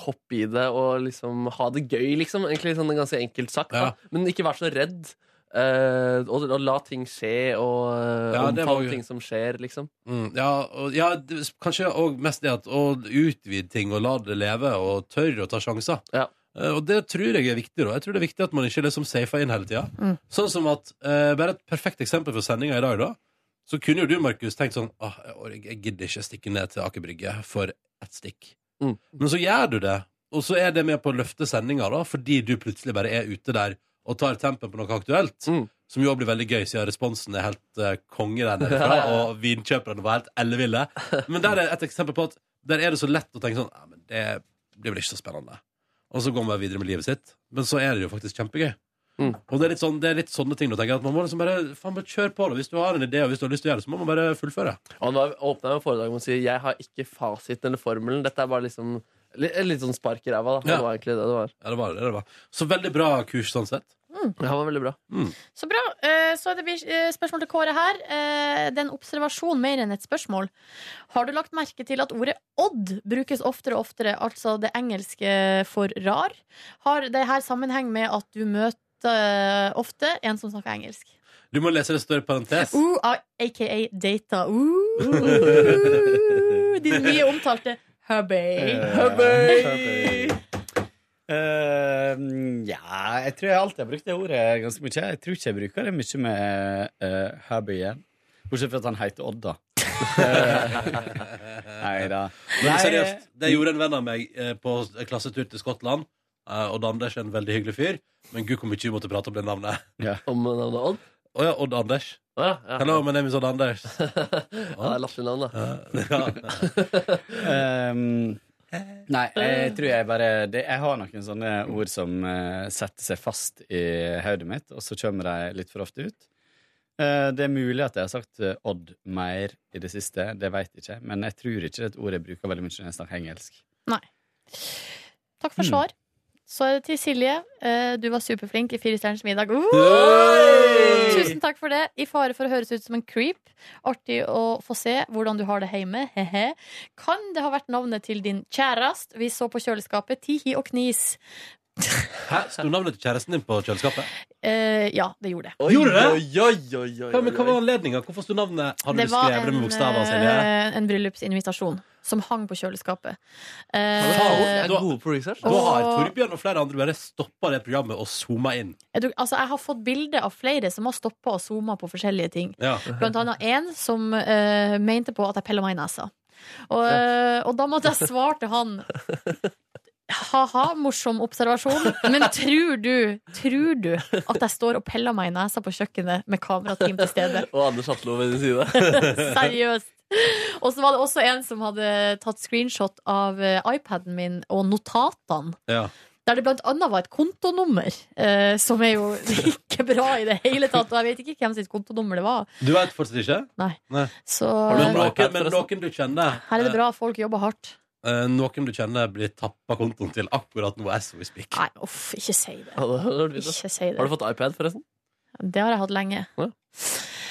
C: hoppe i det og liksom ha det gøy, liksom. Egentlig sånn ganske enkelt sagt. da. Men ikke vær så redd. eh, og, og la ting skje, og eh,
A: Ja, det var
C: omfavne
A: jo-
C: ting som skjer, liksom.
A: Mm, ja, og, ja, det, kanskje òg mest det at å utvide ting og la det leve, og tørre å ta sjanser. Eh, og det tror jeg er viktig. da Jeg tror det er viktig at man ikke liksom safer inn hele tida.
B: Mm.
A: Sånn som at eh, Bare et perfekt eksempel for sendinga i dag, da. Så kunne jo du, Markus, tenkt sånn ah, jeg ork- Jeg gidder ikke stikke ned til Aker Brygge for ett stikk. Men så gjør du det, og så er det med på å løfte sendinga, da, fordi du plutselig bare er ute der og og tar tempen på noe aktuelt. Som jo også blir veldig gøy, siden responsen er helt eh, konge der nede fra.
C: Ja, ja.
A: Og vinkjøperne var helt elleville. Men der er et eksempel på at der er det så lett å tenke sånn ja, men Det blir vel ikke så spennende. Og så går man bare videre med livet sitt. Men så er det jo faktisk kjempegøy. Og det er, litt sånn, det er litt sånne ting du tenker at man må liksom bare, faen, bare kjøre på det. Hvis du har en idé og hvis du har lyst til å gjøre det, så må man bare fullføre.
C: Og han var- åpnet med foredraget med å si Jeg har ikke fasiten eller formelen. Dette er bare liksom Litt, litt sånn spark i ræva, da. Det var egentlig det det var.
A: Ja, det var det det var. Så veldig bra kurs sånn sett.
B: Mm.
C: Det var veldig bra.
B: Så bra. Eh, Så det blir eh, spørsmål til Kåre her. Eh, Det er en observasjon mer enn et spørsmål. Har du lagt merke til at ordet odd brukes oftere og oftere, altså det engelske for rar? Har det her sammenheng med at du møter eh, ofte en som snakker engelsk?
A: Du må lese det større parentes.
B: Uh, AKA data. Uh, din mye omtalte hubby.
I: Eh, ja, jeg tror jeg alltid har brukt det ordet ganske mye. Jeg tror ikke jeg bruker det mye med uh, Hubby igjen. Bortsett fra at han heter Odd, da. Nei da.
A: Men seriøst, det gjorde en venn av meg eh, på klassetur til Skottland. eh, Og Anders er en veldig hyggelig fyr, men gud hvor mye vi måtte prate om det navnet.
C: Om navnet Odd?
A: Å ja, Odd Anders.
C: ja.
A: Hello, my name is Odd Anders.
C: Ja, det er latterlig navn, da.
I: Ehm, nei, jeg tror jeg bare det, Jeg har noen sånne ord som eh, setter seg fast i hodet mitt, og så kommer de litt for ofte ut. Eh, det er mulig at jeg har sagt eh, Odd mer i det siste, det veit jeg ikke. Men jeg tror ikke det er et ord jeg bruker veldig mye når jeg snakker engelsk.
B: Takk
A: Mm.
B: for svar. Så er det til Silje. Eh, Du var superflink i Fire stjerners middag. Uh! Tusen takk for det. I fare for å høres ut som en creep. Artig å få se hvordan du har det hjemme. Hehe. Kan det ha vært navnet til din kjærest vi så på kjøleskapet? Tihi og knis.
A: Hæ? Sto navnet til kjæresten din på kjøleskapet?
B: Eh, ja, det gjorde det.
A: Gjorde det?
C: Oi, oi, oi, oi,
A: Hva, men hva var anledninga? Hvorfor sto navnet Har du
B: Det var
A: skrevet det med
B: en,
A: bokstaver, Silje?
B: eh, en bryllupsinvitasjon som hang på kjøleskapet. Eh,
A: Faen, da- Da har
B: og-
A: Torbjørn og flere andre bare stoppa det programmet og zooma inn.
B: Jeg, tror- altså, jeg har fått bilder av flere som har stoppa og zooma på forskjellige ting.
A: Ja.
B: Blant annet en som eh, mente på at jeg pella meg i nesa. Og, eh, og da måtte jeg svare til han Ha-ha, morsom observasjon, men tror du Tror du at jeg står og peller meg i nesa på kjøkkenet med kamerateam til stede?
C: Og Anders Hatlo ved din side.
B: Seriøst. Og så var det også en som hadde tatt screenshot av eh, iPaden min og notatene.
A: Ja.
B: Der det blant annet var et kontonummer, eh, som er jo ikke bra i det hele tatt. Og jeg vet ikke hvem sitt kontonummer det var.
A: Du veit fortsatt ikke?
B: Nei. Så-
A: Men noen, men noen du kjenner
B: Her er det bra, folk jobber hardt.
A: eh, Noen du kjenner blir tappa kontoen til akkurat nå as we speak.
B: Nei, uff, ikke si det. Ikke si det.
C: Har du fått iPad, forresten?
B: Det har jeg hatt lenge.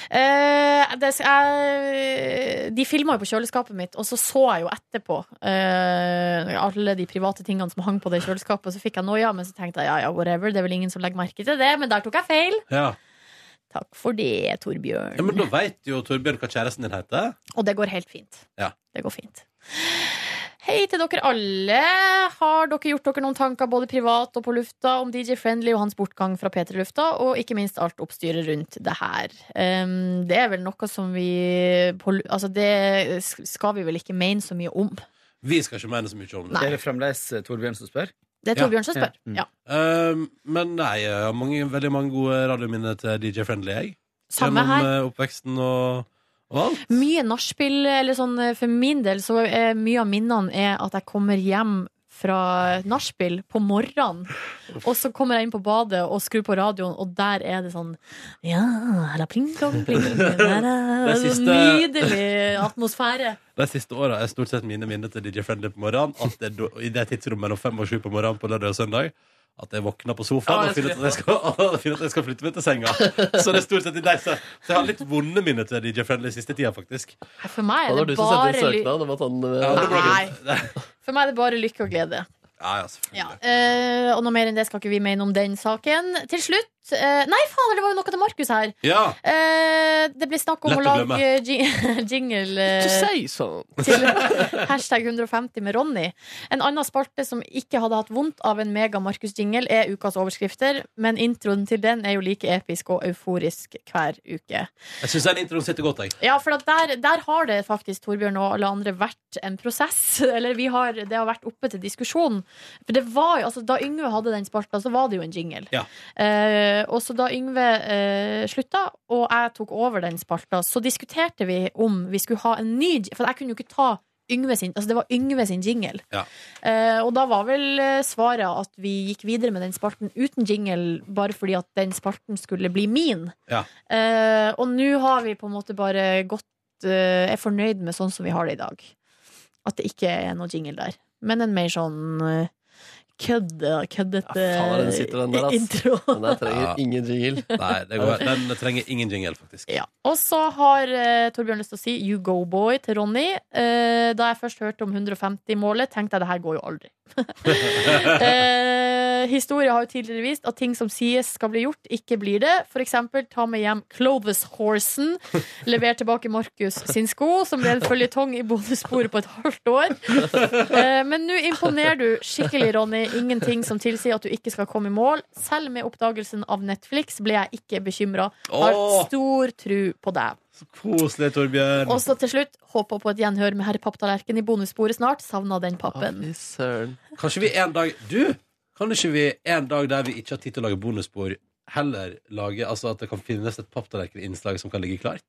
B: Eh, det, jeg, de filma jo på kjøleskapet mitt, og så så jeg jo etterpå eh, alle de private tingene som hang på det kjøleskapet. Så fikk jeg noia, men så tenkte jeg ja, ja, whatever, det er vel ingen som legger merke til det. Men der tok jeg feil.
A: Ja.
B: Takk for det, Torbjørn.
A: ja, Men da veit jo Torbjørn hva kjæresten din heter.
B: Og det går helt fint.
A: Ja.
B: Det går fint. Hei til dere alle. Har dere gjort dere noen tanker både privat og på lufta om DJ Friendly og hans bortgang fra P3-lufta, og ikke minst alt oppstyret rundt det her? Ehm, det er vel noe som vi på, lu- Altså, det skal vi vel ikke mene så mye om.
A: Vi skal ikke mene så mye om det.
B: Nei. Er
I: det fremdeles eh, Torbjørn som spør?
B: Det er Torbjørn som spør. Ja. Mm.
A: Um, men nei, jeg har mange, veldig mange gode radiominner til DJ Friendly, jeg.
B: Samme her.
A: eh, oppveksten og, og alt.
B: Mye nachspiel, eller sånn eh, for min del, så er mye av minnene er at jeg kommer hjem fra nachspiel på morgenen, og så kommer jeg inn på badet og skrur på radioen, og der er det sånn Ja, la pling, plong, pling, der er
A: Det siste-
B: sånn Nydelig atmosfære.
A: De siste åra er stort sett mine minner til DJ Friendly på morgenen. At det, er da- I det tidsrommet mellom fem og sju på morgenen på lørdag og søndag. At jeg våkner på sofaen
C: Ja, jeg
A: og finner ut at jeg skal, og finner ut at jeg skal flytte meg til senga. Så det er stort sett i deg. Så så jeg har litt vonde minner til DJ Friendly siste tida, faktisk.
B: For meg
C: det
B: er
C: var du
B: det
C: som sendte
B: bare
C: inn
B: ly-
C: søknad om at han eh,
A: Ja, det ble
B: Nei. For meg er det bare lykke og glede.
A: Ja, ja, selvfølgelig.
B: Ja, eh, og noe mer enn det skal ikke vi mene om den saken. Til slutt eh, Nei, fader, det var jo noe til Markus her.
A: Ja.
B: Eh, det ble snakk om
A: Lett
B: å
A: å
B: lage
A: glemme.
B: jing- jingle eh,
C: sånn.
B: til hashtag 150 med Ronny. En annen spalte som ikke hadde hatt vondt av en mega Markus-jingle, er ukas overskrifter, men introen til den er jo like episk og euforisk hver uke.
A: Jeg syns den introen sitter godt, jeg.
B: Ja, for at der, der har det faktisk, Torbjørn og alle andre, vært en prosess. Eller vi har, det har vært oppe til diskusjon. For det var jo, altså Da Yngve hadde den spalta, så var det jo en jingle.
A: Ja.
B: Eh, og så da Yngve eh, slutta, og jeg tok over den spalta, så diskuterte vi om vi skulle ha en ny j- For jeg kunne jo ikke ta Yngve sin, altså Det var Yngve sin jingle.
A: Ja.
B: Eh, og da var vel eh, svaret at vi gikk videre med den spalten uten jingle, bare fordi at den spalten skulle bli min.
A: Ja.
B: Eh, og nå har vi på en måte bare gått eh, Er fornøyd med sånn som vi har det i dag. At det ikke er noe jingle der. Men en mer sånn eh, kødde, køddete
C: Faen, den sitter den der, ass.
B: intro.
C: Den der trenger
A: Ja.
C: ingen jingle.
A: Nei, det går, den trenger ingen jingle, faktisk.
B: Og så har eh, Torbjørn lyst til å si You Go Boy til Ronny. Eh, da jeg først hørte om 150-målet, tenkte jeg det her går jo aldri. eh, historie har jo tidligere vist at ting som sies skal bli gjort, ikke blir det. For eksempel ta med hjem Clovis Horsen. Lever tilbake Markus sin sko, som ble en føljetong i bonussporet på et halvt år. Eh, men nå imponerer du skikkelig, Ronny. Ingenting som tilsier at du ikke skal komme i mål. Selv med oppdagelsen av Netflix ble jeg ikke bekymra. Har
A: Åh!
B: stor tru på deg.
A: Koselig, Torbjørn.
B: Og så til slutt, håper på et gjenhør med herr Papptallerken i bonussporet snart. Savna den pappen.
A: Kanskje vi en dag Du! Kan ikke vi en dag der vi ikke har tid til å lage bonusspor, heller lage Altså at det kan finnes et papptallerkeninnslag som kan ligge klart?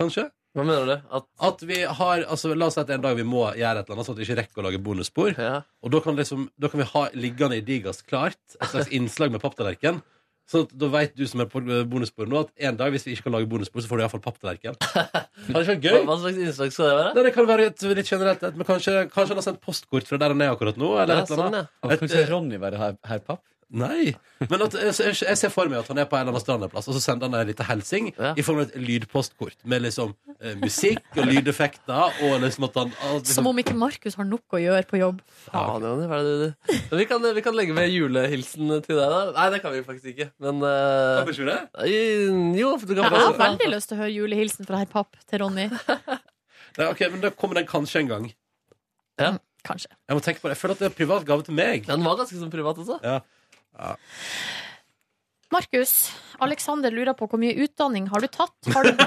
A: Kanskje?
C: Hva mener du? At,
A: vi har altså, La oss si at en dag vi må gjøre et eller annet, sånn at vi ikke rekker å lage bonusspor. Og da kan, liksom, da kan vi ha liggende i Digast klart et slags innslag med papptallerken. Sånn at da veit du som er på bonusspor nå, at en dag hvis vi ikke kan lage bonusspor, så får du iallfall papptallerken. Har det ikke vært
C: Hva,
A: gøy?
C: hva slags innslag skal det være?
A: Nei, det kan være et litt generelt et, Men kanskje, kanskje han har sendt postkort fra der han er akkurat nå? Eller
I: Ja,
A: et eh, eller annet.
I: sånn, ja. Kan ikke
A: Ronny være herr Papp? Nei. Men at, jeg, jeg- jeg ser for meg at han er på en eller annen strandeplass, og så sender han en liten hilsing i form av et lydpostkort med liksom eh, musikk og lydeffekter, og liksom at han at liksom,
B: Som om ikke Markus har nok å gjøre på jobb.
C: Faen, Ronny, hva er det du Men vi, kan, vi kan legge med julehilsen til deg, da. Nei, det kan vi faktisk ikke, men eh,
A: Kan vi ikke det?
C: eh, Jo, for du kan
B: Jeg har veldig lyst til å høre julehilsen fra herr Papp til Ronny.
A: Nei, ok, Men da kommer den kanskje en gang.
C: Ja.
B: Kanskje.
A: Jeg må tenke på det. Jeg føler at det er privat gave til meg.
C: Den var ganske sånn privat også.
A: Ja. Ja.
B: Markus, Alexander lurer på hvor mye utdanning har du tatt? Har du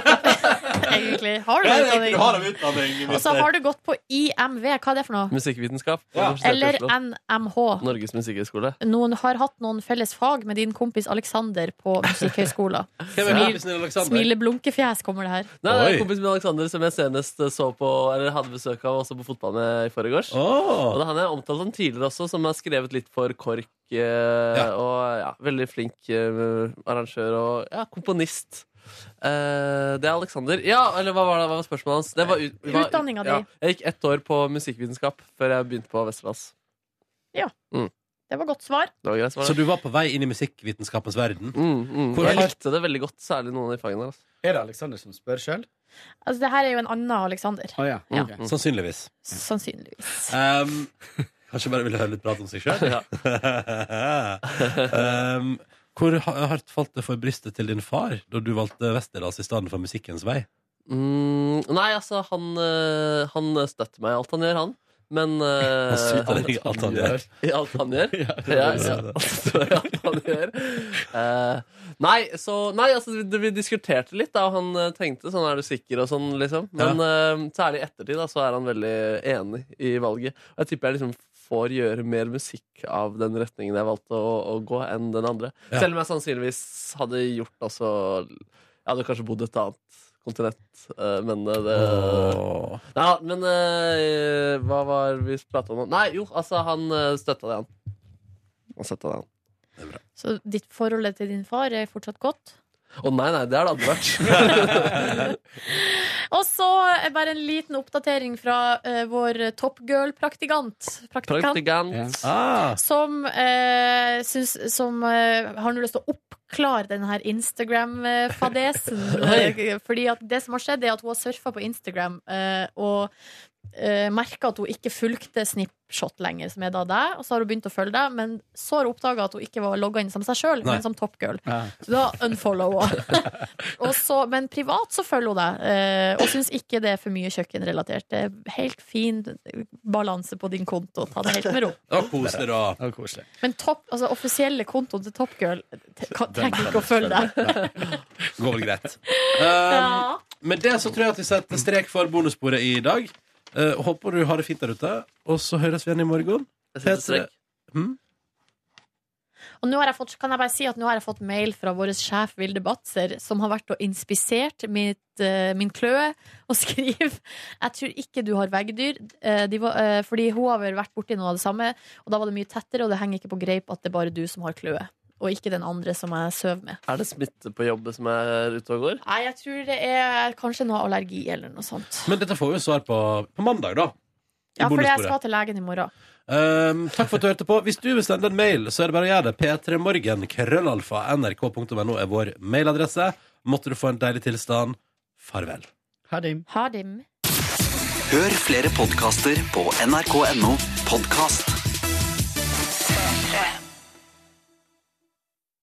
B: Egentlig. Har du utdanning? Og så har du gått på IMV. Hva er det for noe?
C: Musikkvitenskap. på Universitetet i
B: Eller
C: Oslo.
B: NMH.
C: Norges musikkhøgskole.
B: Noen har hatt noen felles fag med din kompis Alexander på Musikkhøgskolen.
C: Hvem er kompisen din, Alexander?
B: Smileblunkefjes kommer det her.
C: Nei, det er en kompis med Alexander som jeg senest så på Eller hadde besøk av også på fotball med i forgårs.
A: Oh.
C: Og det er han jeg omtalte han tidligere også, som har skrevet litt for KORK. eh, Og ja, veldig flink eh, arrangør og ja, komponist. Eh, det er Alexander. Ja, eller hva var, det, hva var spørsmålet hans? Det var, ut- var-
B: Utdanninga di.
C: Ja, jeg gikk ett år på musikkvitenskap før jeg begynte på Westerdals.
B: Ja,
C: Mm.
B: det var godt svar.
C: Det var greit, var det.
A: Så du var på vei inn i musikkvitenskapens verden?
C: Mm,
A: Hvor
C: Jeg
A: hardt
C: likte det veldig godt, særlig noen i fagene der. Altså.
I: Er det Alexander som spør sjøl?
B: Altså, det her er jo en annen Alexander. Ja.
A: Mm, Sannsynligvis.
B: Sannsynligvis.
A: Um, kanskje bare ville høre litt prat om seg sjøl? um, hvor ha- hardt falt det for brystet til din far da du valgte Westerdals i stedet for Musikkens vei?
C: Mm, nei, altså, han, eh, han støtter meg i alt han gjør, han. Men eh,
A: Han støtter deg i alt han gjør.
C: I alt han gjør.
A: Ja, det er
C: Ja,
A: det.
C: ja, han støtter meg i alt han gjør. Eh, nei, så Nei, altså, vi, vi diskuterte litt, da, og han eh, tenkte sånn Er du sikker, og sånn, liksom. Men eh, særlig i ettertid da, så er han veldig enig i valget. Og jeg tipper jeg liksom får gjøre mer musikk av den retningen jeg valgte å, å gå, enn den andre.
A: Ja.
C: Selv om jeg sannsynligvis hadde gjort også Jeg hadde kanskje bodd et annet kontinent, eh, men eh, det Nei, ja, men eh, hva var vi prata om nå? Nei, jo, altså, han eh, støtta det, han. Han støtta det, han.
B: Så ditt forhold til din far er fortsatt godt?
C: Å nei, nei, det har det aldri vært.
B: Og så eh, bare en liten oppdatering fra eh, vår Top Girl-praktikant.
C: Praktikant.
A: Ah.
B: Som, eh, syns, som eh, har nå lyst til å oppklare den her Instagram-fadesen.
C: Oi.
B: Eh, Fordi at det som har skjedd, er at hun har surfa på Instagram eh, og eh, merka at hun ikke fulgte Snipshot lenger, som er da deg, og så har hun begynt å følge deg, men så har hun oppdaga at hun ikke var logga inn som seg sjøl,
S: Nei.
B: men som Topgirl.
S: Ja.
B: Så da unfollowa hun. Og så- men privat så følger hun deg, eh, og syns ikke det er for mye kjøkkenrelatert. Det er helt fin balanse på din konto. Ta det helt med ro.
A: Det var koselig, da.
I: Det var koselig.
B: Men topp, altså, offisielle kontoen til Topgirl trenger ikke å følge deg.
A: Går vel greit. Um,
B: Ja.
A: Med det så tror jeg at vi setter strek for bonussporet i dag. Eh, håper du har det fint der ute, og så høres vi igjen i morgen.
C: Jeg setter strek.
A: Mm?
B: Og nå har jeg fått, kan jeg bare si at nå har jeg fått mail fra vår sjef Vilde Batzer, som har vært og inspisert mitt, eh, min kløe, og skriver Jeg tror ikke du har veggdyr, eh, de var, eh, fordi hun har vel vært borti noe av det samme, og da var det mye tettere, og det henger ikke på greip at det er bare du som har kløe, og ikke den andre som jeg sover med.
C: Er det smitte på jobb som er ute og går?
B: Nei, jeg tror det er kanskje noe allergi eller noe sånt.
A: Men dette får vi svar på på mandag, da. I
B: Ja, fordi jeg
A: bonussporet.
B: skal til legen i morgen.
A: Um, takk for at du hørte på. Hvis du vil sende en mail, så er det bare å gjøre det. P3morgen, krøllalfa, nrk.no er vår mailadresse. Måtte du få en deilig tilstand. Farvel.
I: Ha det.
B: Ha det.
T: Hør flere podkaster på nrk.no podkast.